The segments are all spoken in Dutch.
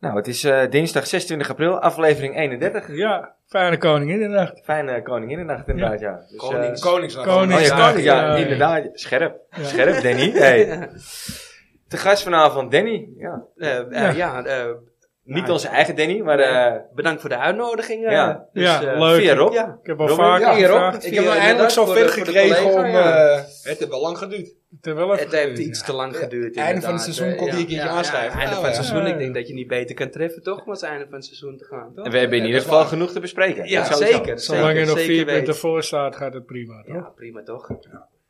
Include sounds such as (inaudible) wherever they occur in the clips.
Nou, het is eh, dinsdag 26 april, aflevering 31. Ja, fijne koningin inderdaad. Fijne Koninginnennacht inderdaad, ja. Dus, Konings, eh, Koningsnacht. Konings- oh, ja, Koningsdag, Koning- ja, ja. inderdaad. Scherp. Scherp, Danny. Hey. Te gast vanavond, Danny. Ja. Eh, eh, Ja. ja, eh, Niet Nou, onze eigen Danny, maar eh bedankt voor de uitnodiging. eh. Ja. Dus, Ja, eh, leuk. via Rob. Ja, Ik heb al Robin, vaak ja, gevraagd. Ik heb hem eindelijk zover gekregen om... eh, het heeft wel lang geduurd. Terwijl ik- het heeft iets te lang geduurd. Einde van het inderdaad. seizoen Eh, kon ja, die een keertje ja, ja, aanschrijven. einde Nou, van het ja. seizoen. Ik denk dat je niet beter kan treffen, toch? Om als einde van het seizoen te gaan. Toch? we hebben in Ja, ieder dat geval is waar. genoeg te bespreken. Ja, Dat sowieso. zeker. Zolang je zeker, nog zeker vier punten weten. voor staat, gaat het prima. Toch? Ja, prima toch?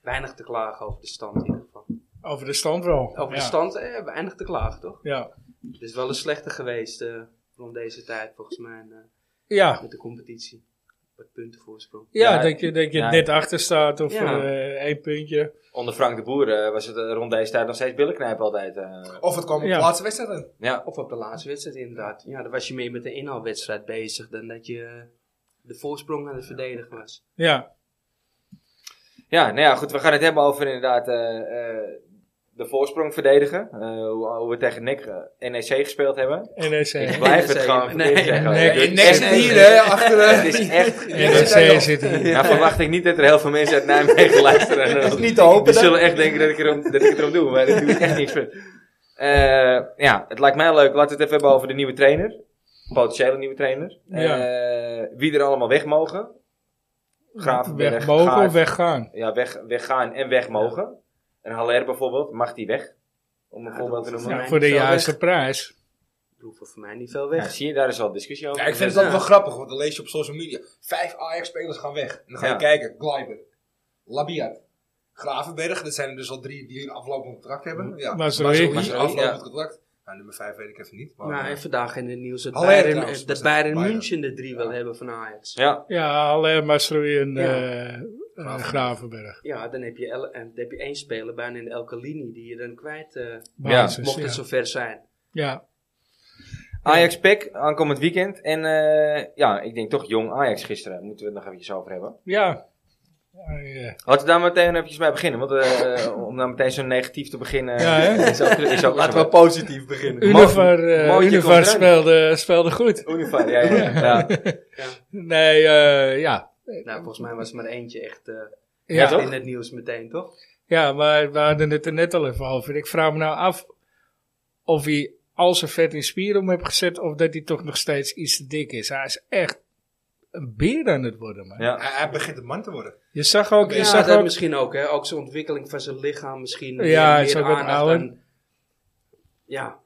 Weinig te klagen over de stand in ieder geval. Over de stand wel. Over ja. de stand, eh, weinig te klagen toch? Ja. Het is wel een slechte geweest eh rond deze tijd volgens mij eh, Ja. met de competitie. Met punten voorsprong. Ja, Ja, dat je, dat je ja. net achter staat of Ja. eh, één puntje. Onder Frank de Boer eh, was het eh, rond deze tijd nog steeds billenknijpen altijd. eh. Of het kwam op Ja. de laatste wedstrijd aan. ja. Of op de laatste wedstrijd inderdaad. Ja, dan was je meer met de inhaalwedstrijd bezig dan dat je de voorsprong aan het verdedigen was. Ja. ja, nou ja, goed. We gaan het hebben over inderdaad eh, eh, de voorsprong verdedigen. Eh, hoe, hoe we tegen NEC, eh, NEC gespeeld hebben. NEC. Ik blijf het NEC. gewoon Nee, nee, zeggen. nee, Het is nee, Niks echt nee, niet- hier, hè, achter eh. Het de... is (laughs) echt... NEC (laughs) zit er niet. Nou verwacht ik niet dat er heel veel mensen uit (laughs) Nijmegen luisteren. (laughs) Dat is niet te hopen, Die hè? zullen echt denken dat ik, erom, dat ik het erom doe, maar dat doe ik echt niks voor. Eh, ja, het lijkt mij leuk. Laten we het even hebben over de nieuwe trainer. Potentiële nieuwe trainer. Eh, wie er allemaal weg mogen. Gravenberg, Weg mogen Gaar- of weggaan. Ja, weg, weggaan en weg mogen. En Haller bijvoorbeeld, mag die weg? Om een Ja, voorbeeld te dat hoeft noemen. Ja, mij voor de niet zo juiste prijs. Er hoeft er voor mij niet veel Ja, weg. zie je, daar is al discussie over. Ja, ik vind het Dus, altijd wel grappig, want dan lees je op social media. Vijf Ajax-spelers gaan weg. En dan ga je Ja. kijken. Gleiber, Labiat, Gravenberg. Dat zijn er dus al drie die een aflopend contract Mm. hebben. Ja. Mazraoui. Mazraoui, aflopend ja. contract. Nou, nummer vijf weet ik even niet. Maar, eh, Nou, en vandaag in het nieuws dat Haller Bayern, trouwens, eh, was dat het. Bayern Bayern. München de drie wil Ja. hebben van Ajax. Ja, Ja, Ja, alleen Masroei en Ja. eh, eh, Gravenberg. dan, heb je el- en dan heb je één speler bijna in elke linie die je dan kwijt eh, Basis, mocht het Dus ja. zover zijn. Ja. Ajax PEC aankomend weekend. En eh, ja, ik denk toch jong Ajax gisteren. Moeten we het nog eventjes over hebben. Ja. eh, Ja, ja. Laten we daar meteen eventjes mee beginnen. Want eh, eh, om daar meteen zo negatief te beginnen. Ja, hè? is ook, is ook Laten we positief beginnen. Univar, eh, Mooi, je Univar komt eruit. speelde, speelde (laughs) goed. Uniform, ja, ja, ja. ja. Nee, eh, ja. Nou, volgens mij was er maar eentje echt eh, Ja, Ja, toch? in het nieuws meteen, toch? ja, maar we hadden het er net al even over. Ik vraag me nou af of hij al zijn vet in spier om heeft gezet of dat hij toch nog steeds iets te dik is. Hij is echt een beer aan het worden, man. Ja. Hij, hij begint een man te worden. Je zag ook, je Ja, zag dat ook misschien ook, hè? Ook zijn ontwikkeling van zijn lichaam misschien. Ja, meer- hij is meer ook wat aandacht ouder. aan- Ja,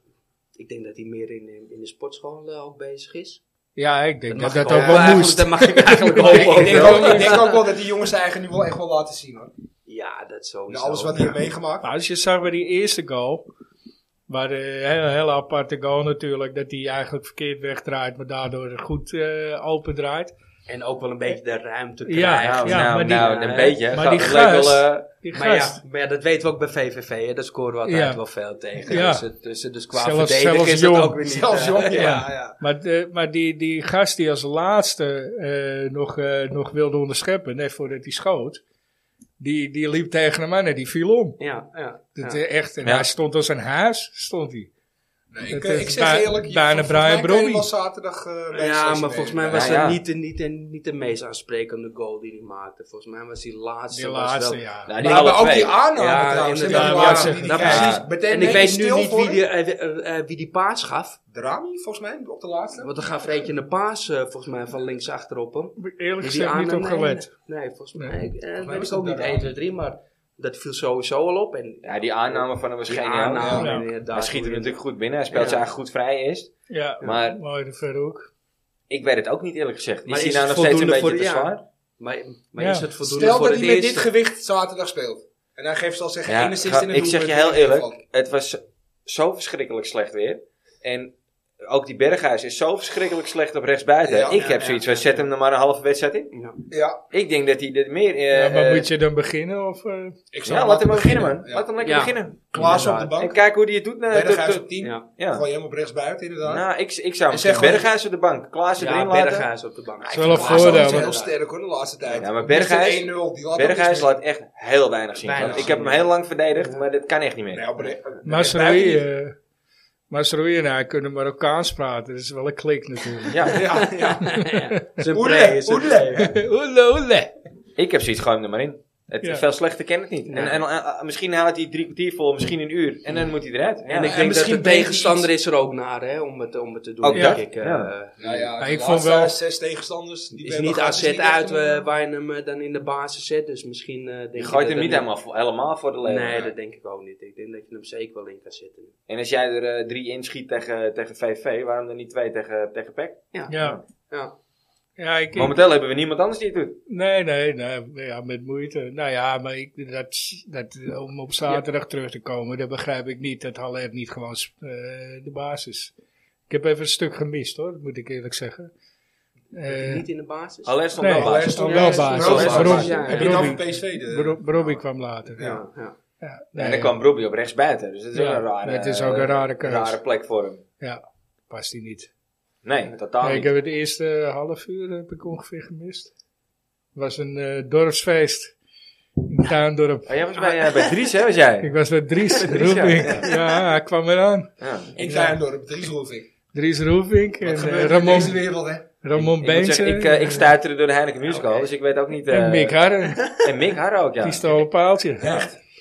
ik denk dat hij meer in, in- in de sportschool eh, ook bezig is. Ja, ik denk dat mag dat ik ook ook- wel eigenlijk- moest. dat mag ik (laughs) eigenlijk ook Ik denk, wel. ook, ik denk ook wel dat die jongens eigen nu wel echt wel laten zien. Hoor. Ja, dat Na Nou, sowieso. alles wat hij heeft meegemaakt. Maar als je zag bij die eerste goal, waar de hele, hele aparte goal natuurlijk, dat hij eigenlijk verkeerd wegdraait, maar daardoor goed eh open draait. En ook wel een beetje de ruimte Ja, krijgen. nou, ja, nou, maar die- nou, een beetje. hè. maar Gaat- die het lijkt wel, gast- eh, Die Maar gast. ja, maar ja, dat weten we ook bij VVV. Hè? Daar scoren we altijd Ja. wel veel tegen. Ja. Dus, het- dus, het- dus qua Zelfs- verdedigen zelfs is dat jong. ook weer niet... Zelfs eh, jong, ja. ja. ja. Maar, de- maar die, die gast die als laatste eh, nog, eh, nog wilde onderscheppen, net voordat hij schoot, die, die liep tegen hem aan en die viel om. Ja, ja, Dat, ja. eh, echt, en Ja. hij stond als een haas, stond hij. Nee, Het ik, eh, is ik zeg bij- eerlijk. je- bijna volgens mij Brian kan je Brody. wel zaterdag eh, bij Ja, Excelsior maar volgens mij mee. was Ja, ja. dat niet, de- niet, de- niet de meest aansprekende goal die hij maakte. Volgens mij was die laatste, Die was laatste, wel, ja. nou, die Maar, alle maar ook twee. die aanname Ja, trouwens. hè, inderdaad. die Ja, laatste ja, die die ja, krijgt. precies. Meteen En ik een weet beetje nu stil niet voor wie hem. die, eh, eh, eh, wie die paas gaf. Drami, volgens mij, op de laatste. Want er gaf er eentje een paas, eh, volgens mij, van links achter op hem. Eerlijk Dus gezegd niet aanname- op gelet. Nee, nee, volgens mij. Nee. ik- eh, dat mij weet was ik ook het niet daar 1, 2, 3, maar dat viel sowieso al op. En Ja, die aanname van hem was die geniaal. aanname, Ja. inderdaad. Hij schiet hem hoe je- natuurlijk goed binnen. Hij speelt Ja. zijn eigen goed vrij eerst. Ja, Maar- mooi de verhoek. Ik weet het ook niet eerlijk gezegd. Maar is hij is nou nog het steeds een beetje voldoende te voor- ja. zwaar? Maar, maar Ja. is het voldoende Stel voor dat het hij met dit eerste? gewicht zaterdag speelt. En hij geeft zal zeggen Ja, één assist ga- in het ik zeg je doelpunt. heel Van- eerlijk, het was zo verschrikkelijk slecht weer. En ook die Berghuis is zo verschrikkelijk slecht op rechtsbuiten. Ja, ik ja, heb ja, zoiets ja. van, zet hem er maar een halve wedstrijd in. Ja. Ja, Ik denk dat hij dit meer... eh, Ja, maar eh, moet je dan beginnen? Of, eh? ik ja, laat hem maar beginnen, man. Laat hem lekker Ja. beginnen. Klaas op de Inderdaad. En bank. kijk hoe hij het doet. eh, Berghuis tot- op 10. Ja, ja. Gooi hem op rechts buiten, inderdaad. Nou, ik, ik zou En zeg misschien gewoon- Berghuis op de bank. Klaas ja, erin laten. Berghuis op de bank. is wel een Klaas is voordeel, heel want- sterk hoor, de laatste tijd. Ja, maar Die is Berghuis- een 1-0, die laat ook Berghuis niks meer. laat echt heel weinig zien. Weinig ik heb hem zien. heel lang verdedigd, maar dat kan echt niet meer. Nee, op de- Maar buiten niet. sorry, eh Maar Sroeina kunnen Marokkaans praten, dat is wel een klik natuurlijk. Ja. Ja, (laughs) ja. Zijn Oele, pre is een oele. pre. (laughs) Oele, oele. Ik heb zoiets, gooi hem er maar in. Het, Ja. Veel slechter ken het niet. En, Ja. en, eh, misschien haalt hij drie kwartier vol, misschien een uur. En dan moet hij eruit. Ja. En ik En denk dat misschien de deed hij tegenstander is er ook naar hè, om, het, om het te doen. Ook denk dat, ik, eh, ja. Nou ja, Maar de ik vond laatste wel- zes tegenstanders. Die we is hebben niet gehad, AZ is niet echt uit een- eh, waar je hem eh, dan in de basis zet. Dus misschien eh denk Je ik gooit dat hem dat niet helemaal, eh. voor- helemaal voor de leeuw. Nee, dat denk ik ook niet. Ik denk dat je hem zeker wel in kan zetten. En als jij er eh, drie inschiet tegen, tegen VV, waarom dan niet twee tegen, tegen PEC? Ja. Ja. Ja, ik, ik- Momenteel hebben we niemand anders die het doet. nee, nee, nee, ja, met moeite. Nou ja, maar ik, dat, dat, om op zaterdag terug te komen, dat begrijp ik niet. Dat Haller niet gewoon sp- eh, de basis. Ik heb even een stuk gemist hoor, dat moet ik eerlijk zeggen. Eh, niet in de basis? Alleen stond Nee, wel Haller basis. stond- wel Ja, basis. stond wel Rob- basis. Ja, ja. Heb je het Robbie. over PSV? de- Bro- Brobby kwam later. Ja. ja. ja. Ja, en nee, dan kwam Brobbey op rechts buiten. Dus dat is Ja, ook een rare, het is ook een rare keus. rare plek voor hem. ja, past die niet. Nee, totaal Nee, ik niet. heb het eerste half uur heb ik ongeveer gemist. Het was een eh, dorpsfeest in Tuindorp. Oh, jij was bij, eh, bij Dries, hè, was jij? (laughs) Ik was met Dries Roefink. Ja. hij kwam eraan. Ja. In Ja. Tuindorp, Dries Roelvink. Dries Roefink en Wat eh, gebeurt er in Ramon, deze wereld, hè? Ramon Ik, moet Beense zeggen, ik, eh, ik stuitte door de Heineken Musical, dus ik weet ook niet... eh, en Mick Harren. En Mick Harre ook, ja. Die stolen paaltje.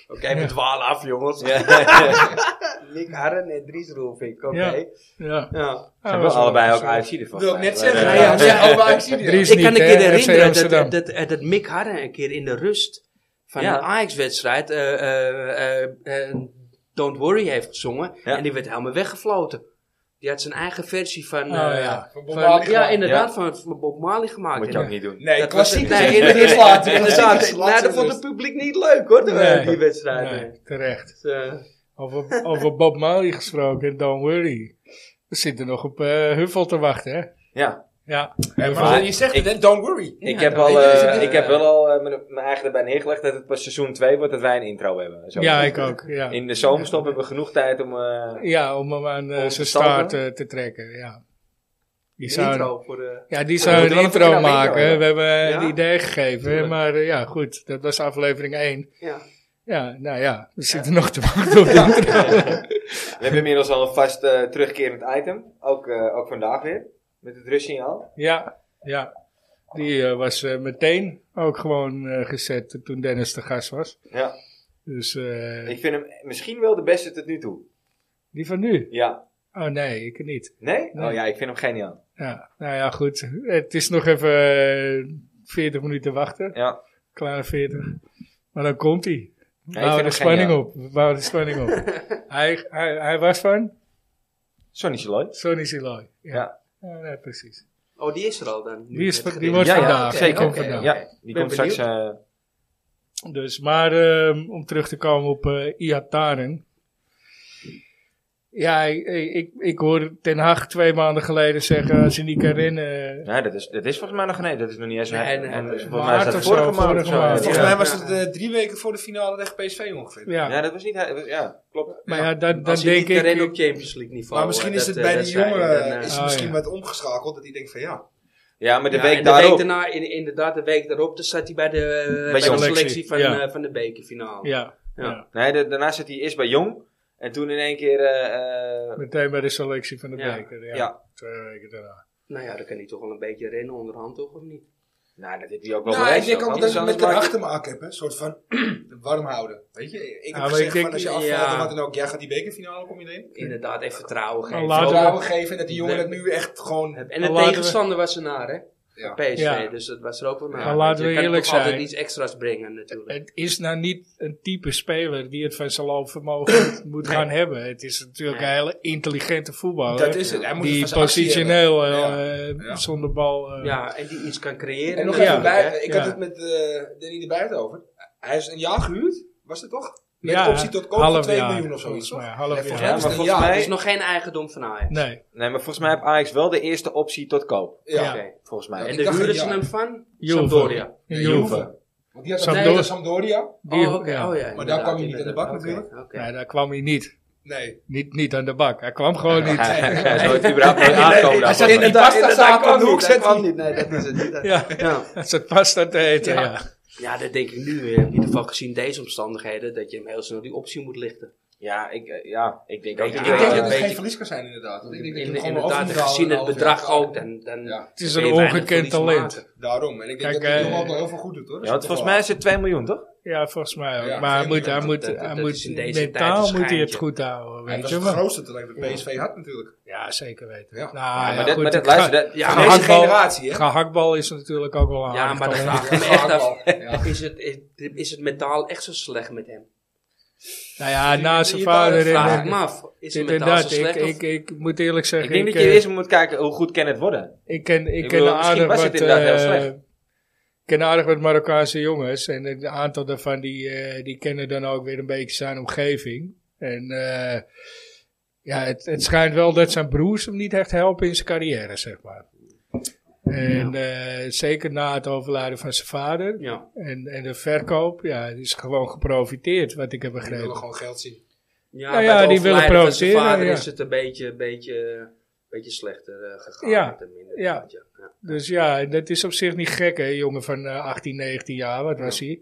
Oké, we dwalen af, jongens. (laughs) Ja, ja. Nick Harren en Dries Roelvink, oké. Ja. Ja. Ja. Ze Oh, hebben allebei ook AFC ervan. Wil ik net zeggen. Eh, Ja, Ja, ja. ja, ja. Oh, maar ik zie die. Dries Ik niet, kan een hè, keer FC herinneren dat, Amsterdam. dat, dat, dat Mick Harren een keer in de rust van Ja. een Ajax-wedstrijd eh, eh, eh, eh, Don't Worry heeft gezongen. Ja. En die werd helemaal weggefloten. Die had zijn eigen versie van... Oh, eh, ja. Van Bob van- Marley ja, gemaakt. inderdaad, van, van Bob Marley gemaakt. Moet je ook niet doen. Nee, Dat klassiek. was- nee, in de rust laten. Inderdaad, Klassiek is nou, dat laten vond rust. het publiek niet leuk hoor, de- Nee. die wedstrijd. Nee, terecht. Dus, eh, Over, over Bob Marley gesproken en Don't Worry. We zitten nog op eh, Huffel te wachten, hè? Ja. Ja. Ja, Huffel. Maar je zegt het, hè? Don't worry. Ik Ja, heb, dat al, weet je. dus eh, Ja. ik heb wel al eh, mijn, mijn eigen erbij neergelegd dat het pas seizoen 2 wordt dat wij een intro hebben. Zo. ja, ik ook. Ja. In de zomerstop hebben we genoeg tijd om... eh, Ja, om hem aan eh, Om te zijn staart stampen? eh, te trekken, ja. Die de zou, intro voor de... Ja, die we zou moeten een wel een intro knappe intro maken. hebben. We hebben eh, Ja. een idee gegeven, Tuurlijk. maar eh, ja, goed. Dat was aflevering 1. Ja. Ja, nou ja, we zitten nog te wachten op die intro. we hebben inmiddels al een vast eh, terugkerend item. Ook, eh, ook vandaag weer. Met het rustsignaal. Ja, ja. Die eh, was eh, meteen ook gewoon eh, gezet toen Dennis de gast was. Ja. Dus eh, Ik vind hem misschien wel de beste tot nu toe. die van nu? Ja. Oh nee, ik niet. Nee? Nee. Oh ja, ik vind hem geniaal. Ja, nou ja, goed. Het is nog even eh, 40 minuten wachten. Ja. Kleine 40. Maar dan komt hij. We vind bouwen de het spanning geniaal. op. We bouwen de spanning (laughs) op. hij, hij, hij was van Sonny Saloy. Sonny Siloy. Ja. Ja. Ja, nee, precies. Oh, die is er al dan. Die is Net van- die gereden. wordt vandaag. oké, Die komt oké, vandaag. oké. Ja, die ben komt straks... eh, Dus, maar ehm, om terug te komen op eh Iataren. Ja, ik, ik, ik hoorde Ten Hag twee maanden geleden zeggen, als hij niet kan rennen... eh, Nee, dat is, dat is volgens mij nog nee, dat is nog niet eens. Nee, nee, en, dat is volgens mij is maart dat of vorige zo, maand of vorige zo. maand. Volgens ja. mij was het eh, drie weken voor de finale tegen PSV ongeveer. ja, Ja, dat was niet. hij- Ja, klopt. maar ja, dan, dan Als je denk niet erin ik... op Champions League niveau. Maar misschien eh, is dat, eh, het bij dat die zijn, jongen dan, eh, is Ah, het misschien ja. wat omgeschakeld. Dat hij denkt van ja. Ja, maar de ja, en week daarop. daarna, in, inderdaad, de week daarop, dan zat hij bij de, eh, bij de Jong. selectie van, Ja. eh, van de bekerfinale. Ja, Ja. ja. Nee, de- daarna zat hij eerst bij Jong. En toen in één keer. eh, eh, meteen bij de selectie van de Ja. beker. Ja. Ja. Twee weken daarna. Nou ja, dan kan hij toch wel een beetje rennen onderhand, toch? Of niet? nou, dat heeft hij ook wel Nou, ik bewezen, denk want ook dat ik anders met een maakt- achtermaak heb. hè. Een soort van (clears throat) warm houden. Weet je, ik Ja, heb Nou, maar gezegd ik denk- van als je afvalt ja. en wat dan ook. Jij gaat die bekerfinale, kom je erin. Inderdaad, even vertrouwen geven. later- Ook- Vertrouwen geven en dat die jongen dat nu echt gewoon... En Maar de laten we- tegenstander was er naar, hè? Ja. PSV, Ja. dus dat was er ook wel naar. Maar Want laten je we kan eerlijk toch altijd zijn. iets extra's brengen, natuurlijk. Het is nou niet een type speler die het van zijn (laughs) loopvermogen moet gaan hebben. Het is natuurlijk Nee. een hele intelligente voetballer. Dat is het. Hij moet het van die zijn actie positioneel hebben. Ja. eh, Ja. zonder bal. eh, Ja, en die iets kan creëren. En nog Ja. even natuurlijk, bij, ik Ja. had het met eh Danny de Bijt over. Hij is een jaar gehuurd, was het toch? Met ja, optie tot koop van half 2 jaar, miljoen of volgens zoiets. toch? mij, half volgens Ja, maar jaar. is het een volgens jaar. hè. mij. Dus nog geen eigendom van Ajax. Nee, Nee, maar volgens mij heeft Ajax wel de eerste optie tot koop. Ja. Oké. Volgens Ja, mij. En ik de dacht huren een ze jaar. hem van? Juve. Sampdoria. in Nee, Juve. Want die had Sampdoria. Sampdoria. Sampdoria. Die- Oh, oké. ja. Oh, ja, Maar daar inderdaad, kwam hij niet aan de bak inderdaad. Oké, natuurlijk. oké. Nee, daar kwam hij niet. Nee. Niet, niet aan de bak. Hij kwam gewoon niet. (laughs) Hij hij is nooit überhaupt nooit aankomen. Hij zat daarvan. in die Inderdaad, inderdaad, pasta kwam aan de hoek niet, hij zetten. kwam niet. Nee, dat is het (laughs) niet. Ja, Ja. hij zat pasta te eten. Ja. Ja. Ja. Ja, dat denk ik nu weer. In ieder geval gezien deze omstandigheden, dat je hem heel snel die optie moet lichten. Ja, ik, eh, ja, ik denk ook Ik dat Ik Ja, denk dat een een het beetje- geen verlies kan zijn, inderdaad. Want ik denk dat je In, hem gewoon wel inderdaad, af moet halen gezien een het half bedrag jaar. ook, dan, dan Ja, Het is kun een je weinig ongekend verlies talent. maken. daarom. En ik denk Kijk, dat hij eh, nog wel heel veel goed doet, hoor. Ja, want volgens mij is het 2 miljoen, toch? Ja, volgens mij ook. Ja, maar hij ik moet, denk hij dat- moet, dat- hij dat moet is in deze tijd mentaal moet een hij het schijntje. goed houden. Ja, Weet dat je is het wel? grootste talent dat PSV had natuurlijk. Ja, zeker weten. Ja. Nou, ja, maar dat, goed, maar dat, het ga- luister, dat- Ja, Deze maar, handbal- generatie, hè? Gehaktbal is natuurlijk ook wel een ja, aardig maar dat talent. vraag ik me echt af. Ja, ja. Is het, is, is het mentaal echt zo slecht met hem? Nou ja, na zijn Die- die- die- vader en- Vraag ik en... me af. Is het dit en mentaal zo dat. Ik, slecht? of- ik, ik moet eerlijk ik zeggen, denk ik, dat je eh, eerst moet kijken hoe goed kan het worden. ik ken, ik Ik ken bedoel, misschien aardig was het wat... inderdaad heel eh, slecht. Ik ken aardig wat Marokkaanse jongens. En een aantal daarvan die, eh, die kennen dan ook weer een beetje zijn omgeving. En eh, ja, het, het schijnt wel dat zijn broers hem niet echt helpen in zijn carrière, zeg maar. En eh, zeker na het overlijden van zijn vader ja. en, en de verkoop, ja, het is gewoon geprofiteerd, wat ik heb Die willen begrepen. gewoon geld zien. Ja, Nou bij ja, het die willen overlijden van zijn provoceren, vader ja. is het een beetje, beetje, beetje slechter eh, gegaan. Ja, met hem, inderdaad, ja. ja. ja. Dus ja, en dat is op zich niet gek, hè, jongen van eh, 18, 19 jaar, wat was hij?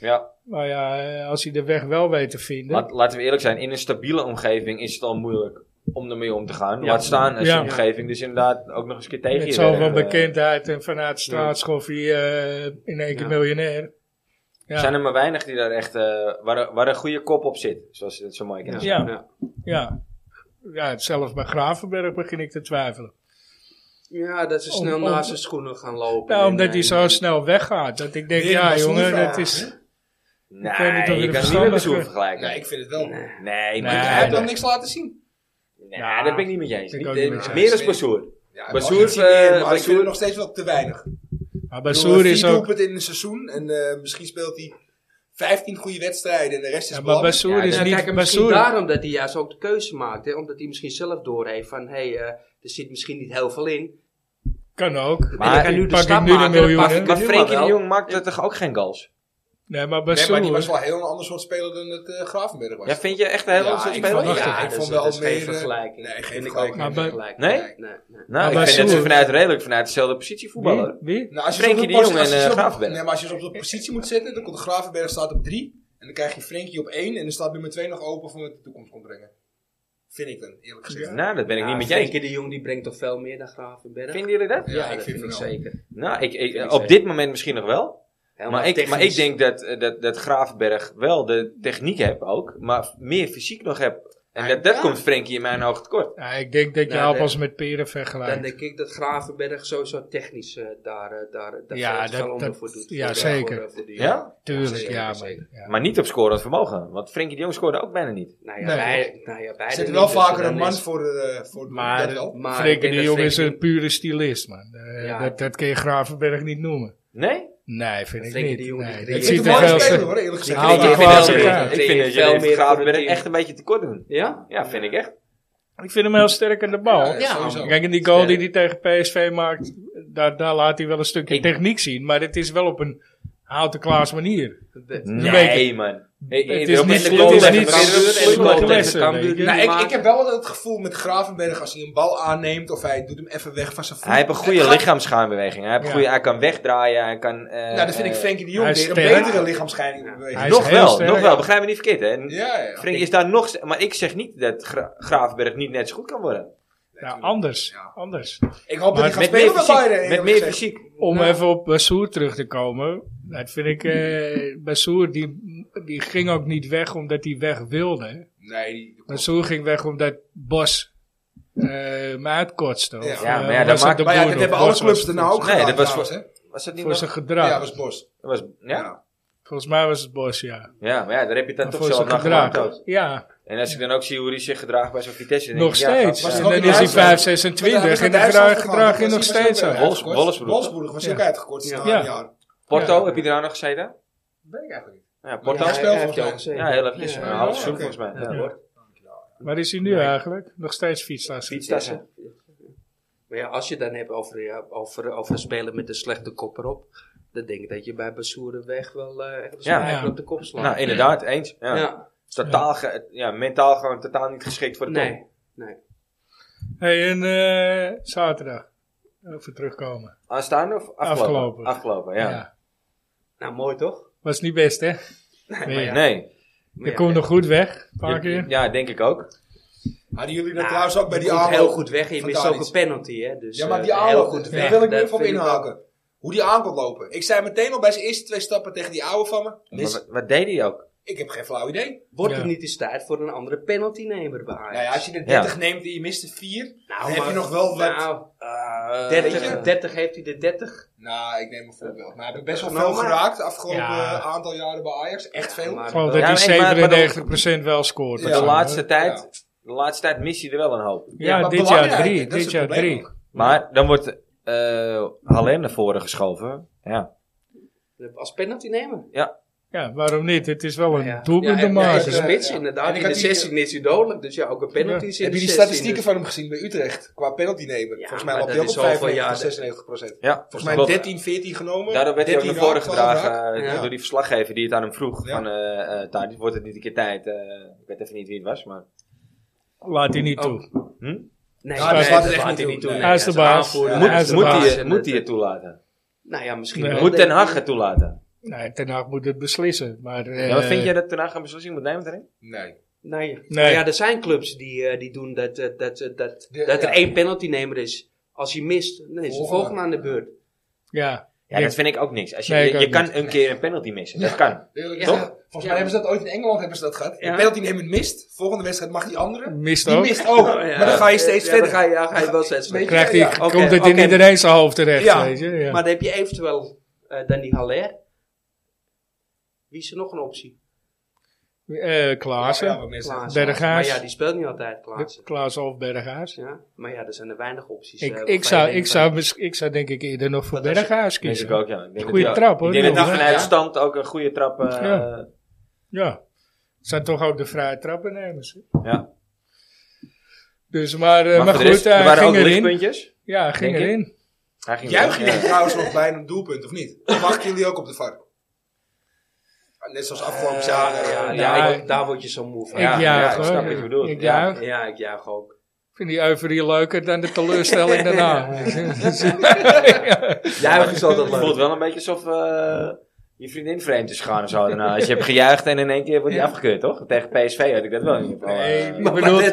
Ja, Maar ja, eh, als hij de weg wel weet te vinden. laat- laten we eerlijk zijn. In een stabiele omgeving is het al moeilijk om ermee om te gaan. Ja. Laat staan als Ja. je omgeving dus inderdaad ook nog eens een keer tegen Met je zoveel werkt. Eh, bekendheid en vanuit straatschoffie eh, in één keer Ja. miljonair. Ja. zijn er maar weinig die daar echt, eh, waar, een- waar een goede kop op zit. Zoals je dat zo mooi kent. Ja. ja. ja, zelfs bij Gravenberg begin ik te twijfelen. Ja, dat ze snel Om- om- naast zijn schoenen gaan lopen. Nou, En, omdat eh, hij zo en- snel weggaat. Dat ik denk, Weer een ja Bassoen jongen, vraag, dat is... Nee, Ik weet niet of je je kan de het niet met verstandige- Bezoer vergelijken. Nee, ik vind het wel. Maar Nee, Nee, maar Hij heeft nee, dan niks laten zien. Ja, dat ben ik niet met je eens. ik Niet- ook eh, niet met je Meer eens. als Bezoer. Ja, Bassoer, wel iets meer, eh, maar ik vind Bassoer- het nog steeds wel te weinig. Maar Ik bedoel, Bassoer is vier ook... doelpunten in een seizoen en eh, misschien speelt hij 15 goede wedstrijden en de rest Ja, is ja, maar Ja, Bassoer nou, is Ja, kijk, niet... en misschien Bassoer, daarom dat hij juist ook de keuze maakt. Hè? Omdat hij misschien zelf doorheeft van... Hé, eh, er zit misschien niet heel veel in. kan ook. Maar en ik kan nu de pak ik stap nu de maken. dan miljoenen. pak ik Maar nu Frenkie de wel. Jong maakt er toch ook geen goals? Nee, maar Nee, maar die was Bassoer... wel een heel ander soort speler dan het eh, Gravenberg was. Ja, vind je echt een heel Ja, soort ik speler? vond- Ja. ja, ik dat vond is- wel dat is geen meer, eh, vergelijking. nee, geen Vind ik ook vergelijking. geen Maar- vergelijking. Nee? nee, nee. Nou, Maar ik vind dat ze Bassoer- vanuit redelijk vanuit dezelfde positie voetballen. Wie? Wie? nou, als je Frenkie ze de op Jong posi- als en, je ze eh, op- Gravenberg. Nee, maar als je ze op de positie moet zetten, dan komt de Gravenberg staat op 3. En dan krijg je Frenkie op 1 en dan staat nummer 2 nog open voor wat de toekomst komt brengen. Vind ik dan, eerlijk gezegd. Nou, dat ben ik Ja, niet met je eens. Frenkie de Jong die brengt toch veel meer dan Gravenberg? Vinden jullie dat? Ja, ik vind het het wel. zeker. Nou, ik, ik- Vind ik op zeker. dit moment misschien nog wel. Helemaal Maar ik, maar ik technisch. denk dat, eh, dat, dat Graafberg wel de techniek hebt ook, maar meer fysiek nog hebt. En dat, dat Ja. komt Frenkie in mijn ogen tekort. Ja, ik denk dat je Nou, appels met peren vergelijkt. Dan denk ik dat Gravenberg sowieso technisch eh, daar, eh, daar, daar Ja, veel te dat- veel onder dat- voor doet. ja, Voor de- zeker. voor de- voor de- Ja? Tuurlijk, zeker, ja, maar... zeker. ja. Maar niet op scorend vermogen, want Frenkie de Jong scoorde ook bijna niet. Nou ja, Nee. wij, nou ja, beide Er zit niet, wel dus vaker dan een man is- voor, eh, voor Maar- dat wel. Maar ik Frenkie denk de dat Jong is Frenkie- een pure stylist, man. Eh, Ja. dat, dat kun je Gravenberg niet noemen. Nee? Nee, vind ik Frenkie niet. de Jong die nee, creëert. dat Ik zie vind ziet het er een veel mooie speler te... hoor, eerlijk gezegd. Ik Haal die vind- Maar- ik vind- glazen ik elkaar. vind- Ik vind dat Veel jullie meer Graafberg team. echt een beetje tekort doen. Ja? Ja, vind ik echt. Ik vind hem heel sterk aan de bal. Ja, sowieso. Kijk, en die goal die hij tegen PSV maakt, daar, daar laat hij wel een stukje Ik- techniek zien. Maar het is wel op een houten-klaas manier. Nee, man. Ik- ik- Het is op niet- een het goal is tegen niet Cambuur en een slim goal tegen geweest, Cambuur. weet je. Nou, ik, ik heb wel altijd het gevoel met Gravenberg, als hij een bal aanneemt of hij doet hem even weg van zijn voet. Hij heeft een goede Het gaat- lichaamschuimbeweging. Hij, heeft een Ja. goede, hij kan wegdraaien. Hij kan, eh, Nou, dan vind ik eh, Frenkie de Jong hij weer een is sterk. betere lichaamsscheiding bewegen. Hij is nog heel wel, sterk, nog wel. ja. Begrijp me niet verkeerd, hè. Ja, ja. Frenkie is daar nog... st- Maar ik zeg niet dat Gra- Gravenberg niet net zo goed kan worden. Ja, anders. Ja. anders. Ik hoop Maar dat hij gaat Met meer spelen bij Bayern. fysiek. Met eerlijk meer gezegd. fysiek. Om Nou. even op Bassoer terug te komen. Dat vind ik... eh Bassoer, die, die ging ook niet weg omdat hij weg wilde. Nee, die- Bassoer ging weg omdat Bos eh me uitkotste. Of, Ja. eh, Ja, maar ja, dat was het maakt- de Maar ja, boer dat of hebben Bos alle was clubs het daarna ook Nee, gedaan. dat was trouwens, hè? Was dat niet Voor nog? zijn Ja, gedrag. dat was Bos. dat was, ja? Ja. Volgens mij was het Bos, ja. ja, maar ja, daar heb je het dan Maar toch voor zelf zijn naar gemaakt gedrag. ook. Ja, En als ik dan ook zie hoe hij zich gedraagt bij zo'n Vitesse... dan nog denk ik, ja, steeds. gast, was en het ook dan in is hij Duitsland? 5, 26 en dan gedraag, gedraag je nog steeds ook aan. uit. Wolfsburg. Wolfsburg was hij ook Ja. uitgekort. Ja. Ja. jaar. Porto, Ja. heb je daar nog gezeten? Weet ik eigenlijk niet. Ja, Maar Porto. hij speelt volgens mij. Ja, heel eventjes. Ja, Een ja, half ja, seizoen oké. volgens mij. Ja. Ja. Waar is hij nu Nee. eigenlijk? Nog steeds fietslassen. Fietstassen. Maar ja, als je het dan hebt over, ja, over, over een speler met een slechte kop erop, dan denk ik dat je bij Bassoeren weg wel eh echt Ja. ja, Ja. op de kop slaat. Nou, inderdaad, eens. ja. Ja. Is Totaal ge- ja, mentaal gewoon totaal niet geschikt voor de top. Nee. Hey, en eh, zaterdag. Even terugkomen. Aanstaande of afgelopen? Afgelopen. Afgelopen, ja. Ja. Nou, mooi toch? Was niet best, hè? Nee. Nee. Je komt nog goed weg, een paar Ja, keer. ja, denk ik ook. Hadden jullie dat Nou, trouwens ook bij je die komt aanval? heel goed weg. Je van mist ook Tadic. een penalty, hè. Dus, Ja, maar eh, die heel aanval, goed daar weg. wil ik Dat nu even op vind ik wel- inhaken. Hoe die aan kon lopen. Ik zei meteen al bij zijn eerste twee stappen tegen die oude van me. Maar Mis, wat, wat deed hij ook? ik heb geen flauw idee. Wordt Ja. het niet eens tijd voor een andere penaltynemer bij Ajax? Nou ja, als je de Ja. 30 neemt en je mist de 4. Nou, Dan heb maar- je nog wel wat- Nou, eh, weet 30, je? 30 heeft hij de 30. Nou, ik neem een voorbeeld. Maar hij heeft best wel Nou, veel maar- geraakt de afgelopen Ja. eh, aantal jaren bij Ajax. Echt veel. maar- Gewoon Ja, dat maar- maar- maar dan- hij 97% wel scoort. Ja. of zo, de, hè? laatste Ja. tijd, de laatste tijd mis je er wel een hoop. Ja, maar dit jaar belangrijk, drie. dat is Dit jaar het probleem drie. ook. Maar dan wordt eh Haller naar voren geschoven. Ja. Als penaltynemer. Ja, waarom niet? Het is wel een Ja. doelpunt ja, te en hij is een maken. ja, spits ja. En inderdaad. ik In had de die- 16 is hij dodelijk. Dus ja, ook een penalty is in Heb de je die 16, statistieken dus- van hem gezien bij Utrecht? Qua penalty nemen. Ja, Volgens mij maar loopt hij dat ook op is al van 95 jaren. 96 procent. ja. Volgens mij Klopt. 13, 14 genomen. Daarom werd hij ook 13 naar voren raak, 12 raak. gedragen eh, Ja. door die verslaggever die het aan hem vroeg. Ja. Van, eh eh Tadic, wordt het niet een keer tijd? eh, ik weet even niet wie het was, maar... Laat hij niet Oh. toe. Hm? Nee, Ja, Ah, dat nee, laat dat hij echt laat niet hij niet doen. doen. Nee, Nee, hij is de een baas. aanvoerder. Ja, moet hij is de moet, baas, hij, en moet het- hij het toelaten? Nou ja, misschien Nee. wel. Moet Ten Hag het toelaten? Nee, Ten Hag moet het beslissen. Maar, eh, ja, maar vind jij dat Ten Hag een beslissing moet nemen daarin? Nee. Nou ja. Nee. Nou ja, er zijn clubs die, eh, die doen dat, dat, dat, dat, dat Ja, er ja. Oh. één penaltynemer is. Als hij mist, dan is de Volgende. volgende aan de beurt. Ja, Ja, Nee. dat vind ik ook niks. Als je Nee, ik je, ook je kan niet. een keer een penalty missen. Dat kan. Eerlijk Ja. gezegd, Toch? Volgens Ja. mij hebben ze dat ooit in Engeland hebben ze dat gehad. Ja. De penalty nemen mist. Volgende wedstrijd mag die andere. mist Die ook. mist ook. Ja. Maar dan ga je steeds Ja, verder. Dan ga je, ja, ga je wel steeds Weet verder. je, Krijgt hij, Ja, ja, oké, komt het in oké. iedereen zijn hoofd terecht, Ja, weet je? Ja. Maar dan heb je eventueel eh, dan die Haller. Wie is er nog een optie? Eh, Klaassen. Ja, ja, wat mensen- Klaas. Berghuis. Maar ja, die speelt niet altijd Klaas. Klaassen of Berghuis. Ja, maar ja, er zijn er weinig Ik, opties. eh, ik, waarvan zou, je denkt ik, van- zou, mis- ik zou denk ik eerder nog voor Want als je- Berghuis Denk ik kiezen. ook, ja. Ik denk Goeie dat hij- trap, hoor. Ik denk dat hij Ja. vanuit Ja. stand ook een goede trap... eh, Ja. Ja, Het zijn toch ook de vrije trappennemers. hè? Ja. Dus, maar, eh, Maar, maar, voor de rest, goed, hij er waren ging ook erin. lichtpuntjes. Ja, hij ging denk ik. erin. Hij ging Juich erin, jullie ja. trouwens nog bijna een doelpunt, of niet? Dan wachten jullie ook op de VAR. Net zoals Eh. afgelopen Ja, zaterdag. ja, Ja, daar, Nou, ik- word- daar word je zo moe van. Ik Ja, juich, ja, ik hoor. snap wat je bedoelt. Ik Ja. juich. Ja, ik juich ook. Ik vind die euforie leuker dan de (laughs) teleurstelling daarna. Juichen is altijd Het voelt leuk. wel een beetje alsof eh, je vriendin vreemd is gegaan of zo. Daarna. Als je hebt gejuicht en in één keer wordt die afgekeurd, toch? Tegen PSV had ik dat wel in ieder geval. eh. Nee, je bedoelt,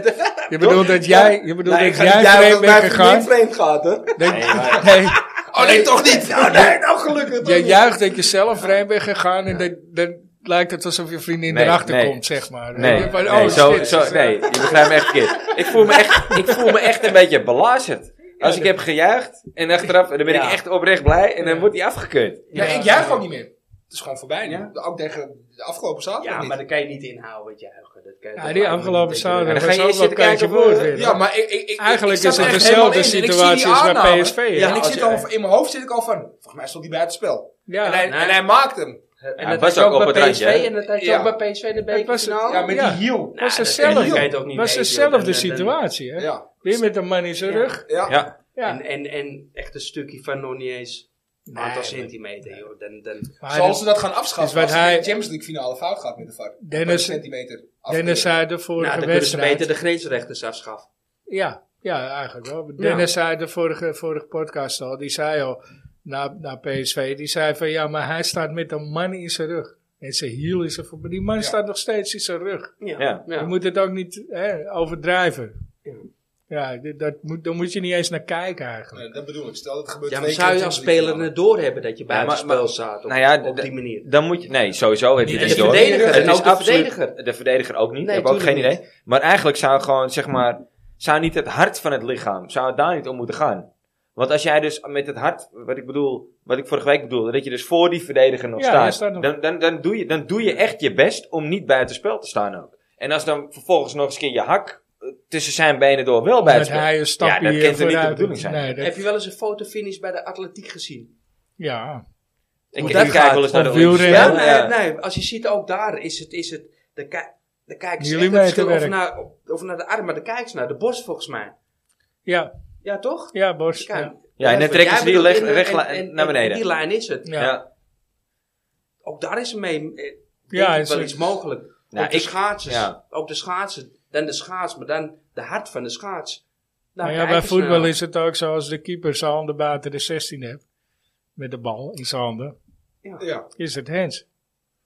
je bedoelt dat jij, je bedoelt Nee, ik dat ga niet jij juichen vreemd als bent mijn gegaan. vriendin vreemd gaat, hè? Dat- Nee, maar- (laughs) nee, Oh nee, toch niet! Nou, nee, nou gelukkig toch jij niet. juicht dat je zelf vreemd bent gegaan en dat, dan lijkt het alsof je vriendin Nee, erachter nee. komt, zeg maar. Nee, Je van, nee, oh, zo, shit, zo, ze- nee, je begrijpt me echt verkeerd. Ik voel me echt, ik voel me echt een beetje belazerd. Als ik heb gejuicht en achteraf, dan ben Ja. ik echt oprecht blij en dan wordt die afgekeurd. Ja, Ja. ik juich ook niet meer. Het is gewoon voorbij nu. Ja. Ook tegen de afgelopen zaterdag Ja, niet. maar dat kan je niet inhouden wat juichen. Dat kan je Ja, toch die laten afgelopen doen. En zaterdag dan ga was je ook eerst wel een zitten keertje kijken of, woord eh, weer. Ja, maar ik, ik, ik, Eigenlijk ik zat is het er echt dezelfde helemaal in. En ik zie die situatie als bij aanname. PSV, hè? Ja, en ik Als zit je- al, in mijn hoofd zit ik al van, volgens mij stond hij buitenspel. Ja. En, hij, Nee. en hij maakt hem. Ja, En dat was was ook ook op bij het PSV. randje, hè? En dat had je Ja. ook bij PSV in de bekerfinale. Ja, met Ja. die hiel. Nou, was dat hetzelfde. kan- dat kan je toch niet was weten, joh. dezelfde Dan- dan- dan- situatie, hè? Ja. Weer met een man in zijn Ja. rug. Ja. Ja, Ja. En, en, en echt een stukje van nog niet eens een aantal maar- centimeter, joh. Dan, dan, Maar Zal dat- ze dat gaan afschaffen is als wat hij hij- in de Champions League finale fout gaat met de VAR? Dennis- Een centimeter Dennis afkeuren. zei de vorige nou, dan kunnen ze wedstrijd. beter de grensrechters afschaffen. Ja, ja, eigenlijk wel. Dennis zei de vorige, vorige podcast al, die zei al, na, na PSV, die zei van ja, maar hij staat met een man in zijn rug. En zijn hiel is er voorbij. Die man Ja. staat nog steeds in zijn rug. Ja. Ja. Je moet het ook niet hè, overdrijven. Ja. Ja, dit- dat moet, daar moet je niet eens naar kijken eigenlijk. Nee, dat bedoel ik. Stel dat het gebeurt Ja, maar twee zou keer je in als de Champions League speler het doorhebben dat je maar- buitenspel maar- staat op, nou ja, op d- die manier? dan moet je, nee, sowieso heb je Niet het En de niet door. verdediger, Het en is ook de absoluut- verdediger. De verdediger ook niet. Nee, ik heb ook geen tuurlijk idee. Maar eigenlijk zou gewoon, zeg maar, zou niet het hart van het lichaam, zou het daar niet om moeten gaan. Want als jij dus met het hart, wat ik bedoel, wat ik vorige week bedoelde, dat je dus voor die verdediger nog Ja, daar staat, staat nog. Dan, dan, dan, doe je, dan doe je echt je best om niet buiten spel te staan ook. En als dan vervolgens nog eens een keer je hak eh, tussen zijn benen door wel Dat buiten spel. hij een stapje Ja, dat kan toch niet de vooruit- bedoeling zijn? Nee, dat- Heb je wel eens een fotofinish bij de atletiek gezien? ja. Ik, Hoe ik dat kijk gaat. wel eens naar de Of Olympische wielrennen. Spelen, nee, ja. nee, als je ziet ook daar is het, is het de, kijk- de kijkers echt het Millimeterwerk. verschil of naar, of naar de arm, maar de kijkers naar de borst volgens mij. Ja, Ja, toch? ja, Bos. Kijk, Ja. Ja, en dan Jij trekken ze die bedoelt leg- in- recht en- la- en- naar en beneden. Die lijn is het. Ja. Ja. Ook daar is mee eh, Ja, denk ik is wel het- iets mogelijk. Nou, ook de ik- schaatsers. ja. Ook de schaatsen. Dan de schaats, maar dan de hart van de schaats. Maar Nou, ja, kijk bij eens voetbal nou. is het ook zo als de keeper zijn handen buiten de 16 hebt. Met de bal in zijn handen. Ja. Is het hands?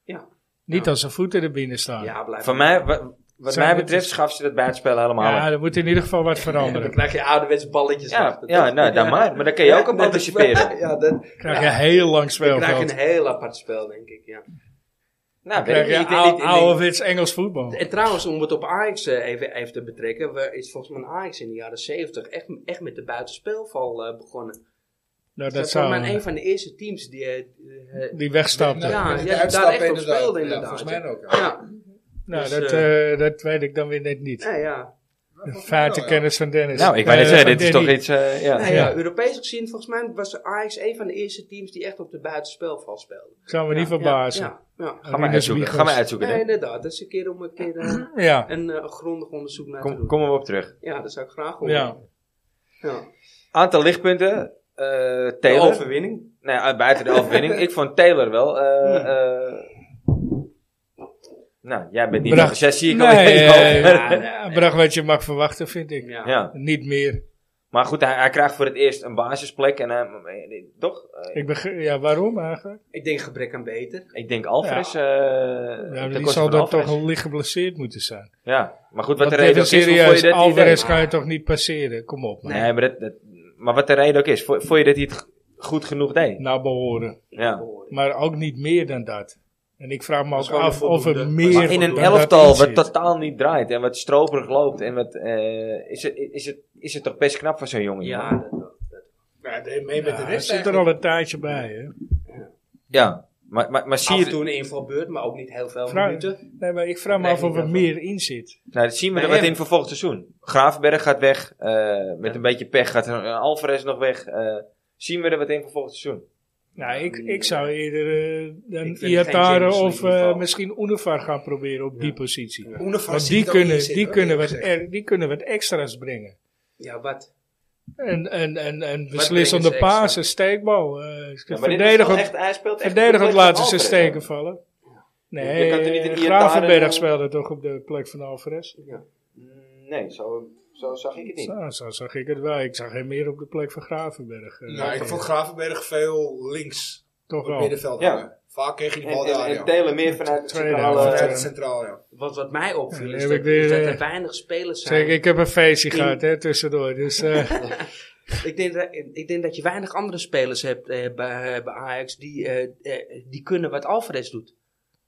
Ja. Niet als zijn voeten er binnen staan. Ja, Ja, blijf. Van mij, wa- wat Zijn mij we- betreft schaf ze dat bij het spel helemaal weg. er moet in ieder geval wat Dan veranderen. krijg je ouderwets balletjes. Ja, achter. ja, nou, dan maar. Maar dan kun je ook op (laughs) dat is- anticiperen. Ja, dat, (laughs) Dan krijg je heel lang dan krijg je speelveld. een heel apart spel, denk ik. Ja. Nou, Dan weet ik krijg niet. je Ik denk niet- ik ou- denk- ouderwets Engels voetbal. En trouwens, om het op Ajax eh, even, even te betrekken, we- is volgens mij Ajax in de jaren 70 echt, echt met de buitenspelval eh, begonnen. Nou, Dat dat is volgens mij zou een van de eerste teams die... eh, eh, die wegstapte. Ja, Nou, ja, de daar uitstap echt op inderdaad. speelde Ja, inderdaad, Volgens ja. mij ook. ja. ja, nou, dus, dat, eh, dat weet ik dan weer net niet. ja, ja. Maar volgens mij wel, Vaartenkennis kennis van Dennis. Nou, ik wou net Eh, zeggen, van dit is Danny. toch iets... eh, ja. Nou ja, Ja. Europees gezien, volgens mij was Ajax een van de eerste teams die echt op de buitenspelval speelde. Zou me Ja, niet verbazen. Ja, ja, Ga maar uitzoeken. Ga maar uitzoeken. ja. hè. Nee, inderdaad. Dat is een keer om een keer eh, Ja, een eh, grondig onderzoek naar te Kom, doen. kom maar op terug. Ja, dat zou ik graag horen. ja. Ja. Aantal lichtpunten. eh De Taylor. overwinning. Nee, uit- buiten de (laughs) overwinning. ik vond Taylor wel. eh, Hmm. eh, nou, jij bent niet Bracht- nog zes, zie (laughs) ik al. Nee, eh, Ja, nee, ja, nee. bracht wat je mag verwachten, vind ik. Ja. Ja, Niet meer. maar goed, hij, hij krijgt voor het eerst een basisplek. En hij, eh, toch? Eh, Ik beg- ja, waarom eigenlijk? Ik denk gebrek aan beter. ik denk Alvarez. eh Ja, ten die koste zal van dan toch Alvarez. al licht geblesseerd moeten zijn. Ja, maar goed, wat Want de reden even ook is, hoe vond serieus, je dat hij Alvarez deed? ga je toch niet passeren? Kom op, man. Nee, maar, dat, dat- maar wat de reden ook is, vond, vond je dat hij het g- goed genoeg deed? Nou, behoren. Ja. Maar ook niet meer dan dat. En ik vraag me Dat is ook gewoon af of er voldoende. Maar meer In een dan dat elftal in wat zit. totaal niet draait en wat stroperig loopt. En wat, eh, is, het, is, het, is het toch best knap van zo'n jongen? Ja, man? dat wel. Dat- Ja, hij deed mee met de Ja, hij rest zit er al eigenlijk. een tijdje bij, hè? ja. Maar, maar, maar zie Af en je, toe een invalbeurt, maar ook niet heel veel Vraag- minuten. Nee, maar ik vraag me Nee, af of er niet meer in zit. nou, dat zien we Bij er wat hem. in voor volgend seizoen. Graafberg gaat weg. eh, met een beetje pech gaat er- eh, Alvarez nog weg. eh, zien we er wat in voor volgend seizoen. Nou, ik, Nee. ik zou eerder eh dan vind het geen Iataren James of in ieder eh, geval. misschien Unifar gaan proberen op die positie. Oenefar Want zie die ik er ook kunnen, niet die, zitten, kunnen eerlijk wat gezegd. er- die kunnen wat extra's brengen. Ja, wat? En, en, en, en ze beslissende extra? passen, steekbal. eh Ja, maar dit is wel verdedigend echt- hij speelt echt verdedigend compleet van laten ze Alvarez, steken hè. vallen. Je kan er niet Nee, een Gravenberg Iataren- speelde toch op de plek van Alvarez. Mm, Nee, zo, zo zag ik het niet. Nou, Zo, zo zag ik het wel. Ik zag hem meer op de plek van Gravenberg. eh, Nou, ik Alvarez. vond Gravenberg veel links toch op het wel. middenveld. Ja. hangen. Vaak kreeg je die En, bal en, daar, en ja. Taylor meer vanuit eh, de Tweede centrale... helft. Vanuit centraal, ja. Wat, wat mij opviel Ja, is, heb dat, ik weer, is dat er eh, weinig spelers zijn. Zeg, ik heb een feestje In- gehad hè, tussendoor. Dus, eh, (laughs) Ik denk, dat, ik denk dat je weinig andere spelers hebt eh, bij, bij Ajax die, eh, eh, die kunnen wat Alvarez doet.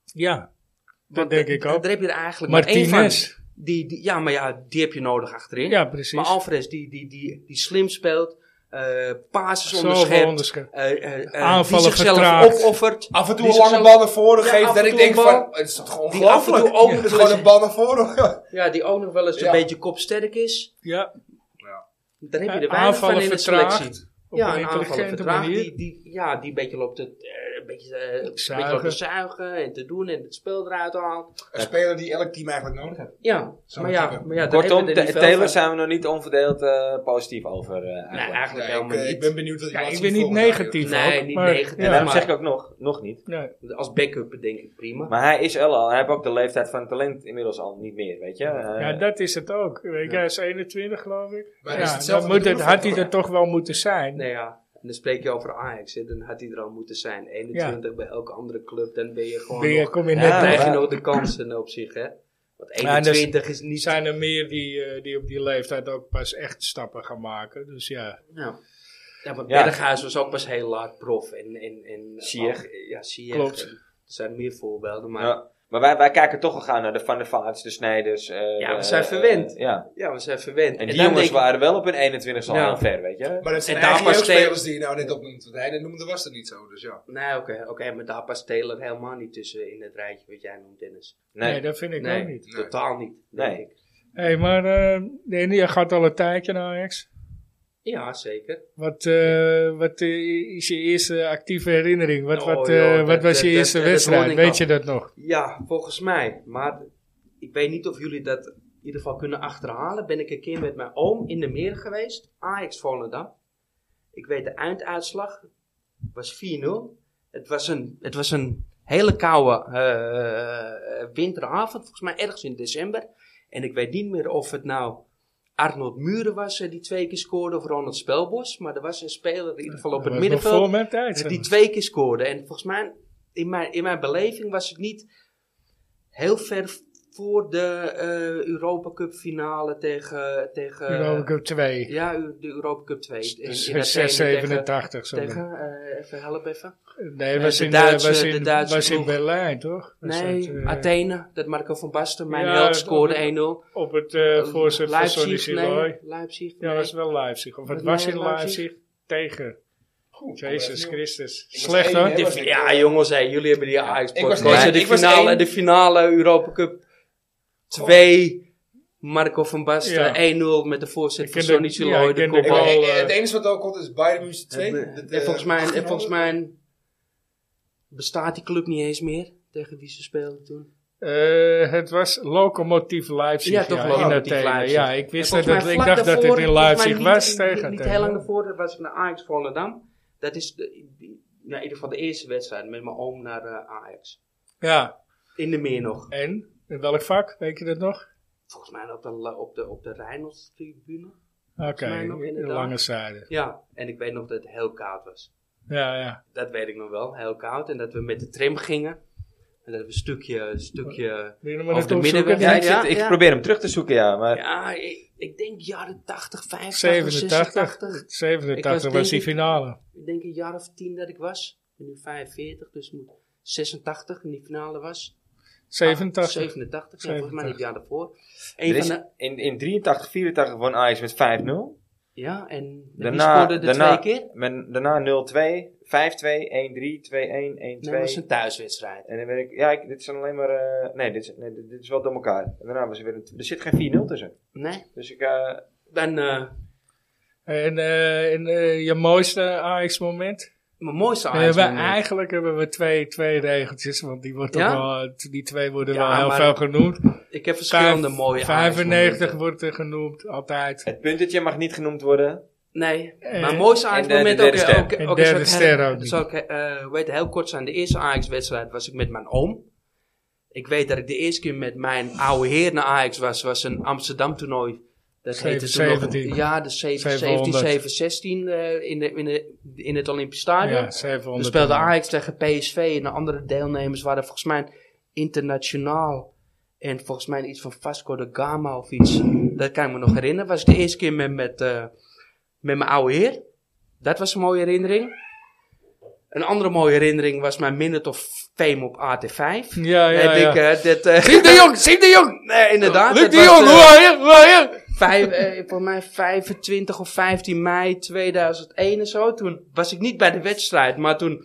ja, dat Want denk d- ik ook. Daar heb je er eigenlijk maar één van. Martinez. Die, die, ja, maar ja, die heb je nodig achterin. Ja, precies. maar Alvarez die, die, die, die slim speelt, eh pases Zoveel onderschept, onderscheid. eh, eh, eh, die Aanvallen zichzelf vertraagd. opoffert. Af en toe die een lange zichzelf- bal naar voren Ja, af geeft. en Dat ik toe denk een van, bal. het is toch Die af en toe ongelooflijk. ook (laughs) Het nog is wel gewoon eens- een bal naar voren. Ja, die ook nog wel eens Ja. een beetje kopsterk is. Ja, eh, Dan heb je er weinig van aanvallen in de vertraagd. selectie. Op ja, een een aanvallen intelligente vertraagd. manier. Die, die, ja, die een beetje loopt het, eh, een beetje, eh, een beetje Zuigen. loopt te zuigen en te doen en het spel eruit haalt. Een speler die elk team eigenlijk nodig heeft. Ja, Zo maar ja, natuurlijk. maar ja daar Kortom, hebben we er Ta- niet veel Taylor van. zijn we nog niet onverdeeld eh, positief over. eh, Nee, eigenlijk. eigenlijk Ja, ik, helemaal eh, ik niet. ben benieuwd wat Ja, hij laat ik zien ben niet volgend jaar. negatief Nee, ook, niet maar- negatief. en daarom maar- zeg ik ook nog, nog niet. Nee. Als backup denk ik prima. Maar hij is wel al, hij heeft ook de leeftijd van talent inmiddels al niet meer, weet je. Eh, Ja, dat is het ook. Weet je, Hij is 21, geloof ik. Maar is ja, hetzelfde dan moet het, bedoelen had hij voor- er toch wel moeten zijn. Nou ja, en dan spreek je over Ajax, hè, dan had hij er al moeten zijn. 21 bij elke andere club, dan ben je gewoon Ben je, nog, kom je Ja, net dan maar- krijg bij. je nog de kansen op zich, hè. Want Ja, en dus- 21 is niet... Zijn er meer die, eh, die op die leeftijd ook pas echt stappen gaan maken. Dus ja. Ja. Ja, want Ja. Berghuis was ook pas heel laat prof. En, en, en, Ziyech. ook- eh, ja, Ziyech. Klopt. En Er zijn meer voorbeelden, maar ja, ja. Maar wij, wij kijken toch al gaan naar de Van der Vaarts, de Snijders. eh, Ja, de- we zijn verwend. eh, ja. we zijn verwend. En die dan jongens denk ik- waren wel op hun 21 al Ja. heel ver, weet je. Maar dat zijn En daar eigenlijk past ook spelers die je nou net opnoemt. Want hij net noemde was dat niet zo, dus ja. Nee, oké, oké, maar daar past Taylor helemaal niet tussen in het rijtje wat jij noemt, Dennis. Nee, Nee. dat vind ik Nee. ook niet. Nee. Totaal niet, denk Nee. ik. Hé, hey, maar eh Danny, je gaat al een tijdje naar Ajax. Ja, zeker. Wat, eh, wat eh, is je eerste actieve herinnering? Wat, Oh, wat, joh, eh, dat- wat was je dat- eerste dat- dat wedstrijd? hoorde ik Weet je al. dat nog? Ja, volgens mij. Maar ik weet niet of jullie dat in ieder geval kunnen achterhalen. Ben ik een keer met mijn oom in de meer geweest. Ajax Volendam. Ik weet de einduitslag. was 4-0. Het was een, het was een hele koude eh, eh, winteravond. Volgens mij ergens in december. En ik weet niet meer of het nou Arnold Muren was eh, die twee keer scoorde. Of Ronald Spelbos. Maar er was een speler in ieder geval op Dat het was nog Voor middenveld. mijn tijd. Dus zeg die maar. twee keer scoorde. En volgens mij, in mijn, in mijn beleving was het niet heel ver voor de eh, Europa Cup finale tegen... tegen Europa Cup 2. Ja, u- de Europa Cup 2. eh, In- in Dus Athene 687 zo. Tegen, tegen eh, even help even. Nee, eh, was de in, Duitse- was de in, Duitse was in ploeg. Berlijn, toch? Was Nee, dat, eh, Athene, dat Marco van Basten, mijn Ja, held, dat- scoorde 1-0. Op het eh voorzet van Sonny Leipzig, Siloy. nee. Leipzig, Ja, nee. was wel Leipzig. Of het Nee, was in Leipzig. Leipzig tegen. Goed, Jezus opnieuw. Christus. was Slecht één, hoor. hè? Die- was ik, ja, eh, jongens, hé, jullie hebben die Ajax ik was podcast. één, de, ik was finale, één. de finale Europa Cup 2. Marco van Basten, Ja. 1-0 met de voorzet Ik van ken de- Sonny ja, Siloy. ik de ken de Ik weet- goal. kopbal. Wel, eh, eh, het enige wat ook komt is Bayern München 2. En, Dat, en eh, volgens, mij, en volgens 1800. mij bestaat die club niet eens meer. Tegen wie ze speelden toen. Eh, het was Lokomotief Leipzig. Ja, toch in Lokomotief Athene. Leipzig. Ja, ik wist En dat, volgens dat ik mij vlak dacht dat daarvoor, het in volgens mij Leipzig niet- was niet- tegen. Niet tegen- heel lang daarvoor was ik naar Ajax Volendam. Dat is de, ja, in ieder geval de eerste wedstrijd met mijn oom naar eh, Ajax. Ja, In de meer nog. en? In welk vak? Weet je dat nog? Volgens mij op de, la- op de, op de Rijnmondstribune. Oké, mij nog, in de inderdaad. lange zijde. Ja, en ik weet nog dat het heel koud was. Ja, ja. Dat weet ik nog wel, heel koud. En dat we met de tram gingen. En dat we een stukje, een stukje... Wil je hem maar Of net de opzoeken? middenweg. Ja, ik, Ja, zit- ik ja. probeer hem terug te zoeken, ja. Maar Ja, ik, ik denk jaren 80, 85, 87. 86. 87 Ik was was, denk die ik- finale. Ik denk een jaar of tien dat ik was. Ik ben nu 45, dus moet 86 in die finale was. 87. Ah, 87, ja, volgens mij het 87. jaar daarvoor. er Een is van de, in, in 83, 84 won Ajax met 5-0. ja, en daarna, Daarna, scoorde de daarna, twee keer? men- daarna 0-2, 5-2, 1-3, 2-1, 1-2. Nee, dat Nou, was een thuiswedstrijd. En dan ben ik, ja, ik, dit zijn alleen maar, eh, nee, dit, is- nee, dit- dit is wel door elkaar. En daarna was er weer een, er zit geen 4-0 tussen. Nee, Dus ik, eh, dan eh, En, eh, en eh, je mooiste Ajax-moment? mijn mooiste Nee, Ajax wij- moment. eigenlijk hebben we twee, twee regeltjes, want die, wordt Ja? toch wel, die twee worden Ja, wel heel maar- veel genoemd. Ik heb verschillende Vijf- mooie Ajax 95 momenten. wordt er genoemd, altijd. het puntetje mag niet genoemd worden. Nee, En- maar mooiste en Ajax de- de moment ook. derde ster. ook, ook Eh, En ook- derde ook- ster ook niet. Zal ik, eh, weet heel kort zijn. De eerste Ajax wedstrijd was ik met mijn oom. Ik weet dat ik de eerste keer met mijn oude heer naar Ajax was. was een Amsterdam toernooi. Dat heette toen nog- 717. Ja, de 717, 700. 716 eh in, de, in, de, in het Olympisch Stadion. Ja, 700. We speelden Ajax tegen PSV en de andere deelnemers waren volgens mij internationaal. En volgens mij iets van Vasco da Gama of iets. Dat kan ik me nog herinneren. Was ik de eerste keer met, met, eh, met mijn oude heer. Dat was een mooie herinnering. Een andere mooie herinnering was mijn Minute of Fame op AT5. Ja, ja, Heb ja. ik eh, dit... eh, Siem de Jong, Siem de Jong! nee, inderdaad. Luc dat de was, Jong, eh, hoe hoor je? Hoe hoor je? (laughs) Vijf, eh, volgens mij 25 of 15 mei 2001 en zo. Toen was ik niet bij de wedstrijd, maar toen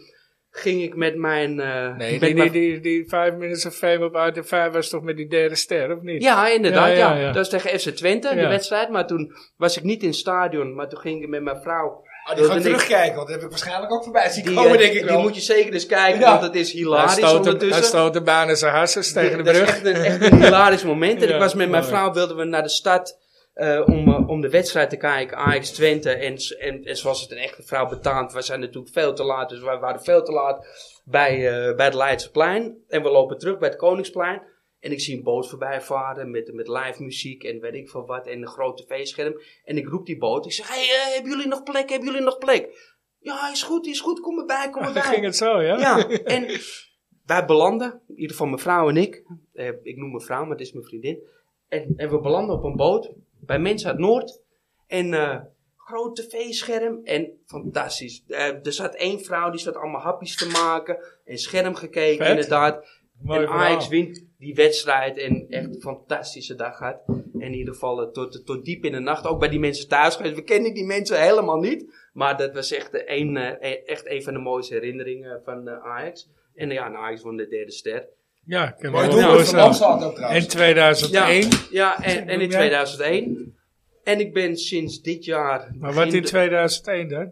ging ik met mijn. eh, Nee, die, met die, mijn- die, die vijf minutes of fame op uit de vijf was toch met die derde ster, of niet? Ja, inderdaad. Ja, Ja, ja, ja. Dat was tegen FC Twente, de Ja. wedstrijd. Maar toen was ik niet in het stadion, maar toen ging ik met mijn vrouw. Ah, die ga ik wilde ik- terugkijken, want dat heb ik waarschijnlijk ook voorbij zien Die, komen, eh, denk ik die wel. moet je zeker eens kijken, Ja. want het is Hij hilarisch stoot hem- hij ondertussen. stoot de baan in zijn hassers tegen de Dat is brug. echt een, echt een hilarisch moment. (laughs) En Ja, ik was met mijn mooi. vrouw, wilden we naar de stad eh, om, eh, om de wedstrijd te kijken. Ajax Twente. En, s- en, en zoals het een echte vrouw betaamt, we zijn natuurlijk veel te laat. Dus we waren veel te laat bij, eh, bij het Leidseplein. En we lopen terug bij het Koningsplein. En ik zie een boot voorbij varen met, met live muziek en weet ik veel wat. En een groot tv-scherm. En ik roep die boot. Ik zeg, hey, eh, hebben jullie nog plek? Hebben jullie nog plek? Ja, is goed, is goed. Kom erbij, (laughs) kom erbij. Dan ging het zo, ja? Ja, en wij belanden, in ieder geval mijn vrouw en ik. Eh, ik noem mijn vrouw, maar het is mijn vriendin. En, en we belanden op een boot bij mensen uit Noord. En eh groot tv-scherm en fantastisch. Eh, er zat één vrouw die zat allemaal hapjes te maken. En scherm gekeken, Vet. inderdaad. Mooi en Ajax verhaal. wint die wedstrijd en echt een fantastische dag gehad. En in ieder geval eh, tot, tot diep in de nacht, ook bij die mensen thuis geweest. We kenden die mensen helemaal niet, maar dat was echt eh, een, eh, eh, echt een van de mooiste herinneringen van eh, Ajax. En eh, ja, en Ajax won de derde ster. Ja, ik kan me Mooi wel doelpunt van voorstellen. Lamsdorff ook trouwens. En 2001. Ja, en, en in Ja. 2001. En ik ben sinds dit jaar... Maar wat in begin- 2001 dan?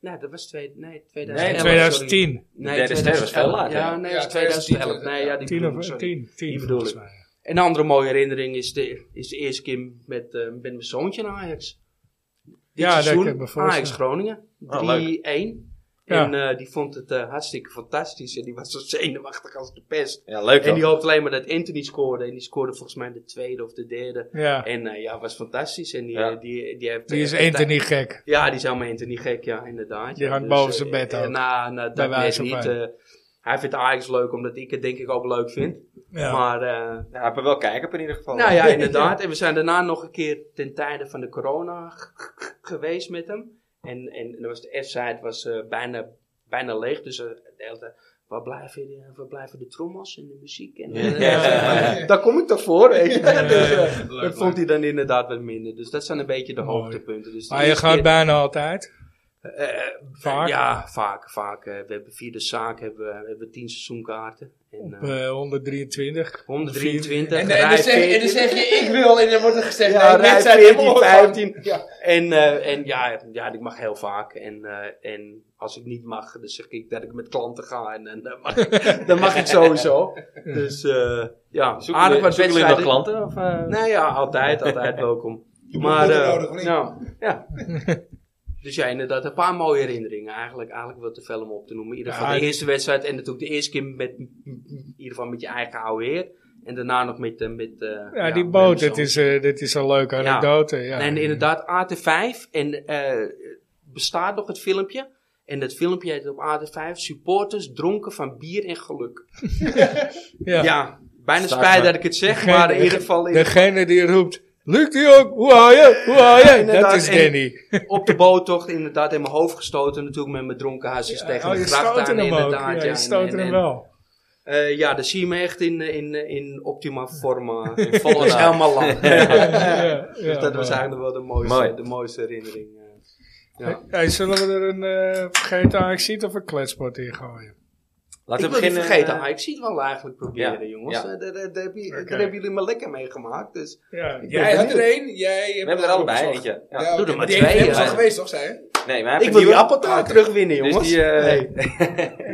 Nee, dat was twee, nee, Nee, 2011. In sorry. 2010. Nee, De derde ster was veel later. Ja, nee, dat Ja, was 2011. Nee, ja, die 10 bedoel ik, of sorry. 10. 10 Die bedoel volgens ik. mij. Een andere mooie herinnering is de, is de eerste keer met, eh, met mijn zoontje naar Ajax. Dit Ja, dat seizoen, kan ik me voorstellen. Ajax Groningen, 3-1. Oh, En Ja. eh, die vond het eh, hartstikke fantastisch. En die was zo zenuwachtig als de pest. Ja, leuk En die hoor. hoopte alleen maar dat Anthony scoorde. En die scoorde volgens mij de tweede of de derde. Ja, En eh, ja, was fantastisch. En die, Ja. eh, die, die, heeft, die is eh, echt- Anthony gek. ja, die is helemaal niet gek, ja, inderdaad. Die ja. hangt boven eh, zijn bed eh, ook. Nou, nou, Bij dat wijze weet van. niet. eh, Hij vindt Ajax leuk omdat ik het denk ik ook leuk vind. Ja. Maar eh, Nou, hij heeft wel kijken in ieder geval. nou (laughs) ja, inderdaad. En we zijn daarna nog een keer ten tijde van de corona (laughs) g- g- g- geweest met hem. En, en, en dan was de F-site was, eh, bijna, bijna leeg. Dus eh, de hele tijd, waar blijven, de, waar blijven de trommels en de muziek? En, en- Ja. (laughs) Daar kom ik toch voor, weet je. Ja, ja, Dus, eh, ja. dat vond hij dan inderdaad wat minder. Dus dat zijn een beetje de Mooi. hoogtepunten. Dus de Maar je eerste gaat keer- bijna altijd. eh, Vaak? Ja, vaak. vaak. eh, we hebben via de zaak hebben, we- hebben we 10 seizoenkaarten. En, Op eh, eh, 123. 123, En, dan- en, dan rij zeg, en dan 14. zeg je, ik wil, en dan wordt er gezegd, Ja, nee, rij net zijn helemaal 14, opgevangen. 15. Ja. En, eh, en ja, ja, ik mag heel vaak. En, eh, en als ik niet mag, dan zeg ik dat ik met klanten ga. En, en dan, (laughs) mag ik, dan mag ik sowieso. Dus eh, ja, Zoeken aardig jullie- wat zoeken jullie nog wedstrijden. klanten? Of, eh? Nee, ja, (laughs) altijd, altijd welkom. Je moet Maar, het eh, nodig, of niet? nou, ja. Dus ja, inderdaad, een paar mooie herinneringen. Eigenlijk, eigenlijk wel te veel om op te noemen. In ieder geval Ja, de eerste wedstrijd en natuurlijk de eerste keer met, in ieder geval met je eigen oude heer. En daarna nog met... eh, met eh, Ja, ja, die met boot, mijn dat zoon. is, eh, dit is een leuke Ja. anekdote. Ja. En inderdaad, AT5. En eh, bestaat nog het filmpje. En dat filmpje heet op AT5 Supporters dronken van bier en geluk. Ja, Ja. bijna Staat spijt maar. dat ik het zeg, maar in ieder geval in- Degene die roept, Luc de Jong, hoe haal je? Hoe haal je? dat inderdaad, is en- Danny. op de boottocht inderdaad in mijn hoofd gestoten. Natuurlijk met mijn dronken hasjes tegen oh, de je stoot gracht aan hem ook. inderdaad. Ja, ja, je en- stoot en- hem en- wel. Eh, ja, dan zie je me echt in, eh, in, eh, in optima (laughs) forma. En volgens helemaal lang. (laughs) Ja, Ja. ja, Dus dat was mooi. eigenlijk wel de mooiste, Mooi. de mooiste herinnering. eh. Ja. Hey, zullen we er een eh GTA ziet of een kletspot in gooien? Laten ik we wil niet beginnen. vergeten, eh, ah, ik zie het wel eigenlijk proberen, Ja, ja. jongens. Eh, daar, daar- daar heb je- Oké. daar hebben jullie me lekker mee gemaakt. Dus. Ja, Jij had er één, jij we hebben er allebei eentje. Ja. Doe er maar die twee, Die ja. al geweest, toch, zei je? Nee, maar hij heeft Ik wil een die nieuwe. appeltaart terugwinnen, Dus jongens. die, eh, (laughs) Nee.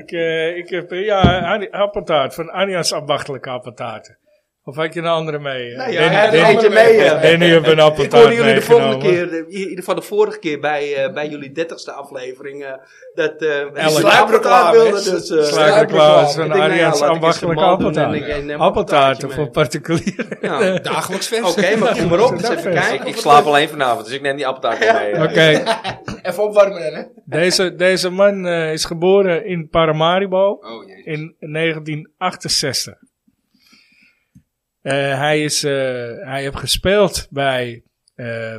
ik, eh, ik heb, eh, ja, Ani- appeltaart, van Anja's ambachtelijke appeltaarten. Of had je een andere mee? eh? Nou ja, Danny- hij had een Danny- eentje mee. eh. Danny heeft een Ik appeltaart hoorde jullie de volgende meegenomen. keer, eh, in ieder geval de vorige keer bij, eh, bij jullie dertigste aflevering, eh, dat eh die Elk. sluipreclame Sluipreclame, wilde. hè? Dus, eh, Sluipreclame is van Ik denk, nou ja, Ariaans laat ik eens ambachtelijke een bal doen appeltaart. en ik- ik neem een Appeltaarten voor appeltaartje particulieren. mee. Ja. (laughs) Dagelijks feest. Oké, maar kom maar op. Eens Dat even is- kijken. Ik, of ik het slaap lukt. alleen vanavond, dus ik neem die appeltaart wel mee. eh. Oké, Even opwarmen dan, hè? deze, deze man eh, is geboren in Paramaribo. Oh, jee. in 1968. Eh, hij, is, eh, hij heeft gespeeld bij, eh,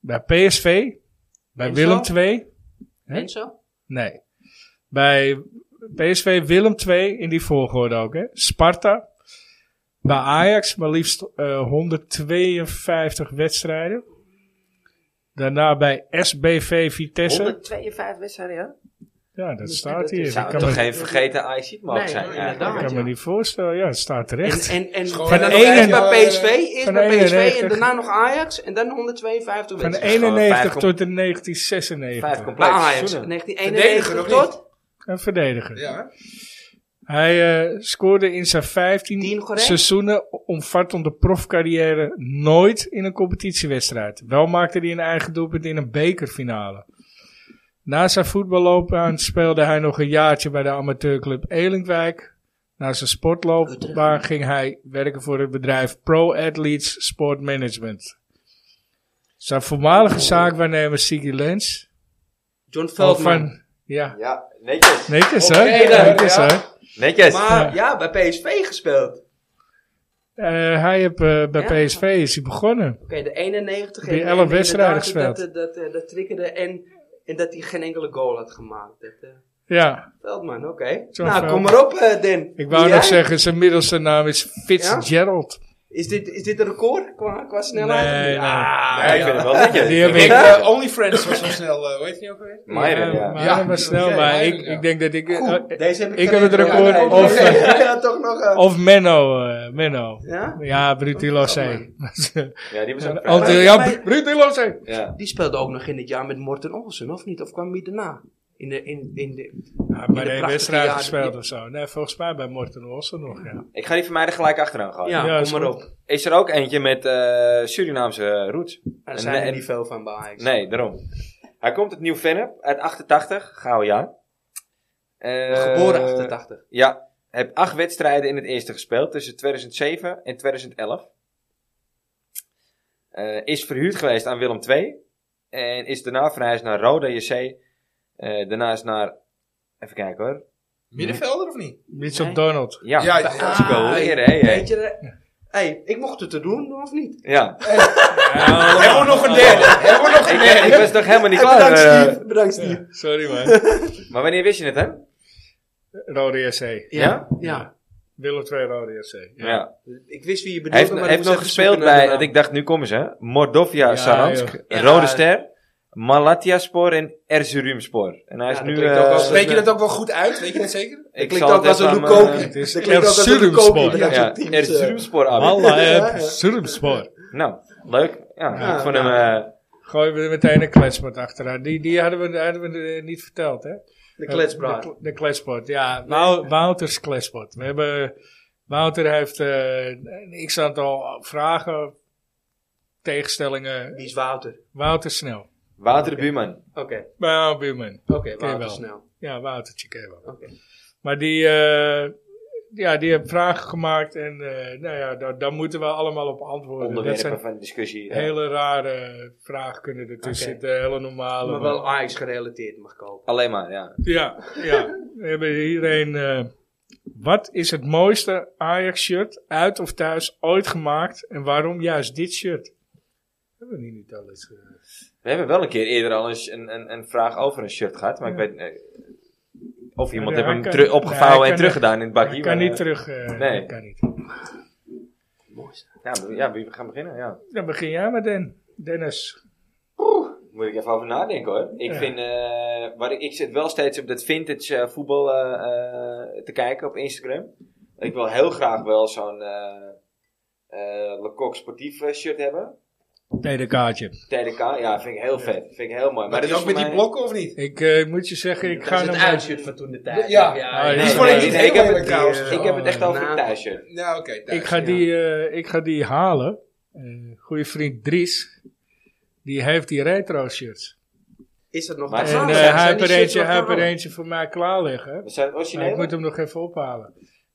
bij PSV, bij Enzo? Willem II. En zo? Nee, bij PSV, Willem II in die volgorde ook. Hè? Sparta, bij Ajax maar liefst eh, 152 wedstrijden. Daarna bij SBV Vitesse. 152 wedstrijden, ja? Ja, dat staat dat hier. is- Dus Ik Zou kan, toch me, geen vergeten Ajax mogen Nee, zijn? eh, inderdaad. ik kan me niet voorstellen. Ja, het staat terecht. En, en, en Schoon- van Van eerst 91. bij PSV, eerst Van bij PSV 91. en daarna nog Ajax en dan 152 Van wedstrijden. gewoon 91 vijf com- tot de Vijf 1996. Bij complete Ajax, seizoenen. 1991 Verdediger, of tot Een verdediger. Ja, hè? Hij eh, scoorde in zijn 15 Tien correct. seizoenen omvattende profcarrière nooit in een competitiewedstrijd. Wel maakte hij een eigen doelpunt in een bekerfinale. Na zijn voetballoopbaan speelde hij nog een jaartje bij de amateurclub Elinkwijk. Na zijn sportloopbaan ging hij werken voor het bedrijf Pro Athletes Sport Management. Zijn voormalige zaakwaarnemer Siggy Lens. John Veldman. Van, ja, Ja, netjes. netjes Oké hè? dan, netjes, ja. hè? Netjes. Maar ja, bij PSV gespeeld. Oké, Eh, hij heeft eh, bij Ja. PSV is hij begonnen. de 91 Die en- elf en wedstrijden inderdaad gespeeld. Dat, dat, eh, dat, dat triggerde en, en dat hij geen enkele goal had gemaakt. Dat, eh, Ja, Veldman, oké. Nou, John kom Veldman. maar op, eh Den. ik wou Jij? nog zeggen, zijn middelste naam is Fitzgerald. Is dit, is dit een record qua, qua snelheid? Nee, nee. Ah, Ja, ik vind het wel netjes. Die heb Ik ik. denk, Eh, Only Friends was zo snel, eh, hoe heet je niet ook alweer? Meiden, ja. maar Ja. hij was snel, Ja, maar Meiden, ik, ja. ik denk dat ik... eh, eh, Deze heb ik Ik geen heb het idee. record, Ja, nee, of- nee, (laughs) ja, toch nog. eh, of Menno, eh, Menno. ja? Ja, Brutilo C. (laughs) Ja, die was ook vrij. Altijd, ja, Brutilo C. Ja. Die speelde ook nog in het jaar met Morten Olsen, of niet? Of kwam hij daarna? In de, in, in de, Ja, bij de prachtige wedstrijd jaren- gespeeld of zo. Nee, volgens mij bij Morten Olsen nog, ja. Ik ga die van mij er gelijk achteraan gaan. ja, Ja, is kom maar goed. op. Is er ook eentje met eh, Surinaamse eh, roots? Daar En- zijn er en- niet veel van bij Ajax. Nee, daarom. Hij komt uit Nieuw-Vennep, uit 88, gauw jaar. Eh, Geboren 88. Ja, heb acht wedstrijden in het eerste gespeeld tussen 2007 en 2011. Eh, is verhuurd geweest aan Willem II. En is daarna verhuisd naar Roda JC. Eh, daarna is naar, even kijken hoor, Middenvelder of niet? Mitchell Nee. Donald. Ja, Ja, dat ja. is wel weer, hè. Weet hè. je, eh, hey, ik mocht het te doen, of niet? Ja. oh, Hebben we nog een (laughs) derde? Hebben we nog een Ik, ik derde? was nog helemaal niet Eh, klaar. bedankt, eh, Steve. Bedankt, Steve. Ja, sorry man. maar wanneer wist je het, hè? Rode SC. Ja? Ja. Willem 2 Rode SC. Ja. Ik wist wie je Hij bedoelde, heeft, maar hij heeft ik nog moest even gespeeld zoeken naar bij, de want ik dacht, nu komen ze. Mordovia Ja, Saransk, joh. Rode Ja. Ster, Malatyaspor en Erzurumspor. En hij is Ja, dat nu... klinkt ook eh, wel zo. Spreek je dat ook wel goed uit? Weet je dat zeker? naam. Het zal klinkt ook het als een even aan, eh, Lukoki. Het is Het klinkt ook als een Erzurum Lukoki. Sport. bij dat ja, soort teams, eh. Erzurumspor. Abi. Malla Ja, ja. eh, Surumspor. Nou, leuk. Ja, Ja, ik vond nou. hem... eh, Gooien we er meteen een kletspot achteraan. Die, die hadden we, hadden we eh, niet verteld, hè? De kletspraat. De, de kletspot, ja. Nou, Wou- Wouters kletspot. We hebben, Wouter heeft eh een x-aantal vragen, tegenstellingen. Wie is Wouter? Wouter snel. Wouter Buurman. Oké, Nou, buurman. oké, Ken je Wouter wel. snel. Ja, Woutertje ken je wel. Oké. Maar die, eh, ja, die heeft vragen gemaakt en eh, nou ja, daar, daar moeten we allemaal op antwoorden. dat Onderwerpen zijn van discussie. eh. ja. hele rare vragen kunnen ertussen Oké. zitten, hele normale. Maar wel Ajax gerelateerd mag kopen. Alleen maar, ja. Ja, ja. We hebben hierheen. eh, wat is het mooiste Ajax-shirt uit of thuis ooit gemaakt en waarom juist dit shirt? Hebben we die niet al eens. eh, We hebben wel een keer eerder al eens een, een, een vraag over een shirt gehad. Maar Ja. ik weet... eh, of iemand Ja, heeft hij hem kan- teru- nee, hij opgevouwen en kan teruggedaan in het bakje. ik kan maar, niet eh, terug. eh, nee. kan niet. Mooi. zo. Ja, we- ja, we gaan beginnen, ja. Dan begin jij met Den. Dennis. Moet ik even over nadenken hoor. Ik Ja. vind, eh, waar ik, ik zit wel steeds op dat vintage eh, voetbal eh, eh, te kijken op Instagram. Ik wil heel graag wel zo'n eh eh, Lecoq sportief eh, shirt hebben. Tweede kaartje. TDK, ja, vind ik heel vet. Vind ik heel mooi. Maar dat die ook voor met die mij- blokken of niet? Ik eh, moet je zeggen, ik Dat ga is het naar mijn, uitshirt van toen de tijd. Ja. Ja, nee, die is voor nee, een nee, iets nee, heel ik heb lelijk het- trouwens. eh, Ik heb het echt over nou, een thuisshirt. Ja, oké. thuis. ik, ga ja. die, eh, ik ga die halen. Eh goede vriend Dries. Die heeft die retro shirts. Is dat nog Maar- te En halen? eh, Zijn hij die heeft er shirts eentje- nog te hij heeft er halen? eentje voor mij klaar liggen. We zijn het Maar origineel? ik moet hem nog even ophalen.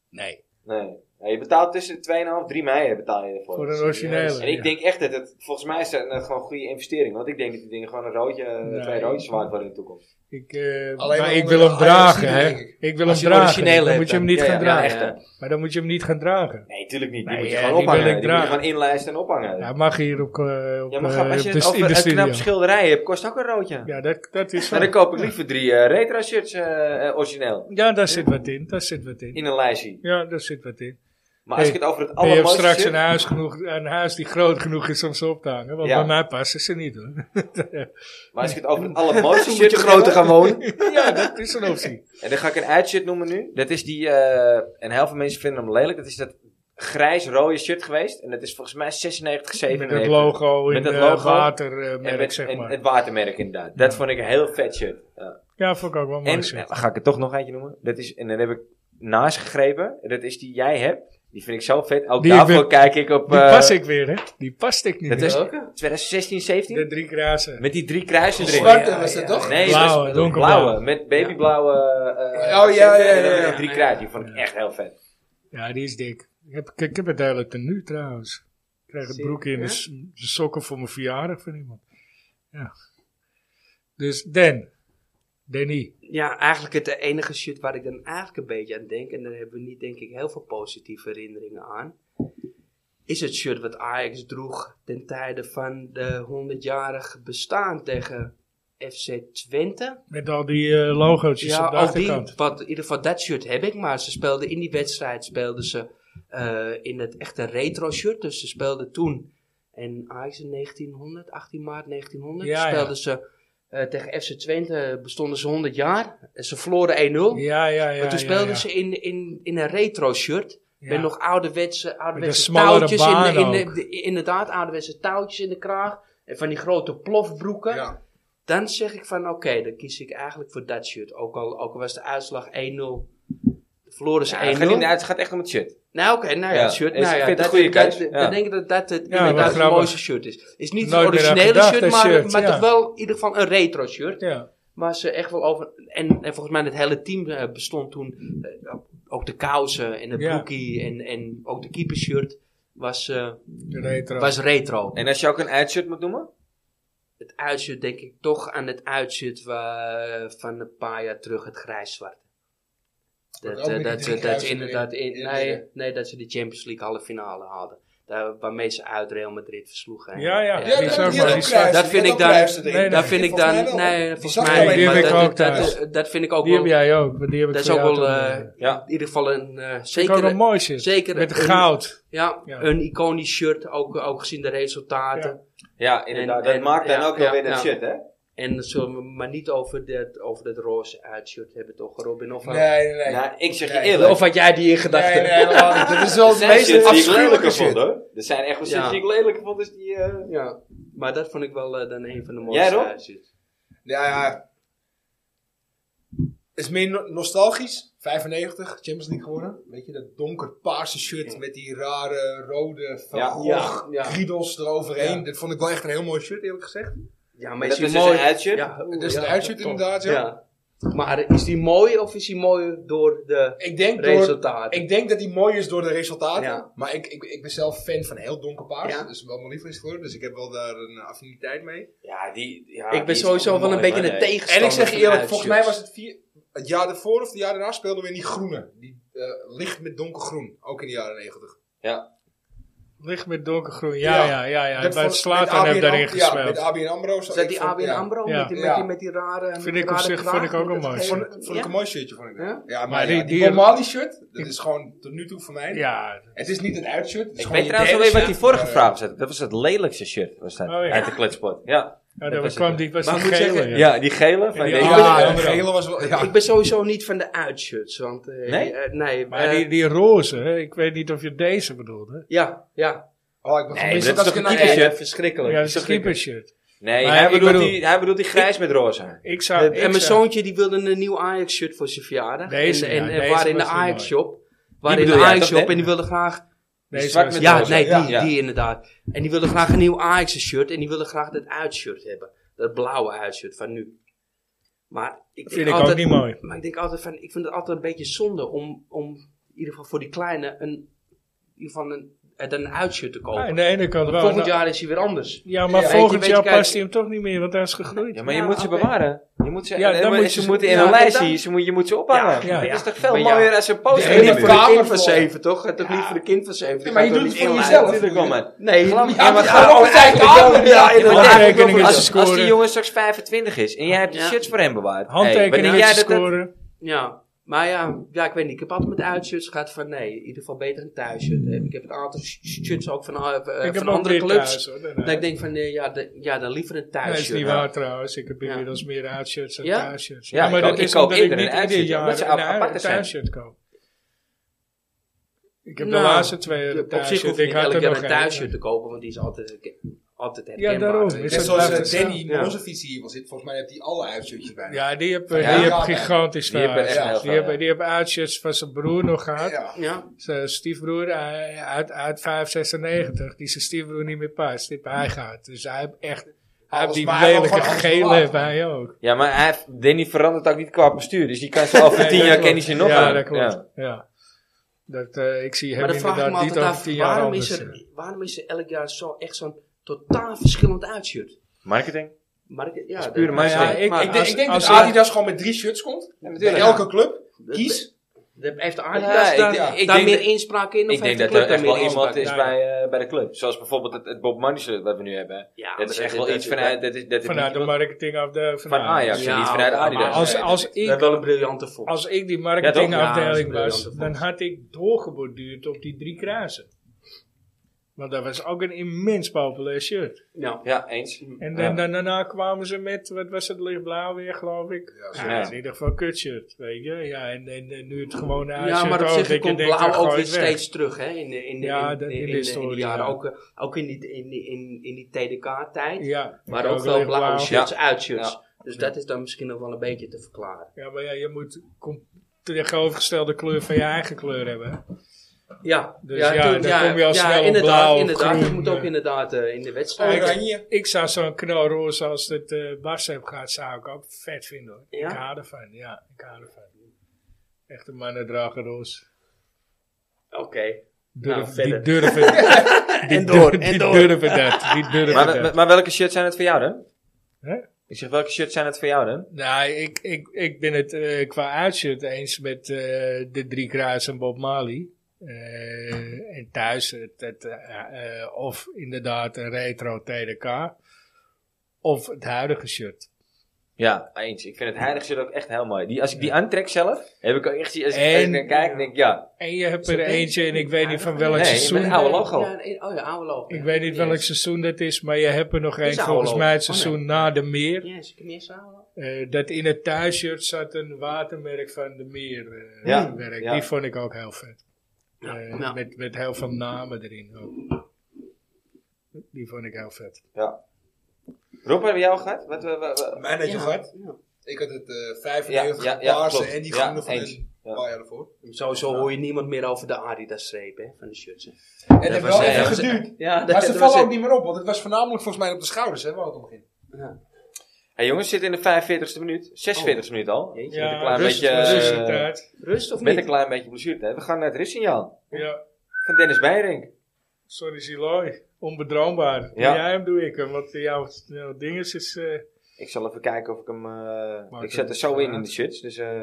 Nee. Nee. Ja, je betaalt tussen 2,5 en 3 mei eh, betaal je ervoor. Voor een originele. en ik ja. denk echt dat het, volgens mij is dat een gewoon goede investering. Want ik denk dat die dingen gewoon een roodje, eh, Nee. twee roodjes waard worden in de toekomst. Ik, eh, Alleen maar maar ik onder wil de hem dragen, IOC, hè. denk ik. Ik wil hem Als je een dragen. originele Dan hebt, moet je hem dan. niet Ja, gaan ja, ja, dragen. echt. Maar dan moet je hem niet gaan dragen. Nee, tuurlijk niet. Die Nee, moet je ja, gewoon die wil ophangen. ik Die moet je dragen. gewoon inlijsten en ophangen. Hij mag hier op, eh, op, Ja, maar eh, grap, als je op het de, in de over een knap studio. schilderij hebt, kost ook een roodje. Ja, dat, dat is zo. Nou, dan koop ik liever drie eh, retro shirts eh, eh, origineel. Ja, daar zit wat in. Daar zit wat in. In een lijstje. Ja, daar zit wat in. Maar als Hey, ik het over het En je hebt allermooiste straks shirt- een huis, genoeg, een huis die groot genoeg is om ze op te hangen. Want Ja. bij mij passen ze niet hoor. (laughs) Maar als ik het over het allermooiste Moet shirt je wil groter hebben, gaan wonen. ja, dat is (laughs) een optie. En dan ga ik een uitshirt noemen nu. Dat is die, eh, en heel veel mensen vinden hem lelijk. Dat is dat grijs-rode shirt geweest. En dat is volgens mij 96, Met 97. dat logo in Met dat eh, logo. watermerk, En met- zeg en maar. het watermerk inderdaad. Dat Ja. vond ik een heel vet shirt. Ja. ja, vond ik ook wel mooi. En shirt. nou, ga ik er toch nog eentje noemen. Dat is, en dan heb ik naast gegrepen. Dat is die jij hebt. Die vind ik zo vet. Ook Die ik daarvoor wil- kijk ik op Die eh, pas ik weer, hè? Die past ik niet. Dat meer. is- Welke? 2016, de 17. drie grazen. Met die drie kruisen erin. Zwarte was dat toch? Nee, Blauwe, dat is- donkerblauwe. blauwe, Met babyblauwe. eh, Oh, ja, ja, en dan ja, ja. met drie kruisen. Die vond ik echt heel vet. Ja, die is dik. Ik heb, ik, ik heb het duidelijk tenue trouwens. Ik krijg het Zie- broekje in de, ja? s- de sokken voor mijn verjaardag van iemand. Ja. Dus Dan. Danny. Ja, eigenlijk het enige shit waar ik dan eigenlijk een beetje aan denk, en daar hebben we niet denk ik heel veel positieve herinneringen aan, is het shirt wat Ajax droeg ten tijde van de 100-jarig bestaan tegen FC Twente. Met al die eh, logootjes Ja, op de al die, achterkant. wat, in ieder geval dat shirt heb ik, maar ze speelden in die wedstrijd speelden ze eh, in het echte retro shirt, dus ze speelden toen. En Ajax in 1900, 18 maart 1900, Ja, ja. speelden ze eh, tegen FC Twente, bestonden ze 100 jaar. En ze verloren 1-0. Ja, ja, ja. Maar toen ja, speelden ja. ze in, in, in een retro shirt. Ja. Met nog ouderwetse, ouderwetse smallere touwtjes. In, de- baan in, de- ook. de- inderdaad, ouderwetse touwtjes in de kraag. En van die grote plofbroeken. Ja. Dan zeg ik van oké, dan kies ik eigenlijk voor dat shirt. Ook al, ook al was de uitslag 1-0. Verloren ze Ja, 1-0. het gaat niet naar- het gaat echt om het shit. Nou oké, nou ja, Ja, het shirt. is- Nou ik ja, vind het dat, een goede dat- keus, dat- ja. Dan denk ik dat dat het Ja, inderdaad wel het grappig. mooiste shirt is. Het is niet Nooit het meer aan originele gedacht, shirt, dat maar, shirt, maar ja. toch wel in ieder geval een retro shirt. Ja. Maar ze echt wel over. En, en volgens mij het hele team eh, bestond toen. eh, ook de kousen en het Ja. broekie en, en ook de keepershirt was, eh, De retro. was retro. En als je ook een uitshirt moet noemen? Het uitzicht denk ik toch aan het uitzicht wa- van een paar jaar terug, het grijs-zwart. Dat, ook eh, met die dat, drie ze, dat ze kruisen inderdaad erin. in, In het nee, midden. nee, dat ze de Champions League halve finale haalden. Daar, waarmee ze uit Real Madrid versloegen. En- Ja, ja. en- Ja, en- die bizar, had maar ook die kruisen, dat die vind had ik ook dan- kruisen erin. nee, dat vind ik Volgens mij dan, wel. nee, Die volgens zag mij ik niet, alleen maar maar. Die heb ik dat, ook dat, thuis. dat, dat vind ik ook Die heb wel, jij ook. maar Die heb ik dat is voor ook jou wel, toen, eh, eh, Ja, in ieder geval een, eh vind ik ook zeker, wel mooi zit. zeker Met een- goud. ja, Ja. een iconisch shirt, ook, ook gezien de resultaten. ja inderdaad. En- dat en- maakt dan ja, ook wel ja, weer dat ja. shit, hè? En dan zullen we maar niet over dat, over dat roze uitshirt hebben, toch, Robin? Of, eh, Nee, nee, nee. Nou, ik zeg je Nee. eerlijk. of had jij die in gedachten? Nee, nee, helemaal niet. Dit is wel er het zijn meest shit die ik afschuwelijke lelijker shit. vond, hoor. Er zijn echt wel shit Ja. die ik lelijker vond, dus die... eh, Ja, maar dat vond ik wel eh, dan een van de Jij, mooiste Rob? uitziet. Ja, ja. Is meer no- nostalgisch. 95, Champions League geworden. Weet je, dat donkerpaarse shirt met die rare rode van Ja. Gogh Ja, ja. kriedels eroverheen. Dat vond ik wel echt een heel mooi shirt, eerlijk gezegd. Ja, Maar maar dat is is die dus een mooi? uitshirt. Ja, Dat is ja, het uitshirt klopt. inderdaad, ja. Ja. Maar is die mooi of is die mooi door de Ik, denk door, resultaten? ik denk dat die mooi is door de resultaten. Ja. Maar ik, ik, ik ben zelf fan van heel donkerpaars. Ja. Dat is wel mijn lievelingskleur. Dus ik heb wel daar een affiniteit mee. Ja, die... Ja, ik die ben is sowieso wel mooi, een beetje man, een hè. tegenstander. En ik zeg je van eerlijk, volgens mij was uitshirts. het vier, het jaar ervoor of het jaar daarna speelden we in die groene. Die eh, licht met donkergroen, ook in de jaren negentig. Licht met donkergroen. Ja, ja, Ja. ja. ja. Bij het volgens- met Slatan ABN heb daarin Am- ja, gespeeld. met ABN AMRO. zo- Is dat ik die vond- ABN ja. AMRO Ja. met, die, met, Ja. die, met die rare... met Vind die ik op rare zich- kraag, vind ik ook met een dat mooi gele- Vond, vond ik Ja. een mooi shirtje, vond ik dat. Ja? Ja, maar, Maar ja, die- die, die- Bomali shirt, dat is gewoon tot nu toe voor mij. Ja. Het is niet het uitshirt. het is Ik gewoon weet je trouwens wel derde weer wat die shirt, vorige maar, vraag was. Dat was het lelijkste shirt, was dat. Oh, ja. Uit de kletspot. Ja. Ja, Dat dat was kwam het, die, was Maar die ik moet gele. zeggen, ja. Ja, die gele van Ja. deze. Ah, Ja, de ABN AMRO. gele was wel... Ja. Ik ben sowieso niet van de uitshirts, want... eh, Nee? eh, nee, Maar eh, die, die roze, hè, ik weet niet of je deze bedoelde. Ja, ja. Oh, ik ben Nee, gemist maar dat dat is ik toch naar een typisch de... shirt. verschrikkelijk. Ja, een skippershirt. Nee, Maar hij ik bedoelt, bedoel- die, hij bedoelt die grijs met roze. Ik zou... ik Eh, en mijn zou- zoontje die wilde een nieuw Ajax-shirt voor zijn verjaardag. Deze, en en, ja, en deze waren in de was wel Ajax-shop. Waren in de bedoel jij, dat Ajax-shop net? en die wilde graag... Deze zwart was- met Ja, roze. nee, die, Ja. die inderdaad. En die wilde graag een nieuw Ajax-shirt. En die wilde graag dat uitshirt hebben. Dat blauwe uitshirt van nu. Maar ik Vind denk ik ook altijd, niet mooi. Maar ik denk altijd van... Ik vind het altijd een beetje zonde om... om in ieder geval voor die kleine... Een, in ieder geval een, het een uitshirt te kopen. Ja, aan de ene kant wel. Volgend Nou, jaar is hij weer anders. Ja, maar Ja, weet volgend je- jaar weet je, past kijk- hij hem toch niet meer, want hij is gegroeid. Ja, maar je Ja, moet ze oké. bewaren. Je moet ze, Ja, en- dan maar moet ze je ze- moeten in ja, een dan- lijstje, ze moet, je moet ze ophangen. Ja, Dat is ja. toch veel Maar ja. mooier als een Die poster. ene Ja, voor voor een kamer kind van voor. 7, toch? Het toch niet voor een kind van 7. Ja, maar je doet het voor jezelf. natuurlijk wel, man. Nee, Geloof me. ja, maar Ja, ga maar op zijn zijn kamer. kamer. Ja, maar inderdaad. eigenlijk Handtekeningen wel- te als, als die scoren. jongen straks 25 is en jij hebt de Ja. shirts voor hem bewaard. Handtekeningen hey, wanneer jij te dat- dat- scoren. Ja, maar ja, ja, ik weet niet. Ik heb altijd met uitshirts gehad van nee, in ieder geval beter een thuisshirt. hebben. Ik heb een aantal sh- shirts ook van, eh, eh, ik heb van ook andere weer clubs. thuis, hoor. Dat ik denk van nee, ja, de- ja, dan liever een Dat is thuisshirt. niet Ja. waar trouwens. Ik heb Ja. inmiddels meer uitshirts dan Ja? thuisshirts. Ja, ik ook- ik koop eerder een ieder uitshirt, jaar omdat ze een ap- uit- aparte zijn. thuisshirt koop. Ik heb Nou, de laatste twee jaar een Op zich thuisshirt. hoef Ik ik had elk er jaar nog een een. thuisshirt te kopen, want die is altijd, eh, altijd herkenbaar. Ja, daarom. weet je. Is Net dat zoals eh, blijft Danny hetzelfde? Ja. Mozefits hier was zit, volgens mij heeft hij alle uitshirtjes bij. Ja, die heb, Ja, die heb ja, gigantisch die hebben veel echt uitshirts. heel Die veel, hebben- Die hebben uitshirts van zijn broer nog gehad. Ja. Ja, Zijn stiefbroer eh, uit, uit 596, die zijn stiefbroer niet meer past. Die heb hij gehad. Dus hij heeft echt. Hij heeft Alles die maar, hij heeft lelijke gewoon alles gele verlaten. heeft hij ook. Ja, maar hij, heeft- Danny verandert ook niet qua postuur. Dus die kan ze over 10 jaar kennen ze nog (laughs) Ja, aan. dat klopt. Ja. Ja. Dat, eh, ik zie maar hem dan vraag ik me inderdaad niet altijd over af, tien jaar waarom anders. is, er, waarom is er elk jaar zo, echt zo'n totaal verschillend uitshirt? Marketing? Maar ik, ja, is pure dat- Maar ja, marketing. ik, Maar Ik, denk- als- ik denk als dat hij- Adidas gewoon met drie shirts komt. Bij natuurlijk. elke club. dat- Kies. dat Heeft de Ja, Adidas ik- daar, ik- ik daar denk meer dat- inspraak in? Of Ik denk dat heeft de er club daar echt wel meer iemand inspraak in? is bij, eh, bij de club. Zoals bijvoorbeeld het, het Bob Marley shirt dat we nu hebben. Ja, maar dat is echt wel iets dat- vanuit... Dat is, dat is vanuit de niet- marketingafdeling van, van Ajax. Ja, en niet vanuit maar Adidas. Als, Nee, als, We hebben ik, wel een briljante vondst. als ik die Ja, dat is een marketingafdeling was, briljante dan vondst. had ik doorgeborduurd op die drie kruisen. Want dat was ook een immens populair shirt. ja. Ja, eens. Ja. En dan, dan- daarna kwamen ze met, wat was het, lichtblauw weer, geloof ik. Ja, Ja, zoiets. in ieder geval kutshirt, weet je. Ja, en, en, en nu het gewone ja, uitshirt maar op ook, dat zich je komt denkt, blauw dan gooi ook weer het weg. steeds terug, hè? In, in, in, Ja, in, dat- in de in, in- in die historie, jaren. ja. Ook, eh, ook in die, in, die- in, in die TDK-tijd. Ja, maar ja, ook veel blauwe lichtblauw. shirts, uitshirts. Dus Ja. dat is dan misschien nog wel een beetje te verklaren. Ja, maar ja, je moet com- tegenovergestelde kleur van je eigen kleur hebben. Ja, Dus ja, dan kom je al snel op inderdaad, blauw of inderdaad. groen, dat moet ook eh. inderdaad eh, in de wedstrijd. Oranje. Ik zou zo'n knalroze als het eh Barca heb gehad, zou ik ook vet vinden hoor. Ja? Ik hou ervan, ja, ik hou ervan. Echte mannen dragen roze. Oké. Durf, Nou, die verder. durven. (laughs) die En door, durven- en die door. durven dat. Die durven Maar, dat. maar- maar welke shirts zijn het voor jou dan? Hè? Ik zeg, welke shirts zijn het voor jou dan? Nou, ik, ik, ik ben het eh, qua uitshirt eens met eh, de drie kruis en Bob Marley. Eh, en thuis, het, het, eh, eh, of inderdaad een retro TDK. Of het huidige shirt. Ja, eens. Ik vind het heilig shirt ook echt heel mooi. Die, als ik die aantrek zelf, heb ik ook echt... Als ik En- even naar kijk, denk ik, ja. En je hebt Is dat er een- eentje en ik weet niet van Nee, welk met een seizoen. oude logo. Ja, een- oh ja, oude logo. Ik weet niet welk Yes. seizoen dat is, maar je hebt er nog Is één oude volgens logo. mij het Oh, nee. seizoen na de meer. Yes, ik heb meer samen. Eh, dat in het thuisshirt zat een watermerk van de meer eh, Ja, werk. ja. Die vond ik ook heel vet. Ja, Eh, ja. Met, met heel veel namen erin ook. Die vond ik heel vet. Rob, hebben we jou gehad? Wat, wat, wat- wat- Mijn had je Ja, gehad. ja. Ik had het eh Ja, 95 ja, ja, paarse klopt. en die Ja, groene van eens. een Ja. paar jaar ervoor. Sowieso hoor je niemand meer over de Adidas-streep hè, van de shirts. hè. En het heeft was- wel ja, even dat was- geduurd. Ja, Maar ze dat was vallen ook het. niet meer op, want het was voornamelijk volgens mij op de schouders, hè, waar het om ging. Hey, jongens, zit in de 45ste minuut. 46ste minuut al. Jeetje. met een klein rust- beetje, eh, rust in tijd. Rust of Met niet? een klein beetje blessure. We gaan naar het rustsignaal. Ja, Van Dennis Beiring. sorry Ziloy. Onbedroombaar. Doe Ja. Jij hem doe ik hem, want jouw, jouw ding is... is eh, Ik zal even kijken of ik hem. eh, Maak ik hem zet er zo in in uit. de shirts. Dus eh,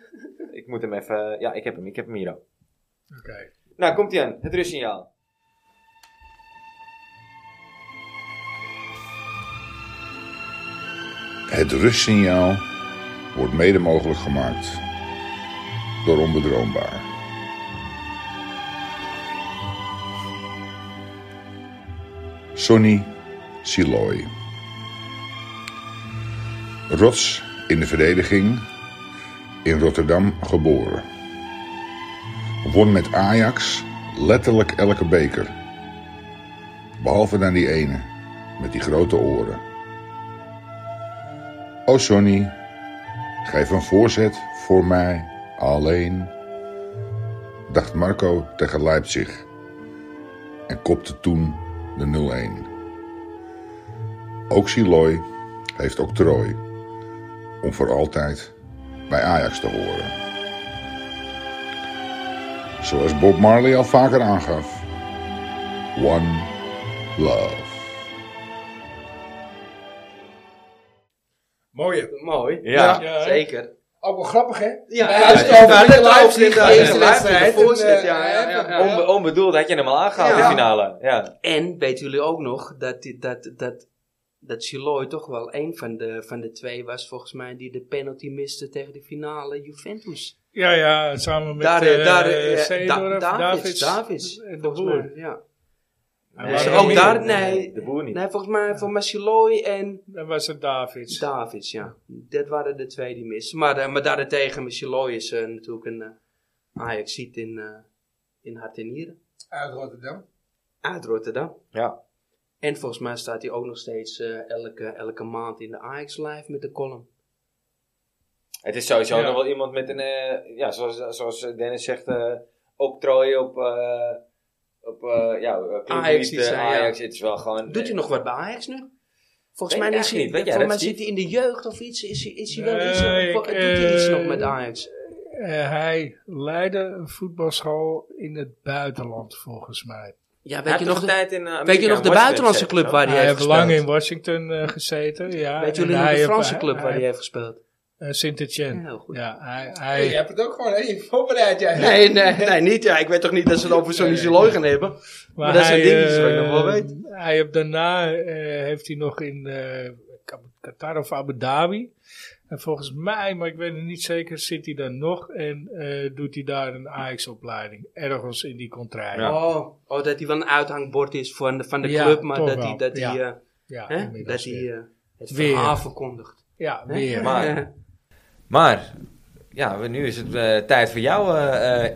(laughs) ik moet hem even. Ja, ik heb hem. Ik heb hem hier al. Oké. Nou, komt hij aan. Het rustsignaal. Het rustsignaal wordt mede mogelijk gemaakt door onbedroombaar. Sonny Siloy. Rots in de verdediging, in Rotterdam geboren. Won met Ajax letterlijk elke beker. Behalve dan die ene met die grote oren. O Oh, Sonny, geef een voorzet voor mij alleen. Dacht Marco tegen Leipzig en kopte toen de 0-1. Ook Siloy heeft octrooi om voor altijd bij Ajax te horen. Zoals Bob Marley al vaker aangaf: One Love. Mooie. Mooi. Ja. Ja. Zeker. Ook wel grappig, hè? Ja, Hij ja, is ja, over ja, de dat Leipzig, klopt inderdaad. de eerste Ja, wedstrijd, de voorzet, en, eh, ja, ja, ja, ja. Onbe- onbedoeld had je hem al aangehaald in Ja. de finale. Ja. En weten jullie ook nog dat, dit- dat, dat, dat Chiloy toch wel een van de, van de twee was, volgens mij, die de penalty miste tegen de finale Juventus. Ja, ja, samen met daar, eh eh, daar, eh, eh, Da- Seedorf, Davids. Davids. Davids, eh, de volgens Boer. mij, ja. Hij Nee, was er Dus ook meer. daar- nee. De boer niet. Nee, volgens mij voor mij Chiloy en Dan was het Davids. Davids, ja. Dat waren de twee die misten. Maar, eh, maar daarentegen, Chiloy is eh, natuurlijk een eh ajax in, eh, in hart en nieren. Uit Rotterdam. Uit Rotterdam. Ja. En volgens mij staat hij ook nog steeds eh, elke, elke maand in de Ajax Live met de column. Het is sowieso Ja. nog wel iemand met een. eh, ja, zoals, zoals Dennis zegt. eh octrooi op. eh, op eh, ja, eh, clublied, Ajax iets eh, zijn, ja. Ajax. Het is wel gewoon. eh, Doet hij nog wat bij Ajax nu? Volgens Weet mij, ik is hij, eigenlijk niet. Weet jij volgens mij dat, zit hij in de jeugd of iets. Is hij, is hij wel Nee, iets? ik, doet hij iets eh, nog met Ajax? Eh, hij leidde een voetbalschool in het buitenland, volgens mij. Ja, Hij weet je heeft nog toch de, tijd in, eh, weet je nog de Amerika buitenlandse gezeten, club waar hij hij heeft heeft gespeeld? lang in Washington eh, gezeten. Ja, Weet En jullie nog hij de heeft- Franse hij- club waar hij hij- heeft gespeeld? eh, Sint-Etienne. Ja, heel goed. Ja, hij, Hey, hij, je hebt het ook gewoon, hè? Je voorbereidt jij. Nee, nee, nee, niet. Ja, ik weet toch niet dat ze het over zo'n Ziloy gaan hebben. Maar dat zijn dingetjes waar ik nog wel eh, weet. Hij heeft daarna eh, heeft hij nog in eh, Ka- Qatar of Abu Dhabi. En volgens mij, maar ik weet het niet zeker, zit hij daar nog en eh, doet hij daar een Ajax-opleiding. Ergens in die contraille. Ja, Oh, oh, dat hij wel een uithangbord is van de, van de Ja, club, maar toch dat hij, wel. dat hij, Ja. eh, hè, dat inmiddels hij weer. eh, het Weer. verhaal verkondigt. ja hè? weer. Maar- Maar, ja, we- nu is het eh, tijd voor jouw eh, eh,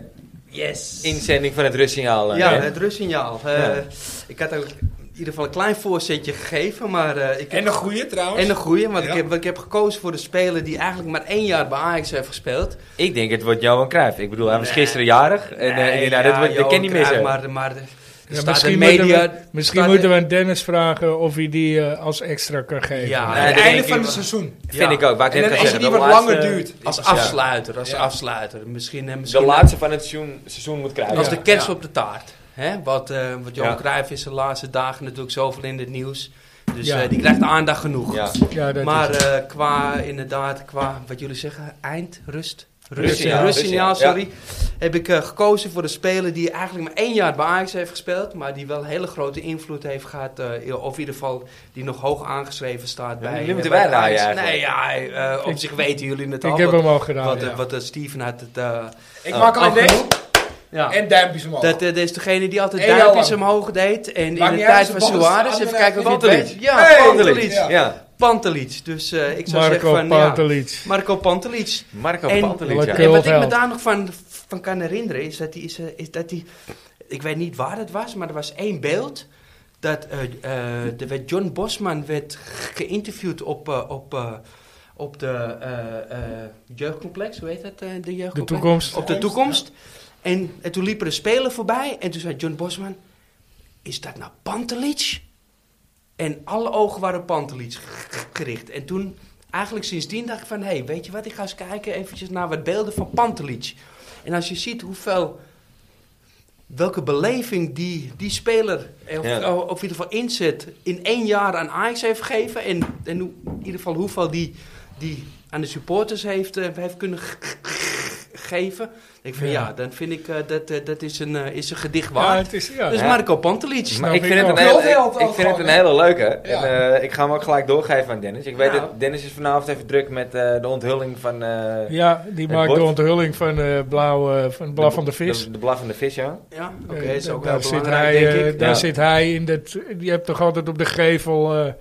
yes. inzending van het rustsignaal. eh, Ja, hè? het rustsignaal. Eh, Ja. Ik had ook in ieder geval een klein voorzetje gegeven, maar eh, ik heb... En een goede trouwens. en een goeie, want Ja. ik, heb, want ik heb gekozen voor de speler die eigenlijk maar één jaar bij Ajax heeft gespeeld. Ik denk het wordt Johan Cruijff. Ik bedoel, hij was Nee. gisteren jarig. En, eh, Nee, inderdaad, dat, wordt- dat Johan ken niet meer Cruijff, zo. Maar, maar de, er Ja, staat misschien de moeten media... we, misschien staat moeten de- we aan Dennis vragen of hij die eh, als extra kan geven. Ja, Nee, Aan het dat einde denk van ik het wel. seizoen. Vind ik ook. Waar ik En net dan ga zeggen, als het niet de wat laatste- langer duurt. Als Ja. afsluiter, als afsluiter. Misschien, eh, misschien De laatste van het seizoen, seizoen moet Cruijff. als Ja. de kerst op de taart. Hè? Wat, eh wat Johan Ja. Cruijff is de laatste dagen natuurlijk zoveel in het nieuws. Dus Ja. eh, die krijgt aandacht genoeg. Ja. Ja, dat maar is- eh, qua, inderdaad, qua wat jullie zeggen, eindrust. Rustsignaal, Rustsignaal, rustsignaal, rustsignaal, sorry. Heb ik eh, gekozen voor de speler die eigenlijk maar één jaar bij Ajax heeft gespeeld. Maar die wel een hele grote invloed heeft gehad. eh, of in ieder geval die nog hoog aangeschreven staat Ja, bij, die moeten eh, bij wij draaien Ajax. eigenlijk. Nee, ja, eh, op zich weten jullie het al. ik heb wat- hem al gedaan. wat, eh, ja. wat eh, Steven had het... eh, Ik Oh. maak al afgenomen. deze ja. en duimpjes omhoog. Dat, eh, dat is degene die altijd Eén jaar duimpjes lang. omhoog deed. En in Maakt de niet uit, tijd ze van mogen Suarez. ze Even kijken wat het Pantelic. weet. Ja, Hey, Pantelic. Ja. Ja. Pantelic. Dus eh, ik zou Marco zeggen van ja, Pantelic. Marco Pantelic. Marco En- Pantelic, ja. Lekker. En wat ik me Kultheld. daar nog van, van kan herinneren is dat, die, is, eh, is dat die, ik weet niet waar het was, maar er was één beeld. Dat eh, eh, er werd John Bosman werd geïnterviewd op, eh, op, eh, op de eh, eh, jeugdcomplex, hoe heet dat? eh, de jeugdcomplex? De toekomst. Op de toekomst. En, en toen liep er een speler voorbij en toen zei John Bosman, is dat nou Pantelic? En alle ogen waren op Pantelic g- g- gericht. En toen, eigenlijk sindsdien dacht ik van... hé, hey, weet je wat, ik ga eens kijken eventjes naar wat beelden van Pantelic. En als je ziet hoeveel... welke beleving die, die speler... eh, Of, Ja. of in ieder geval inzet... in één jaar aan Ajax heeft gegeven... en, en hoe- in ieder geval hoeveel die, die aan de supporters heeft, eh, heeft kunnen g- g- g- geven... Ik vind, ja. Ja. dan vind ik eh, dat, eh, dat is, een, eh, is een gedicht Ja, waard. het is, ja. Dus Ja. Marco Pantelic. Maar Snap ik ik vind, het ook. een hele, Kultheld ik, ik ook vind het gewoon, een hè? hele leuke. Ja. En eh, ik ga hem ook gelijk doorgeven aan Dennis. Ik weet Ja. dat Dennis is vanavond even druk met eh, de onthulling van... eh, ja, die Het maakt de bord. onthulling van, eh blauw, eh, van Blauw van de Vis. De, de blaf van de vis, ja. Ja, oké, Eh, is ook wel daar zit belangrijk, hij, eh, denk ik. daar Ja. zit hij in. Dat, je hebt toch altijd op de gevel eh,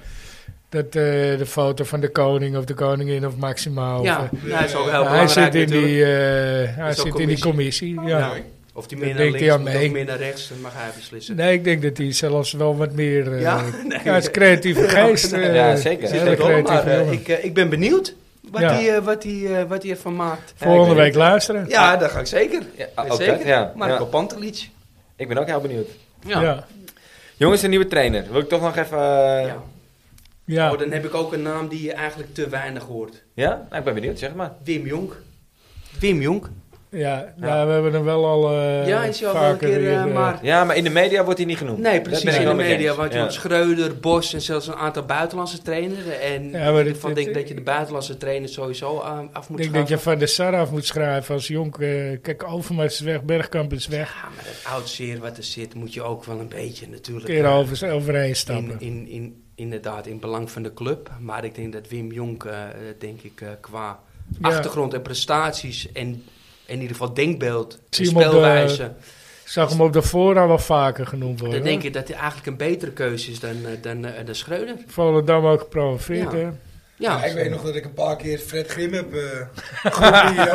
dat, eh, de foto van de koning of de koningin of Maxima. Of, Ja, eh, ja, hij is ook heel nou, hij belangrijk zit, in natuurlijk. die, eh, hij Is ook zit in die commissie. Ja. Ja. Of die meer Dat naar denkt links, hij aan moet mee. ook meer naar rechts, dan mag hij beslissen. Nee, ik denk dat hij zelfs wel wat meer... eh, (laughs) Ja? ja? Nee. het is (laughs) creatieve geest. eh, Ja, zeker. een Zit Zit hele er wel, maar creatieve eh, jongen. ik, eh, ik ben benieuwd wat Ja. hij eh, wat hij eh, wat hij ervan maakt. Volgende ik weet week luisteren. Ja, dat ga ik zeker. Ja, Dat ook zeker. dat, ja. Marco Ja. Pantelic. Ik ben ook heel benieuwd. Ja. Ja. ja. Jongens, een nieuwe trainer. Wil ik toch nog even... eh, Ja. Oh, dan heb ik ook een naam die je eigenlijk te weinig hoort. Ja? Nou, ik ben benieuwd, zeg maar. Wim Jonk. Wim Jonk. Ja, nou, we hebben hem wel al eh, ja, is hij al wel een vaker keer, eh, weer, eh, maar... Ja, maar in de media wordt hij niet genoemd. Nee, Dat precies. ben ik In de wel mee media, eens. want Ja. Jon Schreuder, Bos en zelfs een aantal buitenlandse trainers. En Ja, maar dit- van denk ik dit- dat je de buitenlandse trainers sowieso aan- af Ik moet denk schaffen. dat je van de Sar af moet schrijven als Jonk. eh, kijk, Overmars is weg, Bergkamp is weg. Ja, maar het oud zeer wat er zit, moet je ook wel een beetje natuurlijk. Keer eh, over, overheen in, stappen. in, in, inderdaad, in belang van de club. Maar ik denk dat Wim Jonk, eh, denk ik, eh, qua Ja. achtergrond en prestaties en in ieder geval denkbeeld, zie hem en op de- speelwijze. Ik zag hem op de voorraad wel vaker genoemd worden. Dan denk ik dat hij eigenlijk een betere keuze is dan, eh, dan, eh, dan Schreuder. Volendam ook gepromoveerd, Ja. hè? Ja, Ja, ik weet nog dat ik een paar keer Fred Grim heb eh geroepen hier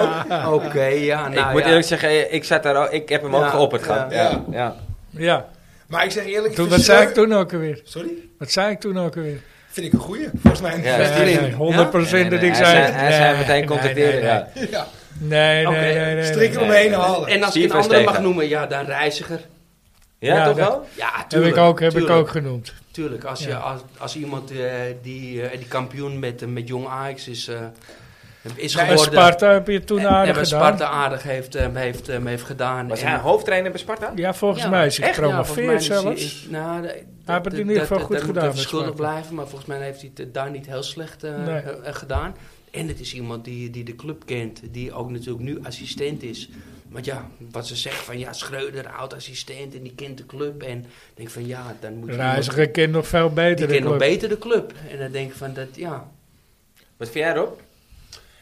ook. oké, ja, nou ik moet ja. eerlijk zeggen, ik, zat daar ook, ik heb hem Ja, ook geopperd gehad. ja. Ja. Ja. Ja. Ja. Maar ik zeg eerlijk... ik Toen, wat vind zei Schreuder- ik toen ook alweer? Sorry? Wat zei ik toen ook alweer? Vind ik een goeie, volgens mij. Ja. Nee, Fred Grim, nee, 100 Nee, nee, dat ik hij zei. zei- hij zei nee, meteen nee, contacteren, nee, ja. (laughs) Ja. Nee, nee, Oké, nee, nee, nee. Strik nee, eromheen nee. halen. En als ik Oh, Steve een was andere mag tegen. noemen, ja, dan reiziger. Ja, Ja, toch dat- wel? Ja, Heb tuurlijk. ik ook, heb ik tuurlijk. ook genoemd. Tuurlijk, als, je, Ja. als, als iemand eh, die, eh, die kampioen met, eh, met jong Ajax is, eh, is En geworden. Sparta heb je toen en- en aardig wat gedaan. Sparta aardig heeft, eh, heeft, eh, heeft gedaan. Was En- hij een hoofdtrainer bij Sparta? Ja, volgens Ja, mij is hij echt? Ja, volgens mij gepromoveerd is hij- zelfs. is- nou, dat- heeft het in dat- ieder geval dat- goed dat moet gedaan even met schuldig Sparta. blijven, maar volgens mij heeft hij het daar niet heel slecht eh, Nee. eh, eh, gedaan. En het is iemand die, die de club kent, die ook natuurlijk nu assistent is. Want ja, wat ze zeggen van ja, Schreuder, oud-assistent en die kent de club. En ik denk van ja, dan moet je iemand- Reiziger kent nog veel die beter. de kent nog club. beter de club. En dan denk ik van dat, ja. Wat vind jij Rob?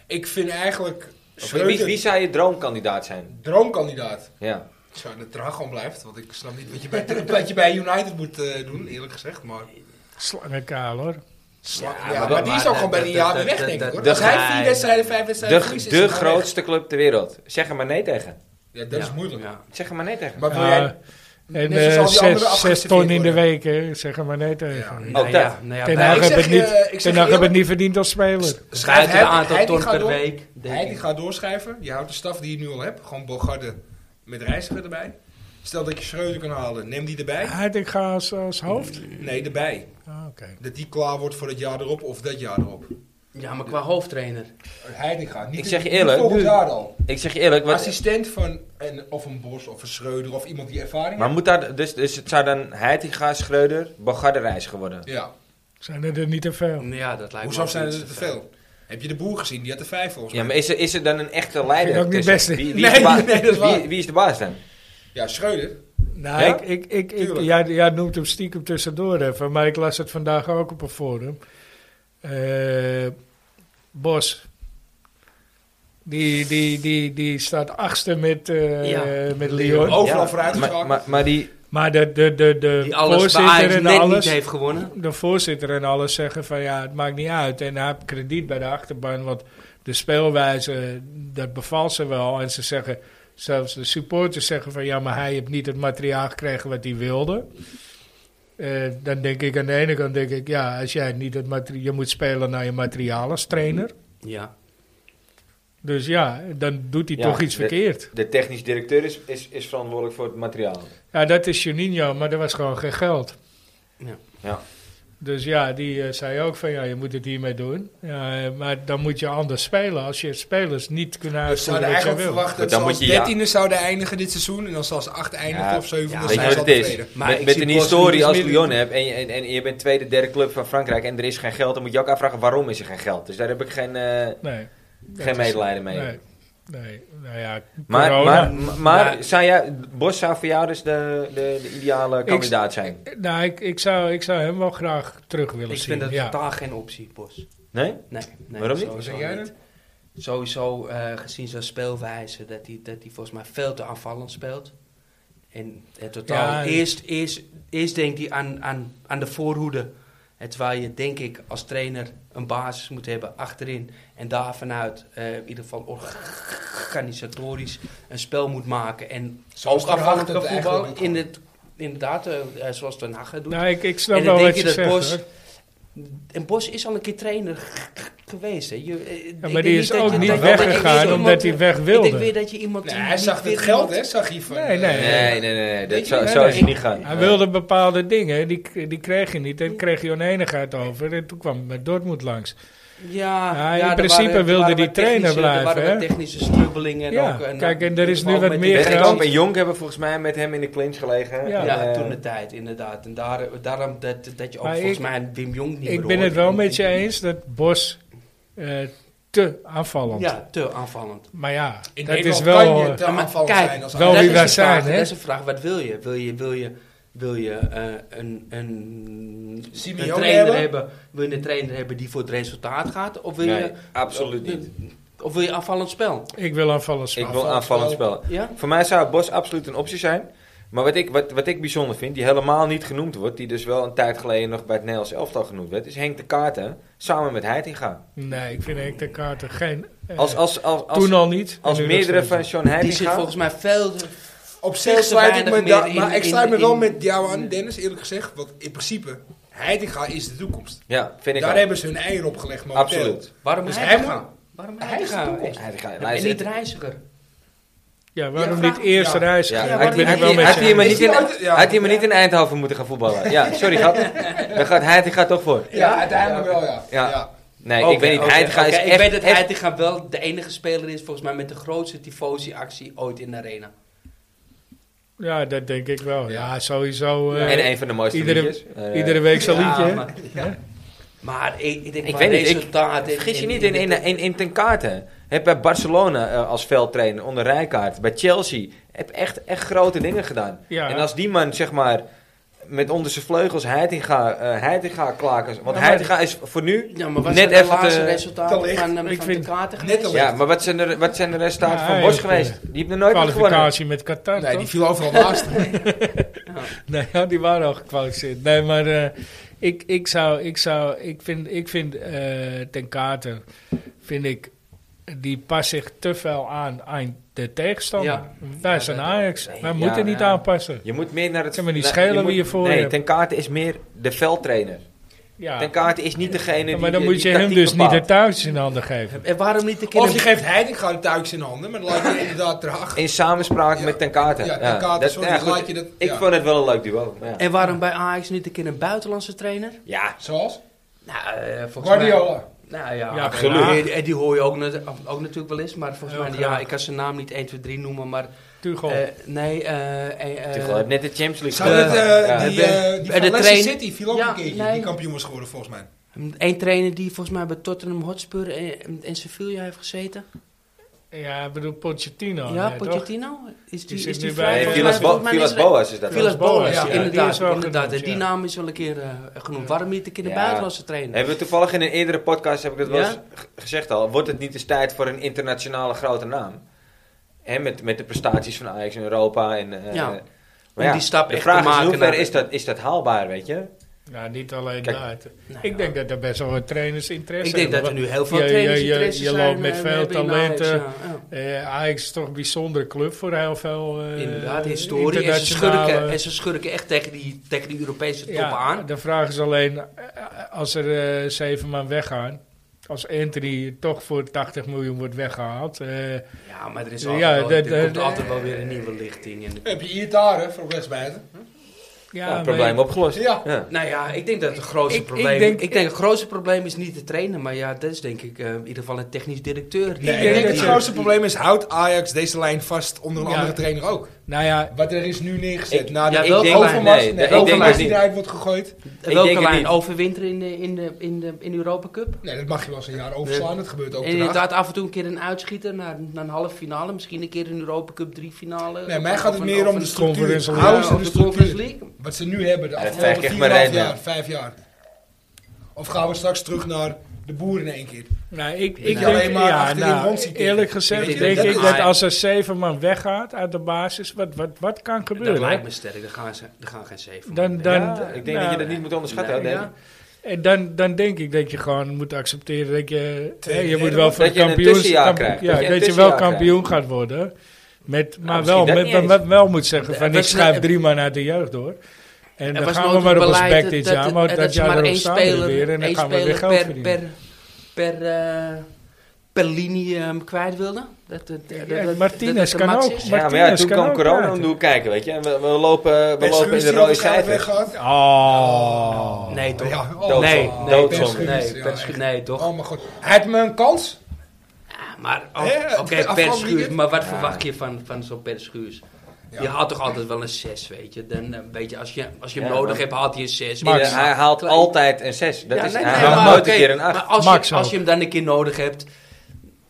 Ik vind eigenlijk Of Wie, wie Schreuder zou je droomkandidaat zijn? droomkandidaat. Ja. Ik zou dat er gewoon blijft, want ik snap niet (laughs) wat je bij, wat je bij United moet eh, doen, eerlijk gezegd. Maar, Slangenkaal hoor. Sla- Ja, maar ja, maar, dat- die is maar ook gewoon dat- bijna een dat- jaar dat- weer weg, dat- denk ik. dat- Hoor. dat- Als hij Nee. vier wedstrijden, vijf wedstrijden verliest, De, is de hij gewoon grootste club ter wereld. Zeg er maar nee tegen. weg. Ja, dat is ja, moeilijk. ja. Zeg er maar nee tegen. Maar wil Ja, jij... En net zoals eh, al die zes, anderen zes afgeserveerd ton in de worden. week, hè. zeg er maar eh, nee tegen. Nou Ook dat. ja, nou ja, Ten wij- Hag ik heb zeg het je- niet- ik zeg Ten je Hag heb het eerlijk- niet verdiend als speler. Schrijf Hij- een aantal hij ton gaat per door. week. denk Hij ik. die gaat doorschrijven. Je houdt de staf die je nu al hebt. Gewoon Bogarde met reiziger erbij. Stel dat je Schreuder kan halen. Neem die erbij. Hij ik ga als, als hoofd. Nee, erbij. Ah, oké. Dat die klaar wordt voor het jaar erop of dat jaar erop. Ja, maar qua hoofdtrainer. Heitinga. Niet Ik zeg je niet eerlijk, Volgend nu- jaar al. Ik zeg je eerlijk, wat, Assistent van een, of een Bos of een Schreuder of iemand die ervaring maar moet daar, dus, dus het zou dan Heitinga, Schreuder, Bogarde Reis geworden. heeft. Ja. Zijn er er niet te veel? Ja, dat lijkt me Hoezo ook zijn niet er zo te veel? Heb je de boer gezien? Die had er vijf volgens mij. Ja, maar is er, is er dan een echte Vind leider? ik ook niet tussen? best, hè? Wie, wie, is Nee, de baas- nee, dat is waar. wie, wie is de baas dan? Ja, Schreuder. Nou, Henk? ik, ik, ik, Tuurlijk. jij, jij noemt hem stiekem tussendoor even, maar ik las het vandaag ook op een forum. Eh, Bos, die, die, die, die staat achtste met, eh, Ja. met Lyon. Ook. Overal Ja, vooruitgeschakeld. Maar, maar, maar die, Maar de, de, de, de eh, Die alles bij Ajax voorzitter en net niet alles... heeft gewonnen. De voorzitter en alles zeggen van ja, het maakt niet uit. En hij heeft krediet bij de achterban, want de speelwijze, dat bevalt ze wel. En ze zeggen, zelfs de supporters zeggen van ja, maar hij heeft niet het materiaal gekregen wat hij wilde. Eh, dan denk ik aan de ene kant, denk ik, ja, als jij niet het materiaal, je moet spelen naar je materiaal als trainer. Ja. Dus ja, dan doet hij Ja, toch iets dat- verkeerd. de technisch directeur is, is, is verantwoordelijk voor het materiaal. Ja, dat is Juninho, maar er was gewoon geen geld. Ja. Dus ja, die eh, zei ook van ja, je moet het hiermee doen. Ja, eh, maar dan moet je anders spelen als je spelers niet kunnen We uitvoeren zouden wat jij eigenlijk wil. verwachten Maar dan dat ze als moet je- ja. dertiende zouden eindigen dit seizoen. En dan zoals ze acht eindigen Ja, of zevende, ja, dan Weet je zijn ze wat al het is? tevreden. Maar met ik met zie een Bos historie niet als meer- Lyon hebt en, je- en, en je bent tweede, derde club van Frankrijk en er is geen geld, dan moet je ook afvragen waarom is er geen geld. Dus daar heb ik geen, eh, Nee, geen medelijden mee. nee, nee. Nou ja, Maar, corona. maar, maar, maar Ja. zou jij, Bos zou voor jou dus de, de, de ideale kandidaat zijn? Nou, ik, ik, zou, ik zou hem wel graag terug willen Ik zien. vind dat ja. totaal geen optie, Bos. Nee? Nee, nee Waarom niet? Wat sowieso zeg jij dan? Sowieso eh, gezien zijn speelwijze dat hij dat hij volgens mij veel te aanvallend speelt. En het totaal, Ja, en- eerst, eerst, eerst denkt hij aan, aan, aan de voorhoede. En terwijl je denk ik als trainer een basis moet hebben achterin. En daar vanuit eh, in ieder geval organisatorisch een spel moet maken. En Zoals ook Ten Hag afhankelijk dat van eigenlijk voetbal. ook In het, inderdaad, eh, eh, zoals Ten Hag het doet. Nou, ik, ik snap En dan wel denk wat je je, dat zegt. Bos- hoor. En Bos is al een keer trainer g- g- geweest. Hè. Je, eh, ik Ja, maar denk die niet is dat ook je- niet dat- dat je weggegaan iemand- omdat hij weg wilde. Ik denk weer dat je iemand... Nee, die hij niet zag het weer- geld, hè? Zag hij van... Nee, nee. eh, Nee, nee, nee, nee, Weet dat je zou, niet? zo Nee, is het nee. niet gaan. Hij wilde bepaalde dingen, en die, die kreeg je niet. En daar kreeg je oneenigheid over. En toen kwam met Dortmund langs. Ja, Ja, in er principe waren- er wilde waren die wat trainer technische- blijven, Er waren hè? wat technische strubbelingen. Ja, ook, en, kijk, en eh, er is nu ook wat met meer die- Bergkamp geld. en Jonk hebben volgens mij met hem in de clinch gelegen. Ja. Ja, En, eh, toen de tijd, inderdaad. En daar, daarom dat, dat je ook Maar volgens ik- mij Wim Jong niet meer Ik ben het hoort. wel met je eens dat Bos eh, te aanvallend Ja, te aanvallend. Maar ja, In dat Nederland is wel. kan je te Ja, eh, maar aanvallend kijk, zijn als wel Dat wie is wij de vraag, zijn, hè? Dat is de vraag, wat wil je? Wil je, wil je, wil je eh, een, een, een Simeone trainer hebben? hebben? Wil je een trainer hebben die voor het resultaat gaat? Of wil nee, je... absoluut niet. Of wil je aanvallend spel? Ik wil aanvallen Ik spelen. wil aanvallend spelen. Ja? Voor mij zou Bos absoluut een optie zijn. Maar wat ik, wat, wat ik bijzonder vind, die helemaal niet genoemd wordt, die dus wel een tijd geleden nog bij het Nederlands elftal genoemd werd, is Henk de Kaarten samen met Heitinga. Nee, ik vind Henk de Kaarten geen. eh, Als, als, als, als, toen al niet. als en nu nog meerdere steeds van niet. Sean Die zit Heitinga. volgens mij veel... Op Veel zich te sluit ik weinig me meer da- in- maar ik in- sluit me wel in- met jou aan, Dennis, eerlijk gezegd. Want in principe, Heitinga is de toekomst. Ja, vind ik Daar ook. hebben ze hun eieren op gelegd momenteel. Absoluut. Waarom Dus hij hij gaan? moet- Waarom hij hij is de gaan? toekomst. Heitinga, En luister. niet reiziger. Ja, waarom Ja, niet vraag- eerst ja. reizen? Ja, Ja, maar ik ben die- het wel die- met Had je. hij eens. maar Is niet die in, uit- ja. had hij maar niet in Eindhoven moeten gaan voetballen. Ja, sorry gat. Daar gaat Heitinga toch voor. Ja, uiteindelijk wel, ja. Ja. Nee, Oké, ik weet niet. oké, Heitinga oké. is Ik echt... weet dat echt- Heitinga wel de enige speler is volgens mij met de grootste tifosi-actie ooit in de arena. Ja, dat denk ik wel. Ja, sowieso. eh, En een van de mooiste iedere, liedjes. Eh, iedere week zijn Ja, liedje. hè? maar- ja. Maar ik, ik denk Ik qua weet niet, ik- resultaat... Vergis je niet, in, in, in, in ten kaarten. Heb bij Barcelona eh, als veldtrainer onder Rijkaard. Bij Chelsea. Heb echt, echt grote dingen gedaan. Ja. En als die man, zeg maar, met onder zijn vleugels Heitinga, eh Heitinga klaken. Want maar- Heitinga is voor nu Ja, maar wat net zijn de even laatste te... te resultaten licht. van, eh, Ik van vind- de kaarten Net geweest? al Ja, maar wat zijn de, wat zijn de resultaten Ja, van hij Bos heeft, geweest? eh, Die hebben er nooit wat gewonnen. Kwalificatie met Qatar. Nee, toch? die (laughs) viel overal (laughs) naast. Nee, ja, die waren al gekwalificeerd. Nee, maar eh, ik, ik zou, ik zou, ik vind, ik vind eh, ten kaarten, vind ik, die past zich te veel aan aan de tegenstander. Ja. Wij Ja, zijn dat- Ajax, nee, wij ja, moeten niet ja. aanpassen. Je moet meer naar het... Zeg maar, die naar- schelen je wie je moet- voor Nee, hebt. ten kaarten is meer de veldtrainer. Ja. Ten kaarten is niet degene Ja, die maar dan die- moet je die hem tactiek dus niet de bepaalt. touwtjes in handen geven. En waarom niet de Of je kinderen... geeft Heitinga de touwtjes in handen, maar dan laat je inderdaad traag. In samenspraak Ja. met ten kaarten. Ja, Ten Kate, dat- sorry, ja, goed. laat je dat- Ik ja. vond het wel een leuk duo. maar ja. En waarom bij Ajax niet een keer een buitenlandse trainer? Ja, Zoals? Nou, eh, volgens mij- Guardiola. Nou ja, Ja, en- gelukkig. En die hoor je ook, nat- ook natuurlijk wel eens. Maar volgens Heel mij, ja, graag. ik kan zijn naam niet 1, 2, 3 noemen. Maar Tuchel. (laughs) eh, nee, eh, eh, eh, Tuchel heeft net de Champions League Zou Eh, het, gewonnen. eh, Ja. die, hebben- eh die en van de Leicester train- City viel ook Ja, een keertje, nee. die kampioen was geworden volgens mij. Eén eh, trainer die volgens mij bij Tottenham Hotspur en, en Sevilla heeft gezeten. Ja, ik bedoel Pochettino. ja, nee, toch? Pochettino. Is die, zit is nu die bij- vrij? Nee, Nee, Volgens Vilas, mij- volgens Bo mij Vilas is- Boas is dat. Vilas- Vilas Boas, Boas, ja, ja, die inderdaad. is wel inderdaad. genoemd, En die ja. naam is wel een keer eh, genoemd. Waarom niet een keer de Ja. buitenlandse trainer? Hebben we toevallig in een eerdere podcast, heb ik dat wel Ja? eens g- gezegd al, wordt het niet eens tijd voor een internationale grote naam? Hè, met, met de prestaties van Ajax in Europa. En, eh, Ja. maar Om ja, die stap de echt vraag is, te maken hoe ver naar- is dat, is dat haalbaar, weet je? Ja, niet alleen Kijk, daar. Nou ik ja. denk dat er best wel wat trainers interesse Ik denk dat er hebben, nu heel veel je- je- trainers je- interesse je zijn. loopt met eh, veel hebben in Ajax, talenten. ja, ja. Eh, Ajax is toch een bijzondere club voor heel veel eh Inderdaad, historie. En ze, internationale- schurken, en ze schurken echt tegen die, tegen die Europese top Ja, aan. De vraag is alleen, eh, als er eh, zeven man weggaan, als Anthony toch voor 80 miljoen wordt weggehaald, eh, Ja, maar er, is Ja, altijd wel, dat- er dat- Eh, komt altijd wel weer een nieuwe lichting. En, Heb je Iataren voor rechtsbuiten? ja, Ja, maar- Oh, probleem opgelost. Ja. Ja. nou ja, ik denk dat het grootste Ik- ik probleem... Ik denk, denk- het grootste probleem is niet de trainer. Maar ja, dat is denk ik eh, in ieder geval een technisch directeur. Die, Nee, ik denk dat het je- grootste probleem is, houdt Ajax deze lijn vast onder een Ja. andere trainer ook? Nou ja, Wat er is nu neergezet. Ik- na de ja, ja, welke overmars, lijn? Nee, nee, ik overmars denk dat die niet. eruit wordt gegooid. denk welke het lijn niet. overwinteren in de, in, de, in, de, in de Europa Cup? Nee, dat mag je wel eens een jaar overslaan. Dat gebeurt ook En vandaag. inderdaad af en toe een keer een uitschieter naar, naar een halve finale. Misschien een keer een Europa Cup drie finale. Nee, Of mij een- gaat of het een- meer of om de een- structuur. Conference League. Houden Ja, ze of de de Conference structuur. League. Wat ze nu hebben, de Ja, dat afgelopen vecht echt 4,5 maar rennen. jaar, 5 jaar. Of gaan we straks terug naar de boeren in één keer? nou, ik, ik je denk, alleen maar ja, achterin nou, rond ziet eerlijk tikken. gezegd Weet je, denk dat ik is- dat als er zeven man weggaat uit de basis, wat, wat, wat kan gebeuren? Dat lijkt me sterk. Er gaan, ze- er gaan geen zeven. Dan- man. dan- Ja, ik denk dat je dat niet moet onderschatten. Nee, hè, Danny. ja. En dan, dan denk ik dat je gewoon moet accepteren dat je... Tweede, hè, je moet derde wel wordt. voor Dat je een kampioens, tussenjaar kamp- krijgt. Ja, Dat je dat je, een wel tussenjaar kampioen gaat worden. Met, maar misschien wel, dat met, niet eens. wel, wel moet zeggen Er van ik was schuif net- drie man uit de jeugd door. En Er dan was gaan we nooit maar op een ons beleid bek dit dat- jaar. dat- Maar dat dat ze jaar maar één erop staan we speler, er weer en dan één gaan we weer speler geld per, verdienen. per, per, eh, per linie ehm, kwijt wilde. Dat, dat, dat, Ja, dat- Martinez dat de kan max ook. is. Ja, maar ja, Martinez toen kan kwam ook corona om praten. de hoek kijken, weet je. En we, we lopen, we Pep lopen in de Schuurs rode die waarschijnlijk cijfers. weggaat. Oh. Nee, toch? Ja, Doodzonde. oh, nee, oh, nee, Doodzonde. Pep toch? Schuurs, Nee, ja, Pep echt. Schuurs- nee, toch? Oh mijn god. Hij had me een kans. Ja, maar oh, Hè, oké, het Per afgelopen Schuurs, weekend? Maar wat verwacht je van, van zo'n Per Schuurs? Je haalt toch altijd wel een 6, weet je? Dan, eh, weet je als je, als je hem Ja, nodig maar- hebt, haalt hij een 6. Ja, hij haalt altijd een 6. Dat Ja, is, nee, hij nee, haalt maar nooit oké, een keer een 8. Maar als, Max je, als ook. je hem dan een keer nodig hebt.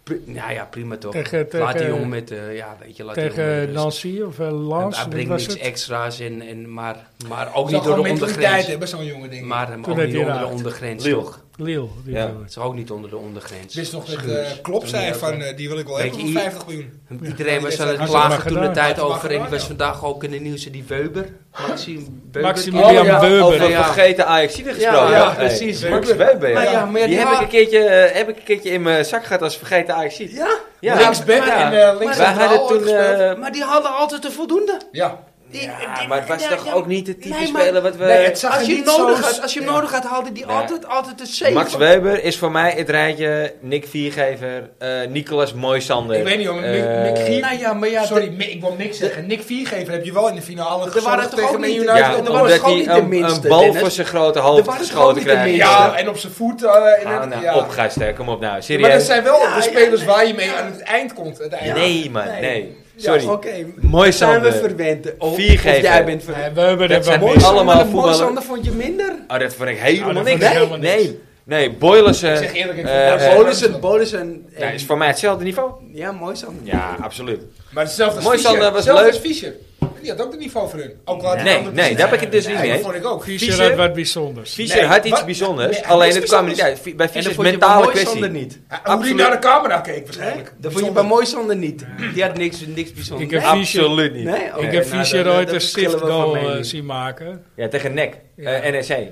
pri- nou ja, prima toch. Tegen- laat tegen- die jongen met. eh, ja, weet je, laat die jongen met Tegen rust. Nancy of eh, Hij- Lans. Hij wat brengt was niks het? extra's in, en, maar, maar ook Zou niet door gewoon de mentaliteit ondergrens. hebben, zo'n jongen denk ik. Maar hem Toen ook werd niet hij onder de eruit. ondergrens, Lille. toch? Lille. die Ja. doet het. Het is ook niet onder de ondergrens. Wist nog dat Schuurs. eh, Klopp Toen zei niet, van hè? eh, die wil ik wel Weet hebben je, voor i- 50 miljoen. Iedereen was aan het Had ze maar klagen toen de gedaan. tijd Had ze maar over. En ik gedaan, was ja. vandaag ook in de nieuws die Weber. Maxime Weber. Maximilian Oh, ja, Weber. Over Ja. vergeten Ajax-Zieden Ja, gesproken. ja, Hey, precies. Max Weber, ja. Maar ja, maar ja, die die heb ik, wa- een keertje, eh, heb ik een keertje in mijn zak gehad als vergeten Ajax-Zied. Ja, Ja. Linksback Ja. en eh, links Wij centraal Oh, hadden toen... gespeeld. eh, maar die hadden altijd een voldoende. Ja. Die- ja, die- maar het was ja, toch ja, ook niet het type oh, nee, maar- speler wat we... Nee, het zag Als er je, hem niet zo- nodig had, als je hem Ja. nodig had, haalde die Nee. altijd, altijd een 7. Max Weber is voor mij het rijtje Nick Viergever, eh Nicolas Moisander. Ik weet niet, hoor, maar eh, Nick- Nick Vier- Nou ja, maar ja, Sorry, de- Mi- ik wil niks zeggen. Nick Viergever heb je wel in de finale er waren gezorgd toch ook tegen Man niet... United. er ja, waren toch omdat ook niet hij de een, minste, een bal Dennis. voor zijn grote waren hoofd toch ook geschoten niet de krijgt. minste. Ja. Ja, en op zijn voet. eh, in Ah, het- nou, ja. opgast, hè. kom op nou, Maar dat serieus. zijn wel Ja, de ja, spelers nee. waar je mee aan het eind komt uiteindelijk. Nee man, nee. Ja, Sorry. oké. Mooi Zijn we Sander. verwend? Of, of Viergever. jij bent verwend? Nee, Weber Dat hebben zijn we mooie niks. allemaal Sander- Mooi voetballers. Sander vond je minder? Oh, dat vind ik Oh, helemaal dat vind niks. ik helemaal niks. Nee, nee, Boilersen. Ik zeg eerlijk, ik eh, vind Boylissen- eh, Ja, Bolissen, Bolissen... ja, is voor mij hetzelfde niveau. Ja, mooi Sander. Ja, absoluut. Maar hetzelfde als Mooi, Fischer. Sander, was Hetzelfde leuk. als Fischer. Die had ook het niveau voor hun. Ook al had hij Nee, een andere nee, positie. daar ben ik het dus niet Nee, mee Dat vond ik ook. Fischer Fischer- had wat bijzonders. Fischer Nee, had iets wat- bijzonders, nee, hij alleen is het kwam er niet uit. bijzonders. Vi- Bij En Fischer dat is vond je bij mentale mooi Sander kwestie. niet. Hij- Hoe die Absoluut. naar de camera keek waarschijnlijk. Dat vond je bij mooi Sander niet. Die had niks, niks bijzonders. Ik heb Fischer- Absoluut niet. oh. Nee? Oké, Ik heb nou, Fischer dat- ooit dat een verschillen we van stiftgoal eh, mening. zien maken. Ja, tegen NEC, Ja. eh NEC.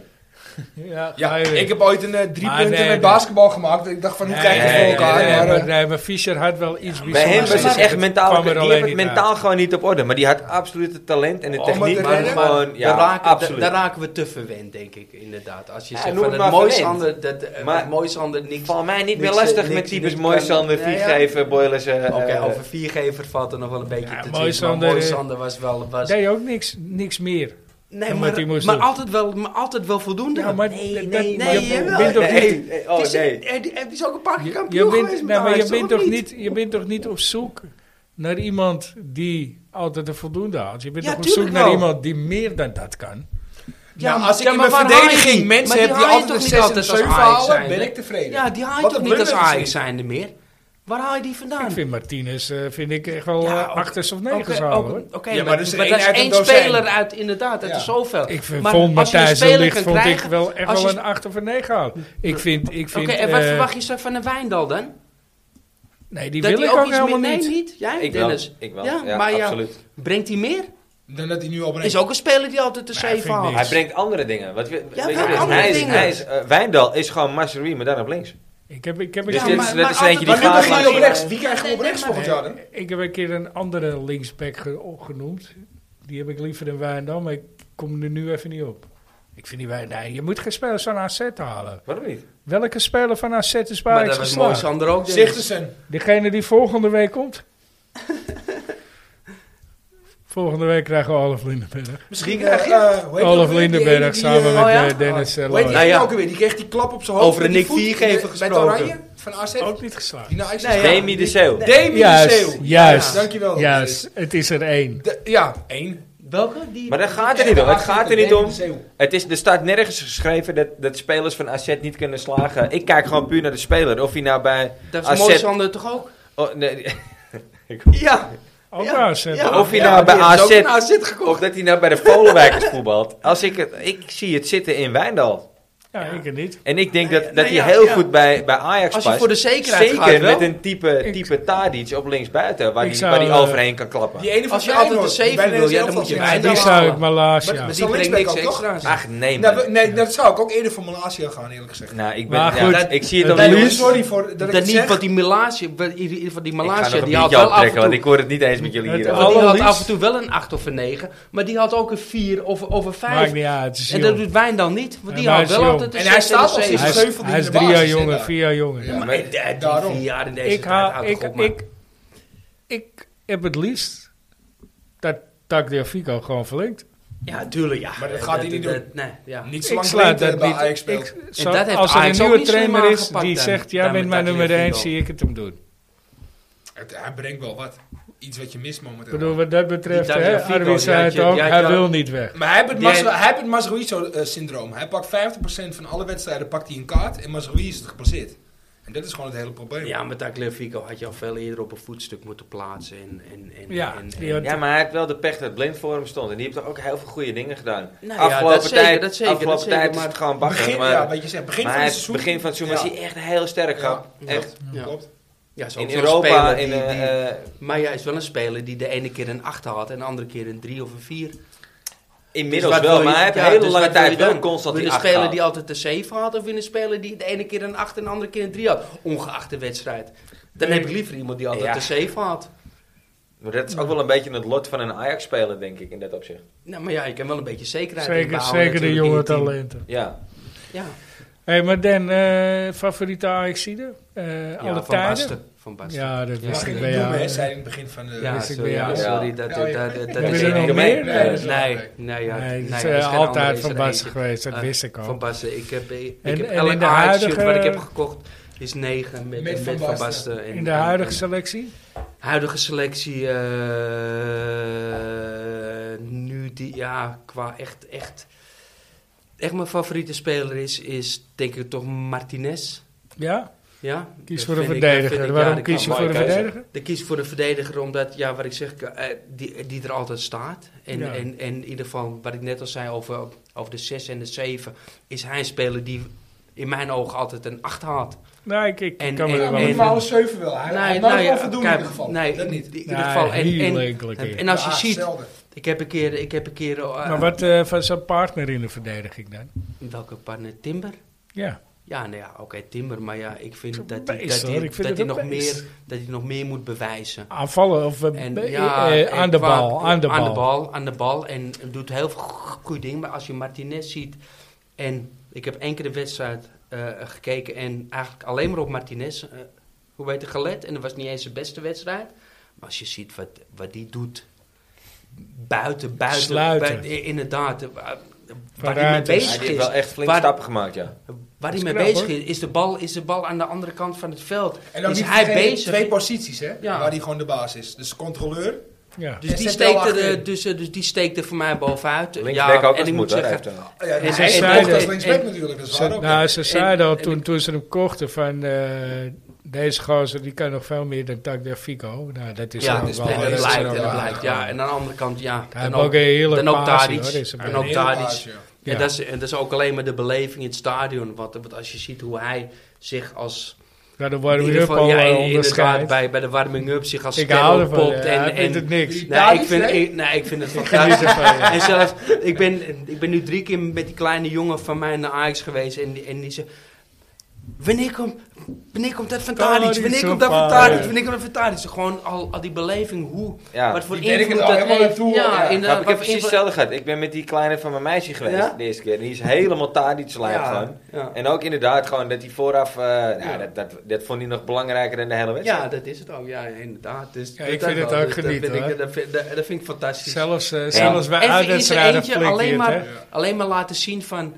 Ja, Ja, hij- ik heb ooit een eh, drie Maar punten nee, met nee. basketbal gemaakt. Ik dacht van, hoe Nee, kijken ze nee, voor elkaar? nee, maar, maar, eh, nee, maar Fischer had wel iets bijzonders. Bij hem was het Maar echt mentaal. kwam Die er heeft alleen het niet mentaal uit. gewoon niet op orde. Maar die had absoluut het talent en de Oh, maar techniek. de Maar reden- gewoon, ja, daar, raken, absoluut. daar raken we te verwend, denk ik, inderdaad. Als je Ja, zegt noem van het het maar mooiste verwend. ander, dat, eh, Maar- het mooiste ander niks. Val mij niet meer niks, eh, lastig niks- met types niks Moisander, kan. Ja, ja. Viergever, Boilers. eh, Oké, eh, over viergever valt er nog wel een beetje Ja, te Mooi twisten. Maar Sander, mooi eh, Sander was wel... Was, Deed ook niks, niks meer. Nee, Omdat hij maar, moest maar, doen. altijd wel, maar altijd wel voldoende. Ja, maar Nee, dat- nee, dat- nee, je jawel. bent toch niet- Nee, eh, oh Het is- nee. hij- hij is ook een paar keer je- kampioen je bent- geweest met nee, maar je Ajax, bent toch toch of niet- Je bent toch niet op zoek naar iemand die altijd een voldoende haalt. Je bent Ja, toch op zoek tuurlijk naar wel. iemand die meer dan dat kan. Ja, maar- als ik ja, in maar mijn waar haal je verdediging die? mensen Maar heb die die haal je altijd een toch niet 6 en een altijd 7 als Ajax halen, zijnde? ben ik tevreden. Ja, die haal je Wat toch een niet als blunder is Ajax dit. zijnde meer? Waar haal je die vandaan? Ik vind Martinez eh, vind ik echt wel Ja, ja, ook- achters of Oké, negers ook- halen, hoor. Oké, Ja, maar maar dat is er maar één dat is uit een één dozijn. speler uit, inderdaad, uit Ja. de zoveel. Ik vind, Maar vond als je een Matthijs de speler Ligt kan vond krijgen- ik wel echt als wel je- een 8 of een 9 had. Ik vind, ik Oké, vind en wat eh, verwacht je zo van een Wijndal dan? Nee, die dat wil hij ik ook ook iets meer... helemaal Nee, niet. niet? Jij, Ik wel. Dennis? Ik wel. Ja, Ja, maar ja. absoluut. Brengt hij meer? Dan dat hij nu al brengt. Is ook een speler die altijd de Nee, vind zeven ik haalt. niks. Hij brengt andere dingen. Wat, we- Ja, weet je, wel hij is- andere hij is, dingen. Hij is, eh, Wijndal is gewoon Masserie, maar dan op links. Ik heb, ik, heb een Dus Ja, keer, dit is maar- net maar als eentje die altijd- Maar nu gaat... mag Maar langs- je op nee, rechts. nee, Wie krijgen we op nee, rechts nee, volgend jaar dan? eh, ik heb een keer een andere linksback ge- opgenoemd. Die heb ik liever dan Wijndal, maar ik kom er nu even niet op. Ik vind die Wijndal... Nee, je moet geen spelers van AZ halen. Waarom niet? Welke speler van AZ is bij Maar Ajax dat was mooi, geslaagd? Sander ook. Dennis. Zichtersen. Degene die volgende week komt. volgende week krijgen we Olaf Lindenberg. Misschien krijg eh, je- eh, hoe heet die ook Olaf weer? Die ene Lindenberg die, samen eh, met oh ja? eh, Dennis eh, Hoe heet die Nou ja. ene ook weer? Die kreeg die klap op zijn hoofd. Over met een die Nick voet Viergever bij- gesproken. Oh. Bij het Oranje van AZ. Ook niet geslaagd. Die nou, naar Ajax is Nee, ja. gegaan. Demi de Zeeuw. Demi de Juist, Zeeuw. juist. Ja, dankjewel. Juist, het is er één. De- ja, één. Welke? Die... Maar daar gaat het niet om. Het gaat er niet om. Demi de Zeeuw. Het is, er staat nergens geschreven dat, dat spelers van AZ niet kunnen slagen. Ik kijk gewoon puur naar de speler. Of hij nou bij... Dat AZ is mooi, Sander toch ook? oh, nee, (laughs) Ja. Ook Ja, wel eens, hè. ja. Of je Ja, nou bij die heeft ook AZ een AZ gekocht. of dat hij nou bij de (laughs) Volenwijkers voetbalt. Als ik, het, ik zie het zitten in Wijndal. Ja, ik er niet. En ik denk Nee, dat, dat nee, ja, hij heel ja. goed bij, bij Ajax Als je past. voor de zekerheid Zeker gaat wel. met een type, Ik- type Tadic op linksbuiten. Waar Ik die, zou, waar die eh, overheen kan klappen. Die ene van Als je altijd een Feyenoord, die zeven bijna wil, ja, zelf dan moet je was. bij- Die zou ik Malaysia. Maar- maar- Die brengt linksback niks ook, toch? extra's. Ach nee man. Nou, we- nee, dat zou ik ook eerder voor Malaysia gaan, eerlijk gezegd. nou, ik, ben, Maar ja, goed, dat- ik zie het op het is- de Nee, nieuws. Ik sorry voor dat ik Dat het niet, zeg. want die Melasje, wel- in ieder geval die ga nog Melasje, een die had biertje wel af aftrekken, en want ik toe... hoor het niet eens met jullie Het hier. al- over. Want die had Allerliefst. af en toe wel een 8 of een 9, maar die had ook een 4 of, of een 5. Maakt niet uit, het is en dat jong. doet Wijn dan niet, want Ja, die maar had hij is jong. wel altijd een En hij 6 en een staat al sinds 7. Hij de is, zeven die hij is in de drie basis jaar zit jonger, daar. vier jaar jonger. Ja, Maar Maar- eh, die Daarom. vier jaar in deze ik, tijd, ha, houd ik, toch op, man. ik, ik heb het liefst dat Tagdeo Fico gewoon verlengt. Ja, tuurlijk, ja. Maar dat gaat hij niet doen. Nee, ja. Niet Ik zolang sluit Twente dat bij niet. Ajax speelt. Ik, zo- dat heeft als er Ajax een ook nieuwe niet slim trainer is aangepakt die dan. zegt, jij Dan bent met mijn Tagdeo nummer één, Fico. zie ik het hem doen. Het- hij brengt wel wat. Iets wat je mist Ik momenteel. bedoel, wat dat betreft, Die Tagdeo hè, Fico, Arwin zei het die had je- ook, die had hij je- wil niet weg. Maar hij heeft het Die- Mas- hij heeft het Masrui-syndroom. Hij pakt 50% van alle wedstrijden pakt hij een kaart en Masrui is het geblesseerd. En dat is gewoon het hele probleem. Ja, maar Tacleo Fico had je al veel eerder op een voetstuk moeten plaatsen. En, en, en, Ja, en, die had- Ja, maar hij heeft wel de pech dat blind voor hem stond. En die heeft toch ook heel veel goede dingen gedaan. Nou ja, afgelopen dat zeker, tijd, dat zeker, afgelopen dat zeker, tijd is maar- het gewoon bakken. begin, maar ja, wat je zegt, begin maar van hij het heeft- seizoen. begin van het seizoen Ja. was hij echt heel sterk. Ja, gehad. echt. Ja. Klopt. ja, is ook In zo'n Europa, speler in, die- die- eh, eh, Maar ja, hij is wel een speler die de ene keer een 8 had en de andere keer een 3 of een Dus 4. inmiddels wel. Maar hij heeft een een hele lange tijd wel constant Wil die je een acht speler gehad. die altijd een 7 had of wil je een speler die de ene keer een 8 en de andere keer een 3 had? Ongeacht de wedstrijd. Dan heb ik liever iemand die altijd Ja. een 7 had. Maar dat is ook wel een beetje het lot van een Ajax-speler, denk ik, in dat opzicht. Nou, maar ja, je kan wel een beetje zekerheid Zeker, inbouwen zeker de natuurlijk in jonge je team. talenten. Ja. Ja, Hé, hey, maar Dan, eh, favoriete Ajaxide? Eh ja, alle van tijden? Basten. Van Basten. Ja, dat Mag wist ik ik niet bij noemen, jou. hè, zei in het begin van de... Ja, Wist ik sorry, bij ja, jou. sorry, Ja. dat, Ja, dat, ja. dat, dat Hebben is we er één nog meer? Nee, Nee, dat is nee, wel nee, ja, Nee, het nee, is er eh, geen ander, altijd is van er Basten eentje. geweest, dat Eh, wist ik al. Van Basten, ik heb, ik En- heb en elk in de Ajax-shirt huidige- wat ik heb gekocht is 9 met, Met met, Van Van Basten. Basten. en- In de en- huidige en- selectie? huidige selectie, eh, nu die, ja, qua echt, echt, echt mijn favoriete speler is, is denk ik toch Martinez. Ja? Ja, Kies dat voor een vind ik- dat vind verdediger. ik- ja, Waarom dat kies kan- je voor een keuze. verdediger? ik kies voor de verdediger omdat, ja, wat ik zeg, eh, die, die er altijd staat. En, Ja. en, en in ieder geval, wat ik net al zei over, over de 6 en de 7, is hij een speler die in mijn ogen altijd een 8 haalt. Nou, ik, ik En- kan me en- er wel Ja, maar en- Nou, in. die alle 7 wel. Hij hij heeft nooit wel voldoende in kijk, ieder geval. Nee, Dat niet. in ieder Nee, geval. En, Nou, heel en, enkele en, keer. als je Ja, ziet, zelden. ik heb een keer, ik heb een keer eh, Maar wat eh, van zijn partner in de verdediging dan? welke partner? Timber? Ja. Ja, nou ja, oké, Timber. Maar ja, ik vind Zo'n dat hij- beest, dat hij- hoor. Ik vind dat hij het nog een beest. meer- dat hij nog meer moet bewijzen. Aanvallen of eh, En, be- ja, eh, en aan, de qua- bal, aan de bal. Aan de bal, aan de bal. En doet heel veel go- goede dingen. Maar als je Martinez ziet. En ik heb één keer de wedstrijd eh, gekeken. En eigenlijk alleen maar op Martinez. eh, hoe weet het gelet. En dat was niet eens zijn beste wedstrijd. Maar als je ziet wat, wat die doet. buiten, buiten. Sluiten. buiten- inderdaad. eh, Waar waar hij mee Verruimte. Hij bezig heeft is. wel echt flink Waar- stappen gemaakt, ja. Waar is hij mee knap, bezig hoor. is, is de, bal, is de bal aan de andere kant van het veld. En dan is niet hij vergeten, bezig. twee posities, hè? Ja. Waar hij gewoon de baas is. Dus controleur. Ja. Dus En die, zet wel steekt er, achterin. eh, dus, eh, dus die steekt er voor mij bovenuit. Linksback ook als ik het moet, moet hoor. zeggen, Hij heeft, eh, Ja, En die ze hij zeiden- speelt als linksback en- natuurlijk. Dat is Ze, waar ook. nou, ze zeiden al en toen, ik- toen ze hem kochten van eh, deze gozer die kan nog veel meer dan Tagda Fico. Nou, dat is ja, ook dus wel en dat is blijkt, er ook en dat wel. blijkt. Ja, en aan de andere kant, ja. Hij heeft en ook een hele dan ook passie, Tadic. hoor, is er En bij. ook Heel Tadic. baas, ja. Ja. En, dat is, en dat is ook alleen maar de beleving in het stadion. Want, want als je ziet hoe hij zich als... Nou, de in ieder warming-up geval- al ja, eh, inderdaad, onderscheidt. bij, bij de warming-up zich als Ik hou stem ervan. popt. Ja, en, hij en, vindt het niks. Nee, ik Tadic, vind, nee? ik, nee, ik (laughs) vind het Geniet fantastisch. ervan, ja. En zelf, ik ben, ik ben nu drie keer met die kleine jongen van mij naar Ajax geweest. En, die- en die zei... Wanneer komt, wanneer komt dat van Tadic? Tadic, Wanneer zo komt dat van vaak, Tadic? ja. Wanneer komt dat van Tadic? Gewoon al, al die beleving, hoe, Ja. wat voor Die werken invloed er dat allemaal heeft. Ja, naartoe, ja. Nou, inderdaad, ik heb wat voor precies invloed- hetzelfde gehad. Ik ben met die kleine van mijn meisje geweest Ja? de eerste keer. En die is helemaal tadic lijp gewoon. ja. En ook inderdaad gewoon dat hij vooraf... eh, nou, dat, dat, dat vond hij nog belangrijker dan de hele wedstrijd. Ja, dat is het ook. Ja, inderdaad. Dus Ja, dat- ik dat vind het wel. ook Dus dat genieten, vind ik- hoor. Dat vind- dat- dat vind ik fantastisch. Zelfs, eh, zelfs bij Even in zijn uitwedstrijden eentje flikt hij alleen het, maar, hè. alleen maar laten zien van...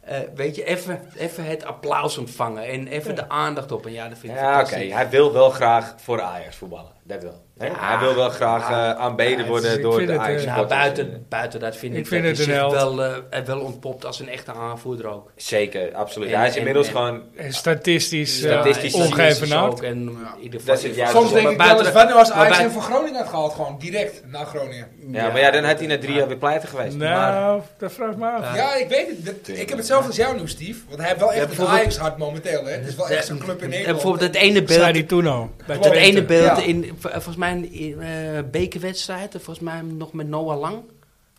eh, weet je, even, even het applaus ontvangen en even de aandacht op. En ja, dat vind ik Ja, oké. fantastisch. Hij wil wel graag voor Ajax voetballen. Dat wel. Hè? Ja. Hij wil wel graag Ja. eh, aanbeden Ja, het is- worden ik door vind de het, eh, ajax Ja, supporters. Nou, buiten, buiten dat vind ik, Ik vind dat het hij een zich held. wel, eh, wel ontpopt als een echte aanvoerder ook. Zeker, absoluut. En- hij is en- inmiddels en- gewoon... En statistisch, eh, Statistisch gezien is ongeëvenaard. ook. En, in ieder geval, Dat is het juiste. dus Soms Maar denk ik wel buiten- eens, wat nou als maar Ajax hem buiten- voor Groningen had gehaald? Gewoon direct naar Groningen. Ja, maar ja, dan had hij na drie jaar weer pleiten geweest. Maar Nou, dat vraag ik me af. Ja, ik weet het. Dat- ik heb hetzelfde als jou nu, Steve. Want hij heeft wel Ja, echt een bijvoorbeeld- Ajax hart momenteel, hè? Het is wel echt zo'n club in En Nederland. bijvoorbeeld het ene Zei beeld hij toen al. bij Dat Het Twente. ene beeld Ja. in, v- volgens mij, een eh, bekerwedstrijd, volgens mij nog met Noah Lang.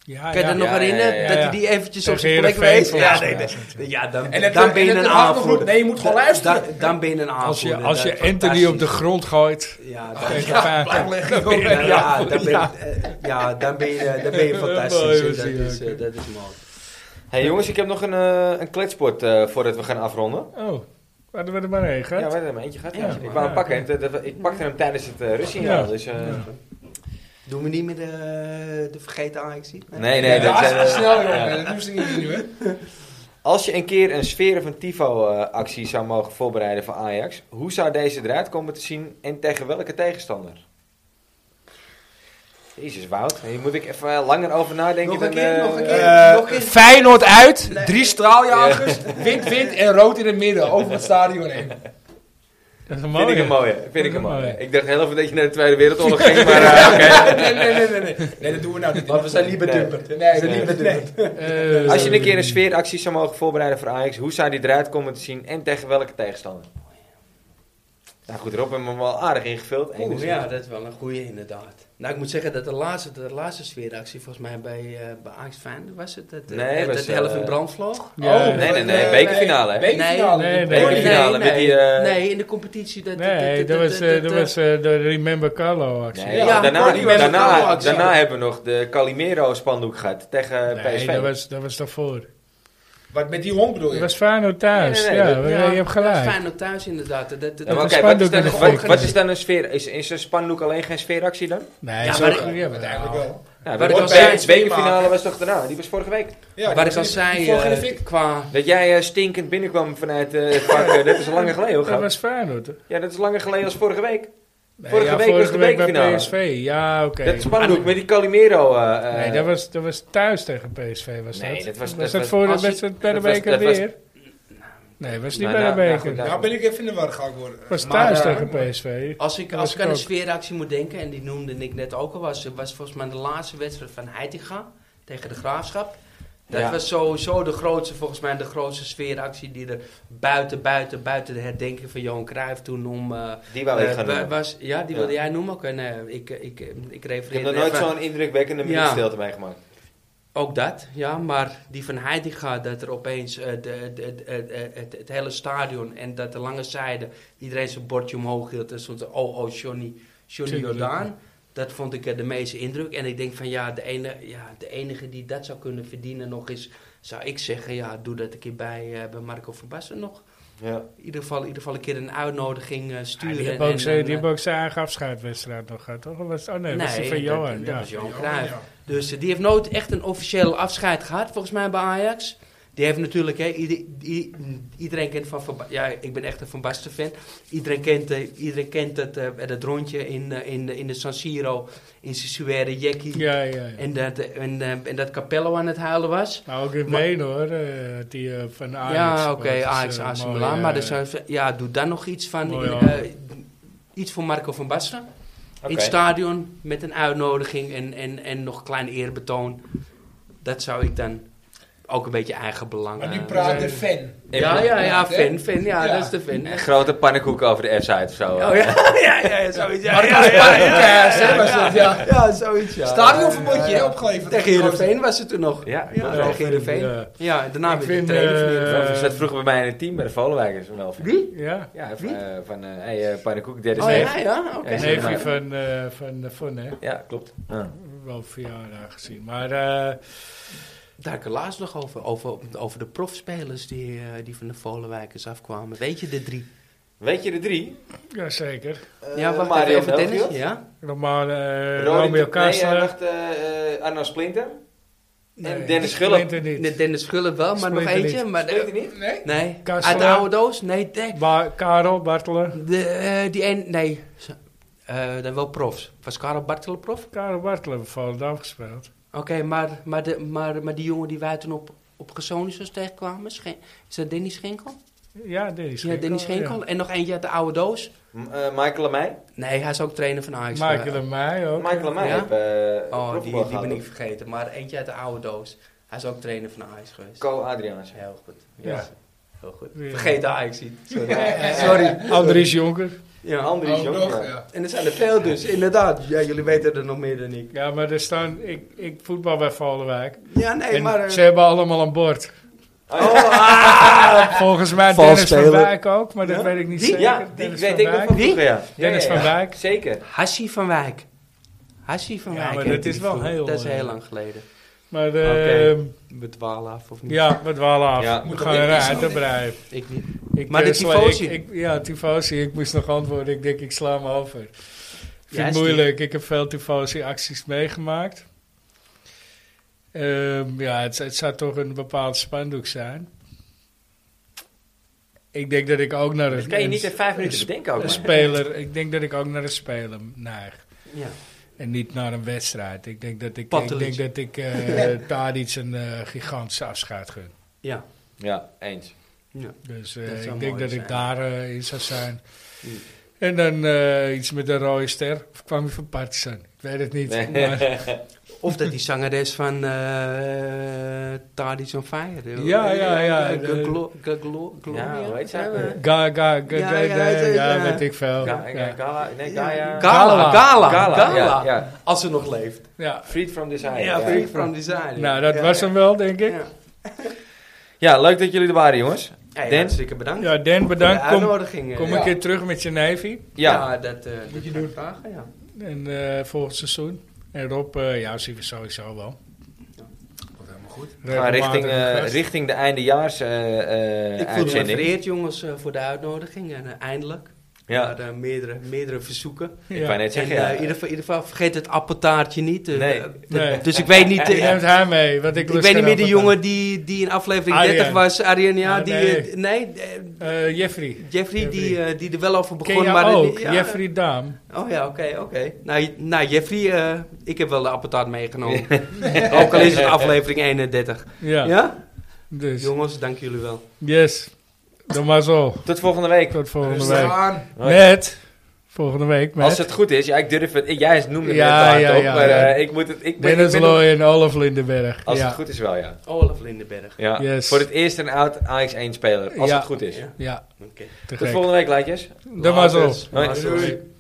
Ja, Kan je ja. dat nog ja, herinneren? ja, ja, Dat ja. hij die eventjes op Tegen zijn plek Heerenveen wees? volgens Ja, mij. nee, nee. ja dan, En dat- dan en ben je dat een Ten Hag nog aanvoerder. goed- nee, je moet gewoon Da- luisteren. da- dan ben je een Als aanvoerder. je, als Dat je is Anthony op de fantastisch. grond gooit (laughs) Ja, dan- tegen Feyenoord. Blijkleggen, dan- joh. ja, dan ben je- eh, ja, dan ben je eh, dan ben je Mooi, fantastisch. we En Dat zien is, elkaar. eh, dat is mooi. hey, jongens, ik heb nog een, eh, een kletsport eh, voordat we gaan afronden. Oh, hadden we er maar heen Ja, gehad. we hebben er eentje gehad. ja. Ja, ik maar- wou hem pakken. en te- te- Ik pakte hem tijdens het eh rustsignaal. Ja. Dus, eh, Doen we niet meer de, de vergeten Ajax Nee. Nee, nee. dat Ja, zijn, eh, snel, joh. ja. Dat doen ze niet nu, hè? Als je een keer een sfeer van Tifo-actie zou mogen voorbereiden voor Ajax, hoe zou deze eruit komen te zien en tegen welke tegenstander? Jezus, Wout. Hier moet ik even eh, langer over nadenken. Nog een dan, keer, eh, nog een eh, keer. Eh, Nog eens. Feyenoord uit, drie straaljagers, wit, wit en rood in het midden, over het stadion heen. Dat is een Vind ik mooie. een mooie. Vind ik Een een mooie. mooie. Ik dacht heel even dat je naar de Tweede (laughs) Wereldoorlog ging, maar eh, oké. Nee, nee, nee, nee, nee. Nee, dat doen we nou niet. Want we zijn niet Nee. bedumperd. Nee, We zijn niet nee, bedumperd. Eh, Als je een keer een sfeeractie zou mogen voorbereiden voor Ajax, hoe zou die eruit komen te zien en tegen welke tegenstander? Nou goed, Rob heeft hem wel aardig ingevuld. Eén Oeh, dus ja, dat is wel een goeie inderdaad. Nou, ik moet zeggen dat de laatste, de laatste sfeeractie volgens mij bij, eh bij Ajax Feyenoord was het. Dat, eh, Nee, dat, was, de helft in eh, brand vloog. Ja. Oh, Nee, nee, nee, eh, bekerfinale, hè? Bekerfinale. Nee, nee, Door die- Bekerfinale met die, eh, nee, in de competitie. Dat, Nee, dat was, eh, dat was eh, de Remember Carlo actie. Nee, Ja, ja, daarna, maar die was daarna, een koude daarna, actie. hebben we nog de Calimero-spandoek gehad tegen Nee, PSV. dat was, dat was daarvoor. Wat met die hond bedoel Dat je? was Feyenoord thuis. Nee, nee, nee, ja, ja, je hebt gelijk. Feyenoord thuis inderdaad. Dat, dat, Ja, maar een oké, wat, is spandoek dan, in de wat, volk. wat is dan een sfeer? Is, is een spandoek alleen geen sfeeractie dan? Nee, Ja, zo maar- goed hebben we het Uiteindelijk eigenlijk wel. Ja, Wat de ik al zei, beker- bekerfinale was toch daarna? Die was vorige week. Ja, Waar ik die- al die zei, vloog in de eh, fik. qua... Dat jij eh, stinkend binnenkwam vanuit eh, het park, eh, dat is al langer geleden hoor. Dat gast. was Feyenoord. hè? Ja, dat is langer geleden als vorige week. Nee, Vorige ja, week was vorige de week bij bekerfinale. PSV. Ja, oké. Dat spandoek met die Calimero. eh, eh, Nee, dat was, dat was thuis tegen PSV. Was Nee, dat, dat was- dat dat was- voor de als je- wedstrijd bij de dat was- beker dat was- weer? Nee, was niet Nou, bij de nou, nou, beker. goed, nou. Nou ben ik even in de war gaan worden. was Maar, thuis eh, tegen PSV. Als ik, Dat als was ik aan ik ook. een sfeeractie moet denken, en die noemde ik net ook al, was, was volgens mij de laatste wedstrijd van Heitinga tegen de Graafschap. Dat Ja. was sowieso de grootste, volgens mij de grootste sfeeractie die er buiten, buiten, buiten de herdenking van Johan Cruijff toen om... eh, Die wou ik eh, gaan wa- noemen. Was, ja, die Ja. wilde jij noemen ook. En, eh, ik, ik, ik, ik Ik refereer heb nog nooit even- zo'n indrukwekkende Ja. minuutstilte meegemaakt. Ook dat, ja. Maar die van Heitinga, dat er opeens eh, de, de, de- eh, eh, het, het hele stadion en dat de lange zijde iedereen zijn bordje omhoog hield. En stond er, oh, oh, Johnny, Johnny Tuurlijk, Jordaan. Dat vond ik eh, de meeste indruk. En ik denk van, ja de, ene, ja, de enige die dat zou kunnen verdienen nog is, zou ik zeggen, ja, doe dat een keer bij, eh, bij Marco van Basten nog. Ja. In ieder geval, in ieder geval een keer een uitnodiging eh, Ja, sturen. die en- hebben ook en zijn- dan, die eh, hebben ook zijn eigen afscheidwedstrijd nog gehad, toch? Of was- Oh nee, dat was die van dat- Johan. dat ja. was Johan Ja, Cruijff. ja. Dus eh, die heeft nooit echt een officieel afscheid gehad, volgens mij, bij Ajax. Die heeft natuurlijk, hè, ieder- i- iedereen kent van, Van Ba- ja, ik ben echt een Van Basten fan. Iedereen kent, eh, iedereen kent het, eh, dat rondje in, eh, in, de- in de San Siro, in Sissuere, Jackie. ja, ja, ja. En, dat, eh, en, eh, en dat Capello aan het huilen was. Maar ook in Maar- Wenen hoor, eh, die eh, van Ajax. ja, speelt. oké, Dat is, Ajax, eh, AC mooi, Milan. eh, Maar dus, eh, ja, doe dan nog iets van, Mooi, in, ja. eh, iets voor Marco van Basten. Oké. In het stadion met een uitnodiging en, en, en nog een klein eerbetoon. Dat zou ik dan ook een beetje eigen belang. Maar eh, nu praat de fan. Ja, ja, ja, hè? fan, fan, ja, Ja. dat is de fan. Een grote pannenkoek over de F-site of zo. eh. Oh ja, (laughs) ja, ja, ja, zoiets. Ja, ja, ja, Marcus ja, Park, ja, eh, zeg maar ja, zo, ja. ja, zoiets, ja. Stadionverbondje hè, opgeleverd. Tegen Heerenveen was het er nog. Ja, ik ja wil wel tegen Heerenveen. ja. Ja, daarna Ik weer de vind, trainer van eh, Heerenveen. Hij zat vroeger bij mij in het team bij de Volwijkers. Wel. Ehm, Wie? Ja, Ja, van, eh van eh hey, eh pannenkoek, derde Oh zeven. ja, ja, oké. Ja, neefje maar- van, eh van de Fun, hè. Ja, klopt. Ja. Wel verjaardag gezien. Maar eh Daar heb ik laatst nog over, over, over de profspelers die, eh, die van de Volenwijkers afkwamen. Weet je, de drie? Weet je de drie? ja, zeker. ja, wacht Mario even, over tennis. Melchior. Ja? Normaal Rory- eh Romeo Nee, Kastler. wacht, eh, eh, Arno Splinter. Nee, en Dennis Gullit. Splinter niet. Nee, Dennis Gullit wel, maar nog Splinter niet. eentje. Maar, Weet je niet? Nee? nee, Kaas uit de Verlaan. oude doos? Nee, de, Ba- Karel Bartelen. de, eh, die een, nee. Ze- eh, dan wel profs. Was Karel Bartel een prof? Karel Bartelen heeft Volendam gespeeld. Oké, maar, maar, de, maar, maar die jongen die wij toen op, op Gezonisches tegenkwamen, Schen- is dat Denny Schenkel? Ja, Dennis Schenkel. Ja, Denny Schenkel. En nog eentje uit de oude doos? M- eh, Michael en mij. Nee, hij is ook trainer van Ajax. Michael en mij ook. Michael en mij Ja? heeft eh Oh, die, profvoetbal die gehad. ben ik vergeten. Maar eentje uit de oude doos. Hij is ook trainer van Ajax geweest. Co Adriaans. Heel goed. Ja. Ja. Heel goed. Ja. Vergeet de Ajax niet. (laughs) Sorry. Sorry. Andries Jonker. Ja. Andries Oh, Ook Jonker. nog, Oh, ja. En er zijn er veel dus, inderdaad. Ja, jullie weten er nog meer dan ik. Ja, maar er staan... Ik, ik voetbal bij Volendijk. Ja, nee, en maar... eh, ze hebben allemaal een bord. Oh, ja. Volgens mij Vals Dennis van spelen. Wijk ook, maar dat Ja? weet ik niet Die? zeker. ja, die Dennis weet van ik nog Wijk. van Wie? vroeger, ja. Dennis Ja, ja, van ja. Wijk. Zeker. Hassie van Wijk. Hassie van Ja, Wijk. maar heette dat is die wel vroeger. heel, Dat is eh, heel lang geleden. Maar Oké. ehm, We dwalen af, of niet? ja, we dwalen af. Ja. we Moet gaan ook eruit, iets dat doen. blijft. Ik niet. Ik, Maar eh, de sla- tifosi? ik- ik- Ja, tifosi. Ik moest nog antwoorden. Ik denk, ik sla hem over. Ik Ja, vind het is die- moeilijk. Ik heb veel tifosi-acties meegemaakt. Ehm, ja, het, het zou toch een bepaald spandoek zijn. Ik denk dat ik ook naar een, Dat kan je niet een- in vijf minuten een bedenken ook. een maar. speler... Ik denk dat ik ook naar een speler neig. Ja. En niet naar een wedstrijd. Ik denk dat ik, ik, Pantelic. denk dat ik (laughs) eh Tadic een eh gigantische afscheid gun. Ja. Ja, eens. ja. Dus eh, Dat zou ik denk mooi dat zijn. ik daar eh, in zou zijn. Hm. En dan eh, iets met een rode ster. Of kwam hij van Partizan? Ik weet het niet. (laughs) Maar, Of dat die zangeres van eh Tardis on Fire. Ja, ja, ja. Eh, Gaglo- Gaglo- Gloria. Ja, hoe heet zij ook weer? ga, ga, ga, Ja, ga- ja, ga- ja, ja, ja. weet ik veel. Ga- Ja, Gala. Nee, Ja, Gaia. Gala. Gala. Gala. Gala, Gala. Ja, ja. Als ze nog leeft. ja. Freed from Design. Ja, Freak from Design. Nou, dat was hem wel, denk ik. Ja. Ja, leuk dat jullie er waren, jongens. Hey, Dan? hartstikke bedankt. Ja, Dan, bedankt. Voor de Kom, uitnodiging. eh. kom een keer terug met je Navy. Ja. Ja, dat eh, dat Moet je ga ik doen. Vragen, ja. En, eh, volgend seizoen. En Rob, eh, ja, zien we sowieso wel. Komt helemaal goed. We gaan richting, eh, Regelmatig gast. richting de eindejaars eh, eh, Ik voel me uitzending. vereerd, jongens, eh, voor de uitnodiging. En eh, eindelijk. Ja. Er waren, eh, meerdere, meerdere verzoeken. Ik wou net En zeggen, eh, ja. in, ieder geval, in ieder geval vergeet het appeltaartje niet. eh, Nee. eh, Nee. Dus ik (laughs) weet niet... eh, Je neemt haar mee, want ik ik lust weet niet geen meer de appeltaart. jongen die, die in aflevering Arjen. 30 was, Arjen, ja, Ah, die, nee. eh, nee, eh, Eh, Jeffrey. Jeffrey, Die, Jeffrey. eh, die er wel over begon, Ken jij maar... ook? ja. Jeffrey Daam. Oh ja, oké, oké. Nou, nou, Jeffrey, eh, ik heb wel de appeltaart meegenomen. ook al is het aflevering 31. Ja. ja? Dus, Jongens, dank jullie wel. yes. Doe maar zo. Tot volgende week. Tot volgende Rustig week. aan. Hoi. Met. Volgende week met. Als het goed is, ja, ik durf het. ik- jij noemde het Ja, net hard ja, op, ja, maar ja. eh, ik moet het. Ik ben, Dennis ik ben- Looy en Olaf Lindenberg. Als ja. het goed is wel, ja. Oh, Olaf Lindenberg. ja. Yes. Voor het eerst een oud Ajax 1 speler. Als Ja. het goed is. Ja. Ja, Oké. te Tot gek. volgende week, lijntjes. Doe maar zo. Laters. Hoi. Laters. Doei.